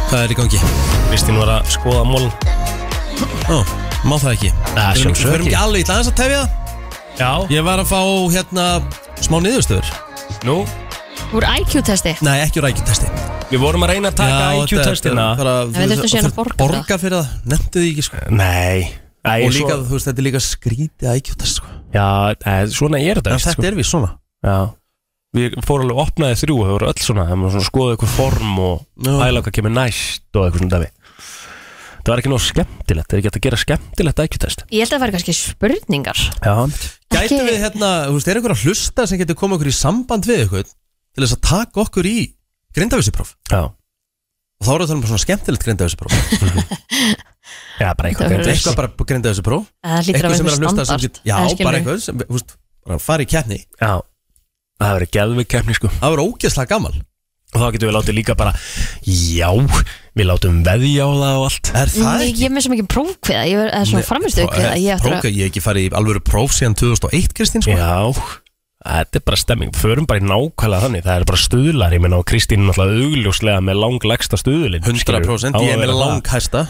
Hvað er í gangi?
Kristín var að skoða mól
Ó, Má það ekki
Að
Við erum ekki-
sjálfsögðu
Við erum ekki
ekki.
alveg í aðeins að tefja það
Já,
Ég var að fá hérna smá niðurstöður
nú,
Úr IQ-testi
Nei, ekki úr ækjutesti
við vorum að reyna að taka IQ-testina
Nei, við þurftum síðan að borga
Borga fyrir það, nefndu því ekki sko
Nei Æ,
Og líka,
svo,
þú veist, þetta er líka skrítið IQ-test sko
Já, e, svona er þetta
En þetta er við svona
Já Við fórum alveg að opnaði þrjú Það voru öll svona Það var svona að skoða ykkur form og
Já.
pæla hvað kemur næst og eitthvað svona dæmi Það var ekki nóg skemmtilegt Það er ekki hægt að gera skemmtilegt IQ-test
Ég held að það væri kannski spurningar
Já
Gætu
Ekki-
við hérna, þú veist, er einhver að hlusta sem getur komið okkur í samband við ykkur til þess að taka okkur í grindavissipróf
Já
og þá eru það um svona skemmtilegt grindavissipróf
Já, bara
Það
eitthvað
verður-
greindavísi.
eitthvað bara grindavissipróf
Það hlýtur að
eitthvað
vera
sem er
einhver
að hlusta sem
standard
getur, já,
Eða skilur
bara
við.
eitthvað sem, þú veist, bara fara í keppni
Já Það verður geðvig keppni sko
það verður ógeðslega gaman
Og þá getum við látið líka bara Já, við látum veðja á það og allt
er það
Nei,
ekki?
Ég er með sem ekki prófkviða, ég er svona framistu kviða Ég ætla
Próka,
að
ég hef ekki farið í alvöru próf síðan 2001, Kristín sko.
Já, þetta er bara stemming Förum bara í nákvæmlega þannig Það er bara stuðlar, ég menna og Kristín er náttúrulega augljóslega með langlegsta stuðlin
100% ég er með langhæsta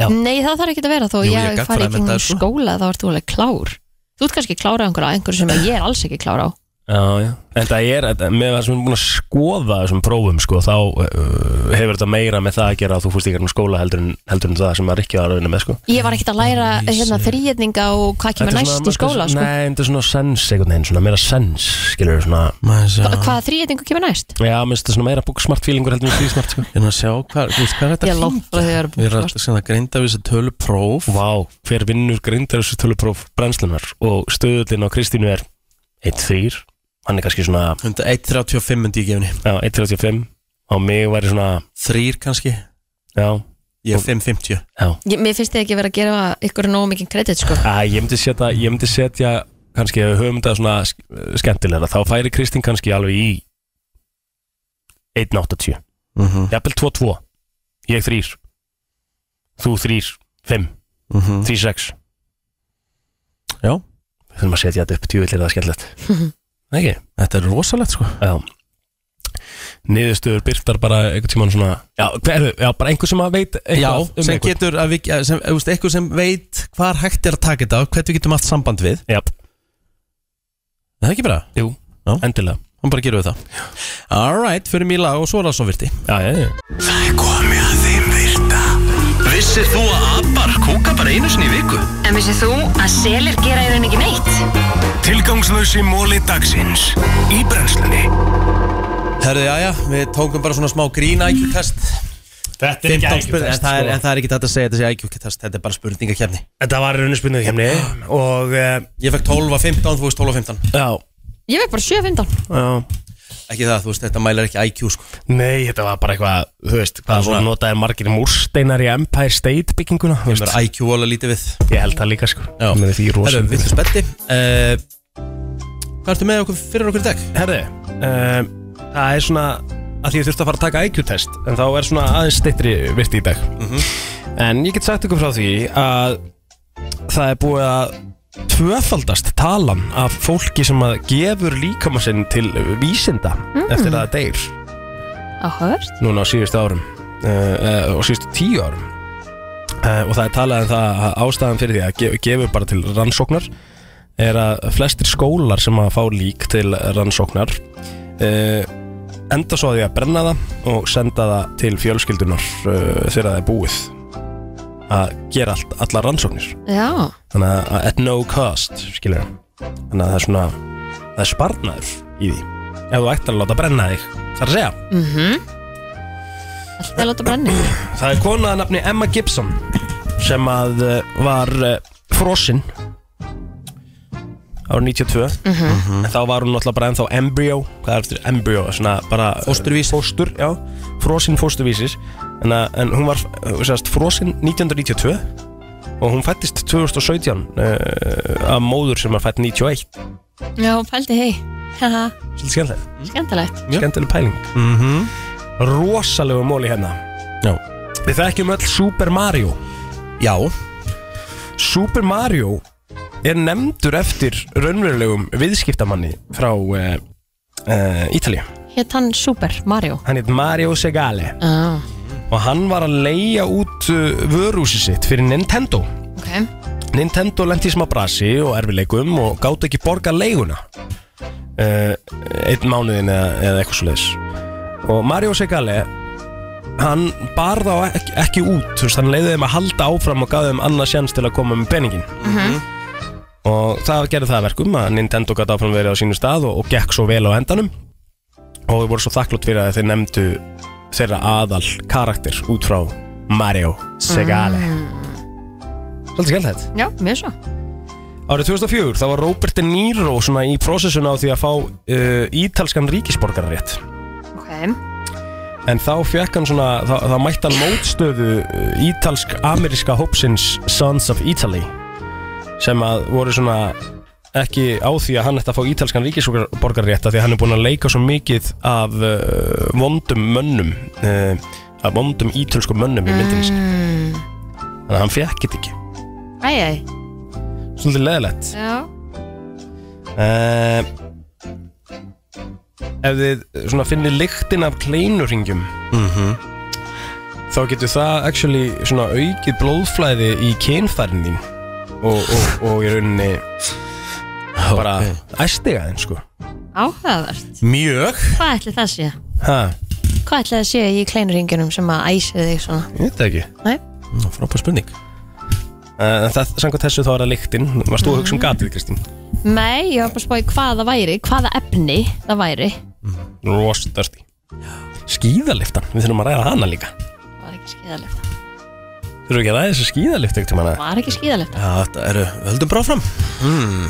Já.
Nei, það þarf ekki að vera þó
Jú, ég
ég
gat
fari
farið
ekki
með
hún
þetta, sko.
skóla þá ert þú alveg klár Þú ert kannski klárað einhverja einhverju sem ég er alls ekki klár á
Já, já. En það er, þetta- með það sem við erum búin að skoða þessum prófum, sko, þá uh, hefur þetta meira með það að gera að þú fórst í einhvern skóla heldur en, heldur en það sem að Rikki var að vinna með, sko.
Ég var ekkert að læra hérna, þrýjetninga og hvað kemur
Þetta er
næst í skóla
þetta er-
sko.
Nei, þetta er svona sens einhvern veginn, svona meira sens, skilur við svona.
Hva-
ég
Hvaða þrýjetningu kemur næst?
Já, mér finnst þetta svona meira búksmart fílingur heldur en físmart, sko.
er að Hérna, sjá hvað, þú veist, hvað er
Ég sko.
þetta
lótt frá því að
við
það
erum
er
að senda grindavissa tölu próf
Vá, hver vinnur grindar þessu tölupróf brennslunar og stöðullin á Kristínu er 1-3, hann er kannski svona
1.35 myndi ég gefinni
já, 1-35 og mig væri svona,
þrýr kannski,
já,
ég er 5.50
já.
Ég- Mér finnst þið ekki vera að gera ykkur nógu mikið kredit sko.
Æ, Ah, ég myndi setja, ég myndi setja kannski ef við höfum þetta svona sk- eh, skemmtilegra þá færi Kristín kannski alveg í 1.80
mm -hmm.
jafnvel 2.2 ég 3 þú 3, 5,
mhm.
3, 6
Já.
við þurfum að setja þetta upp tjúvillir það
[laughs]
skemmtilegt Nei, ekki,
þetta er rosalegt sko
já niðurstöður byrtar bara einhvern tímann svona já, hver, já bara einhver sem að veit eitthvað
Já,
um
sem
einhvern.
getur að við, sem, þú veist, eitthvað sem veit hvar hægt er að taka þetta hvernig við getum haft samband við
já,
Er Það er ekki bara,
jú,
Já.
endilega
hann bara gerum við það Alright, fyrir mig í lag og svo er það svo virti
já, já, já.
Það er komið að þeim virta Vissir þú að abar kúka bara einu sinni í viku?
En vissið þú að selir gera í raun ekki neitt?
Tilgangslösi móli dagsins Í brennslunni
Herðu, já, já, við tókum bara svona smá grín IQ-test
þetta
15 spurning, en, það er- en það er ekki þetta að segja þetta sé IQ-test, þetta er bara spurningakefni
sko. Þetta var rauninspunnið kemni og uh,
Ég fekk 12 að 15, þú veist 12 að 15
já,
Ég veit bara 7-15
já,
Ekki það, þú veist, þetta mælar ekki IQ, sko
nei, þetta var bara eitthvað, þú veist, hvað voru
svona-
notaðir margir múrsteinar í Empire State bygginguna, þú
Það
veist,
er IQ alveg lítið við
ég held það líka sko,
Já.
með því rosa.
Herðu, viltu spetti? Uh, hvað ertu með okkur fyrir okkur í dag?
Herðu, um, það er svona að því ég þurfti að fara að taka IQ-test, en þá er svona aðeins steytri virti í dag. En ég get sagt ykkur frá því að það er búið að tvöfaldast talan af fólki sem að gefur líkama sinn til vísinda eftir að það deyr.
Áhört
núna á síðustu árum uh, uh, og síðustu tíu árum uh, og það er talað um það að ástæðan fyrir því að gefa gefur bara til rannsóknar er að flestir skólar sem að fá lík til rannsóknar uh, enda svo að því að brenna það og senda það til fjölskyldunar uh, þegar það er búið að gera allt, allar rannsóknir
Já,
þannig að- að at no cost skilur þannig að það er svona það er sparnaður í því ef þú ættir að láta brenna þig þar að segja
alltaf að láta brenni
Það er kona að nafni Emma Gibson sem að uh, var frosinn árið 92 Mhm. en þá var hún náttúrulega bara ennþá embryo hvað er eftir embryo, svona bara eh,
Fósturvísir.
fóstur, já, frosinn fósturvísis en, að, en hún var uh, sagðist, frosinn 1992 og hún fættist 2017 uh, af móður sem var fætt 91
Já, pældi hei Haha,
svolítið skemmtilegt,
Skemmtilegt
Já.
skemmtileg pæling
Mm -hmm.
rosalegu móli hérna
Já.
við þekkjum öll Super Mario
Já,
Super Mario er nefndur eftir raunverulegum viðskiptamanni frá uh, uh, Ítalíu.
Hétt hann Super Mario
Hann heit Mario Segale
ah,
og hann var að leia út uh, vörúsi sitt eh, fyrir Nintendo
Ok
Nintendo lendi í smá brasi og erfileikum og gáttu ekki borga leiguna uh, einn mánuðin eða, eða eitthvað svo og Mario Segale hann bar þá ekki, ekki út þú veist, hann leiði þeim að halda áfram og gaf þeim annað sjans til að koma með peningin og það gerði það að verkum að Nintendo gæti áfram verið á sínu stað og, og gekk svo vel á endanum og þau voru svo þakklátt fyrir að þeir nefndu þeirra aðal karakter út frá Mario Segale Svolítið skemmt þetta
Já, mjög svo
Árið 2004 þá var Robert De Niro svona í prósessuna á því að fá uh, ítalskan ríkisborgararétt
Ok,
en þá fekk hann svona þá, þá mætti hann mótstöðu uh, ítalsk-ameríska hópsins Sons of Italy sem að voru svona ekki á því að hann ætti að fá ítalskan ríkisborgararétt af því að hann er búin að leika svo mikið af uh, vondum mönnum uh, af vondum ítalskum mönnum í myndinni sinni þannig að hann fekk þetta ekki
æj, æj,
svolítið leðilegt
já
uh, Ef þið svona finnir lyktin af kleinuringjum Mhm. Þá getur það actually svona aukið blóðflæði í kynfærin þín Og, og, og í rauninni bara okay. æstiga þeim sko
Áhugavert,
Mjög
hvað ætli það sé?
Ha,
Hvað ætli það sé í kleinuringunum sem að æsið þig svona?
ég veit það ekki
Nei.
Frábæð spurning uh, Það samkvæmt þessu þá er það lyktin Varst þú að hugsa um gatið Kristín?
Nei, ég var bara að spá í hvað það væri, hvaða efni það væri
Rostasti Skíðaliftan, við þurfum að ræða hana líka
Var ekki skíðalegt
Þurfum við ekki að ræða þessu skíðalift ekkert um hana
Var ekki skíðalegt
Já, þetta eru, höldum bara áfram
Hmm.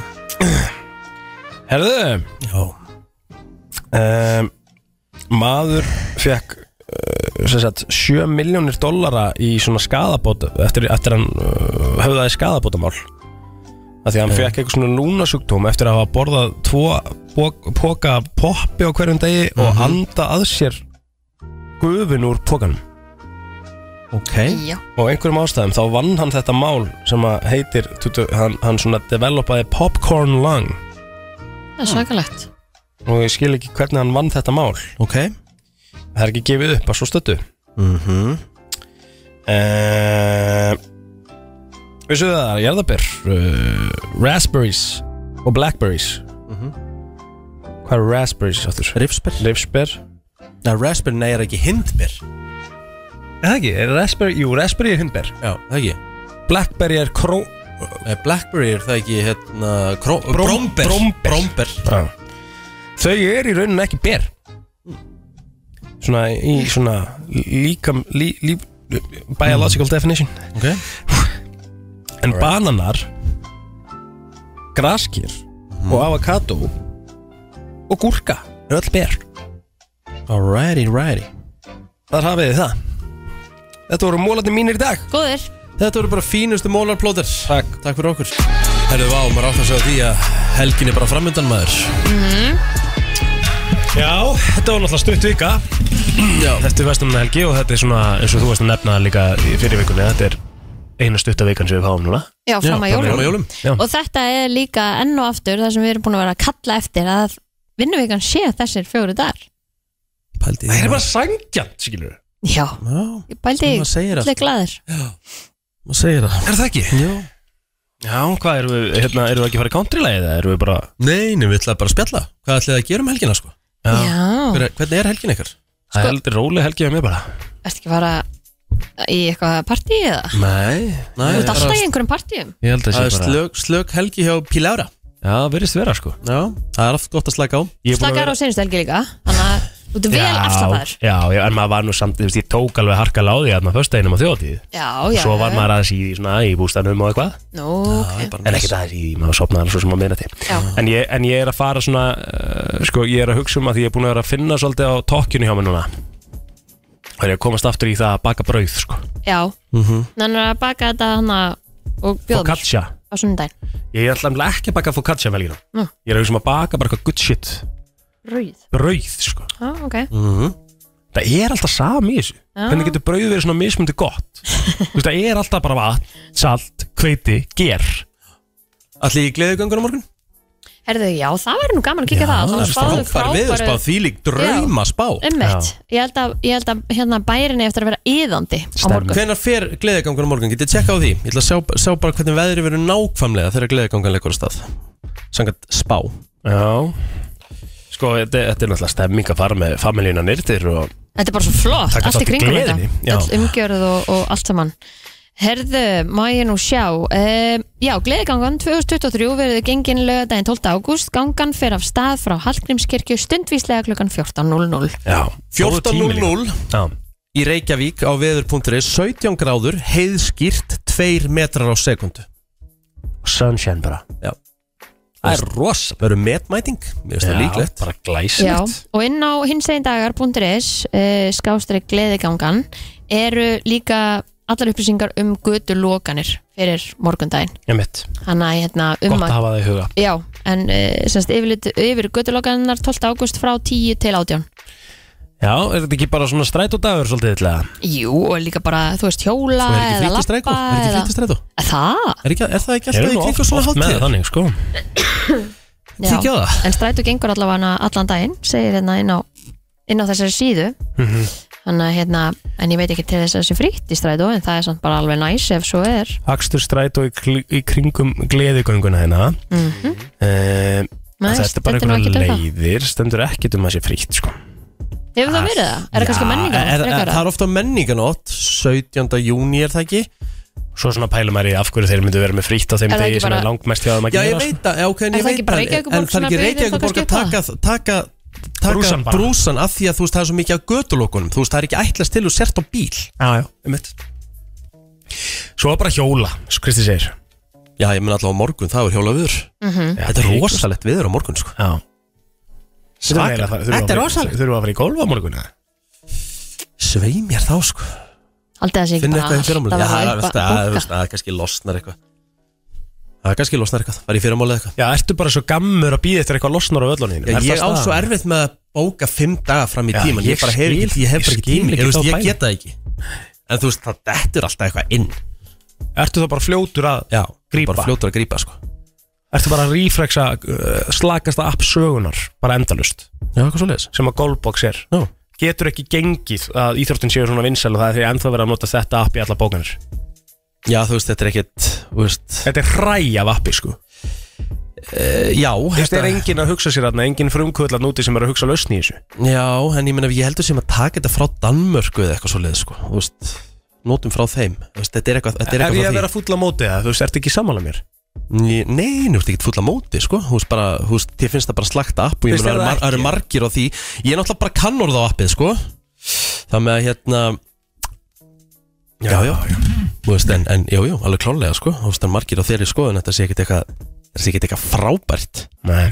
Herðu
Já,
um, Maður fekk uh, sem sagt, 7 miljónir dollara í svona skadabóta eftir, eftir hann uh, höfðaði skadabótamál af því að hann fekk eitthvað svona lúnasjúkdóm eftir að hafa borðað tvo póka af poppi á hverjum degi og anda að sér gufin úr pókanum
ok
Já,
og einhverjum ástæðum þá vann hann þetta mál sem að heitir, tutu, hann, hann svona developaði popcorn lung
það er svakalegt
og ég skil ekki hvernig hann vann þetta mál
Ok
það er ekki gefið upp að svo stöttu
Mhm.
uh, Vissu það að jarðabir uh, Raspberries og blackberries Hvað eru raspberries áttur?
Mhm. Rifsber
Rifsber
Nei, raspberry, nei, er ekki hindber
Er það ekki? Er raspberry? Jú, raspberry er hundber
Já, það ekki
Blackberry er kró
Nei, Blackberry er það ekki, hérna kró- Bromber
bromber.
Bromber
Já. Þau eru í rauninni ekki ber Svona í svona líkam lí, lí, Biological definition
Ok
En bananar Graskir Og avokado Og gúrka eru Öll ber
Alrighty, righty
Þar hafið þið það Þetta voru mólandi mínir í dag
Góður,
Þetta voru bara fínustu mólarplóter
Takk.
Takk fyrir okkur Herðu, vá, maður átt að segja því að helgin er bara framöndan maður
Mhm. Já, þetta var náttúrulega stutt vika
Já
Þetta er vestumna helgi og þetta er svona eins og þú varst að nefna líka í fyrir vikunni Þetta er eina stutta vikan sem við fáum núna
já, fram að jólum
Fram að jólum
Já.
Og þetta er líka enn og aftur það sem við erum búin að vera að kalla eftir að vinnuvikan sé þessir fjóri dagar
Pældi
Það er bara sangjant, skilur við
Já,
Já,
ég bældi
maður segir
allir
allt
glæðir
Maður segir það
Er það ekki?
Já
Já, hvað erum við, hérna, erum við ekki að fara í countrylægi eða erum við bara
Nei, nei, við ætlaðum bara að spjalla Hvað ætlaði að gera um helgina, sko?
Já,
Hver, er- Hvernig er helgin ykkar?
Sko-
Það er heldur róleg helgi að mér bara
ertu ekki að fara í eitthvað partí eða?
Nei,
Nei,
Þú ert
bara-
alltaf í einhverjum partíum
ég held að
Það
sé
er
bara
slök, slök helgi hjá Pílára
Já, það virðist vera sko
Já, það er oft gott að slaka á
Ég er búin að
Slakar á
vera-
seinustu helgi líka Þannig að þú ert vel afslappaður
já, já, en maður var nú samt, þú veist, ég tók alveg harkal á því að maður föstudeginum á þjóðtíð
Já, já
og svo var maður aðeins í, svona, í bústanum og eitthvað
Nú, ok
en ekkert aðeins í, maður sopnaði alveg svo sem að meina til
Já.
en ég, en ég er að fara svona uh, sko, ég er að hugsa um að því ég er búin að vera að finna svolítið á tokkinu hjá mér núna og ég að komast aftur í það að baka brauð sko.
Já,
Mhm.
þannig að baka þetta hana og bjóða mér
focaccia,
á sunnudaginn
ég er alltaf ekki að baka focaccia um helgina,
Nú.
ég er að hugsa um að baka bara eitthvað good shit,
Rauð
brauð sko.
Já, ok
það er alltaf sami í þessu
Já.
hvernig getur brauð verið svona mismundi gott Þú veist, það er alltaf bara vatn, salt, hveiti, ger
Allir í gleðugöngunum morgun?
Herðu, já, það væri nú gaman að kíka það Það var spáðu
Frábær veðurspá,
frábæru
þvílík drauma spá
Ummitt, ég held að, ég held að hérna, bærin er eftir að vera yðandi á
Stemmer.
morgun
Hvenær fer gleðigangan á morgun? Getið tjekka á því? Ég ætla að sjá, sjá bara hvernig veðri verður nákvæmlega þegar gleðigangan leikur á stað Sangat spá
Já Sko, þetta, þetta er náttúrulega stemming að fara með familína nýrtir og
Þetta er bara svo flott,
Taka
allt í
þátt í
kringum
gleðinni, já.
þetta All umgjörð og, og allt saman Herðu, má ég nú sjá um, Já, gleðigangan 2023 verður gengin lögadaginn 12. ágúst Gangan fer af stað frá Hallgrímskirkju stundvíslega klukkan 14.00
Já,
14.00
Já,
í Reykjavík á veður.is 17 gráður, heiðskýrt 2 metrar á sekundu
sunshine bara
Já Það er rosa Verður metmæting, mér finnst það líklegt
bara glæsilegt
Já, og inn á hinsegindagar.is uh, skástrík gleðigangan eru líka allar upplýsingar um götu lokanir fyrir morgundaginn.
Ég mitt,
Þannig að hérna um
gott að hafa það í huga
Já, en uh, semst yfirlit yfir götu lokaninnar 12. ágúst frá 10 til 18.
Já, er þetta ekki bara svona strætódagur svolítið illa?
Jú, og líka bara, þú veist, hjóla
Það er ekki flýtistrætó,
eða lappa
er ekki
eða...
flýtistrætó
Það?
Er, ekki, er það ekki alltaf
Eru
í
nú oft-
kringu svona
oft með
hátíð?
Þannig, sko
Já.
Kíkja á það.
En strætó gengur allavega allan daginn, segir hérna inn á, inn á þessari síðu.
Mhm.
Þannig að hérna, en ég veit ekki til þess að þessi frítt í strætó, en það er samt bara alveg næs ef svo er.
Akstur strætó í, kl- í kringum gleðigönguna hérna mm
Mhm. Nei,
Þetta er bara
stendur nú
einhverja
ekkert um það.
leiðir Stendur ekkert um að sé frítt, sko
Hefur það verið það? Er það kannski menningar?
Ah, er, er, Það er ofta menninganót 17. júni er það ekki
Svo svona pælum maður í af hverju þeir myndu vera með frítt á þeim
Er það
degi
ekki
sem er
bara-
langmest hjá þeim að
Já, ég
gera sko.
veit það, já, ok, en
Er
ég
það
veit
ekki bara
það, en-
Reykjavíkurborg
En það er
svona
ekki
byggðin
Reykjavíkuborg að
þangað
taka, taka, taka
Brúsan bara.
brúsan af því að þú veist það er svo mikið af götulokunum Þú veist það er ekki ætlast til og sért á bíl
Já, já, um Svo er bara hjóla, svo Kristi segir
Já, ég menn allavega á morgun, það er hjóla viður
Mm. Mhm.
Þetta er rosalegt viður á morgun, sko
Já
Svaka. Þetta er rosalegt.
Þurfum við að fara í golf á morgunni
Svei mér þá, sko
Haldið það sé ekki
Finn
bara
eitthvað í fyrramálið Já, það er-
alltaf
það
að
er-
bóka.
það er kannski losnar eitthvað Það er kannski losnar eitthvað, var í fyrramálið eitthvað
Já, ertu bara svo gammur að býða eftir eitthvað losnar á völlunum þínu
Já, ég á svo erfitt með að bóka fimm daga fram í
Já,
tíman
ég
Ég bara hef
skil-
ekki, ég hef
ég
bara ekki
skil
tími
ekki
Ég, veist,
þá
ég
bæði.
geta það ekki En þú veist, það dettur alltaf eitthvað inn
Ertu þá bara fljótur að
Já,
Grípa.
bara fljótur að grípa, sko
Ertu bara að reflexa uh, slakasta app sögunar bara endalust
Já, eitthvað svo leiðis
sem að golfbox er
Já.
Getur ekki gengið að íþróttin séu svona vinsæl og það er því að ennþá verið að nota þetta app í alla bókanir
Já, þú veist, þetta er ekkert, þú veist
Þetta er hræ af appi sko
Já,
Eh, Þetta er engin að hugsa sér þarna, engin frumkvöldan úti sem er að hugsa lausn í þessu
Já, en ég meina, ég heldur sem að taka þetta frá Danmörku eða eitthvað svo sko Þú veist, notum frá þeim Þú veist, Þetta er eitthvað, þetta er
Er ég að
eitthvað
vera fúll á móti það, þú veist, ertu ekki sammála mér
Ný- Nei, nú ertu ekkert fulla móti, sko Þú veist bara, þú veist, þér finnst það bara slakta app og ég
Finnst
meina, það eru
þér það
mar- það eru
ekki?
margir á því Ég er náttúrulega bara kannorð á appið, sko Það með að, hérna, já, já, þú veist, en, en, já, já, alveg klálega, sko Þú veist, það eru margir á þeirri skoðun, þetta sé ekkert eitthvað þetta sé ekkert eitthvað frábært
Nei.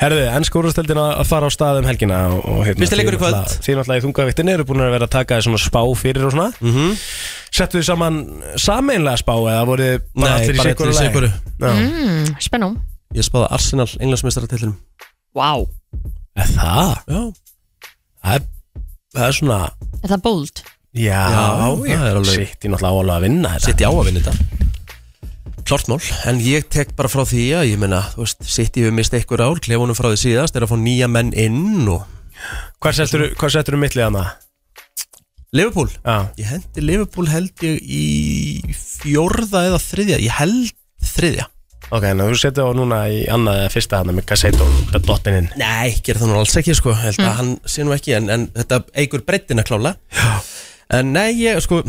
Herðu, ennska úrvasteldin að að fara á stað um helgina og, og hérna,
Fyrsti leikur í kvöld.
Því náttúrulega í þungavittin eru búin að vera að taka þér svona spá fyrir og svona mm
Mhm.
-hmm. Settu þið saman sameinlega spá eða voru þið bara
Nei,
allir í
bara
sikkur
allir í sikuru.
mm.
Mm, Spennum.
Ég spáði Arsenal, englansmeistaratitlinum
Vá.
Það,
Já,
það er, það er svona
Er það bold?
Já,
já, það er alveg-
Sitt í náttúrulega álega að vinna þetta
sitt í á að vinna þetta Klart mál, en ég tek bara frá því að ég meina, þú veist, sitt í við mist einhver ár, klefunum frá því síðast, er að fá nýja menn inn og
Hvað settur þú mittlið hana?
Liverpool
Já,
Ég hendi Liverpool held ég í fjórða eða þriðja Ég held þriðja
ok, en þú settur á núna í annað eða fyrsta hana með Gassetto og Dottininn
Nei, gerir það nú alls ekki sko Held að hann sé nú ekki En, en þetta eigur breyttina klála Já. En nei, ég sko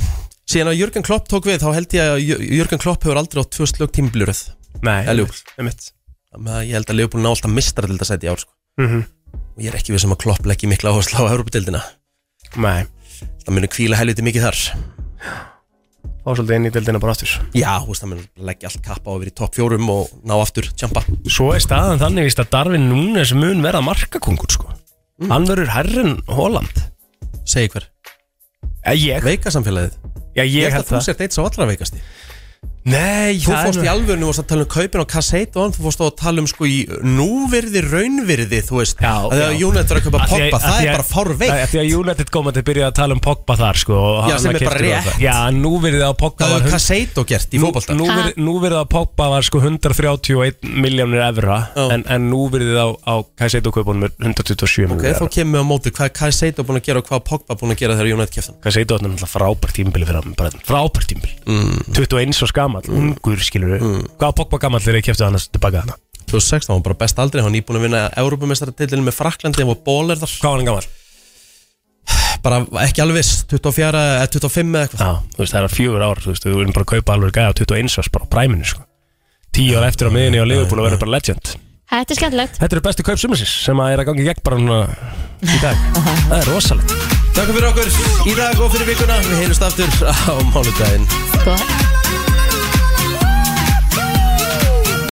Síðan að Jörgen Klopp tók við Þá held ég að Jör- Jörgen Klopp hefur aldrei á tvö slög tímblurð
Nei,
Eljú.
einmitt.
Þannig að ég held að Liverpool ná alltaf mistara til þetta sæti í ár sko
Mhm.
Og ég er ekki við sem að Klopp leggji mikla áherslu á Európa-dildina
Nei,
Það munu kvíla helviti mikið þar
fá svolítið inn í deildina bara aftur
Já, þú veist, það munu leggja allt kappa á að vera í topp fjórum og ná aftur tjampa
Svo er staðan þannig víst að Darvin Núnes mun verða markakongur sko Hann verður herrin Holland
Segir hver
Já, ég,
Veikasamfélagið
já, Eh,
Ég
ég,
held
held
að þú
það
sért eitt sá allra veikasti
Nei,
Þú
það er
fórst
nú-
í alvörinu og varst að tala um kaupin á kasseit og hann, þú fórst á að tala um sko í núvirði, raunvirði, þú veist
Já,
að þegar
já.
Júnættur er að kaupa
Af því að-
poppa,
af
það
því
er
að-
bara fárveikt
af Því að United kom að þið byrjaði að tala um Pogba þar sko og
Já,
hann
sem er
keypti
bara
Pogba.
rétt.
Já, nú verið það að Pogba
Það
var
hefur
hund-
kasseit og gert í
Nú,
fótbolta
nú,
Ha?
verið, nú verið að Pogba var sko 131 miljónir evra
Já.
en, en nú verið það á, á Kaiseito kaupunum er 127
Ok,
miljónir
þá
evra
kemur við á móti hvað Kaseito búin að gera og hvað Pogba búin að gera þegar Júnætt keftan
Kaiseito er náttúrulega frábært tímbili fyrir hann bara frábært tímbili mm. 21 og skamall, ungur skilur við mm. Hvað var Pogba gamall þegar ég kæfti hann tilbaka hana?
2016 var bara best aldrei, hann er búin að vinna Európumestaratitlinu með Fraklandi, hann var bóler þar
Hvað var hann gamall?
bara ekki alveg viss, 24 eða 25 eða eitthvað
Já, þú veist það er fjögur ár, þú veist við erum bara að kaupa alveg gæða á 21 árs bara á præminu sko 10 ára eftir á miðinni á Liverpool og verður bara legend
Þetta er skemmtilegt
Þetta eru bestu kaup sumisins sem að er að gangi gegn bara núna í
[laughs]
dag Það er rosalegt
Takk fyrir okkur í dag og fyrir vikuna, við heyrjumst aftur á mánudaginn
Sko, Góða helgi.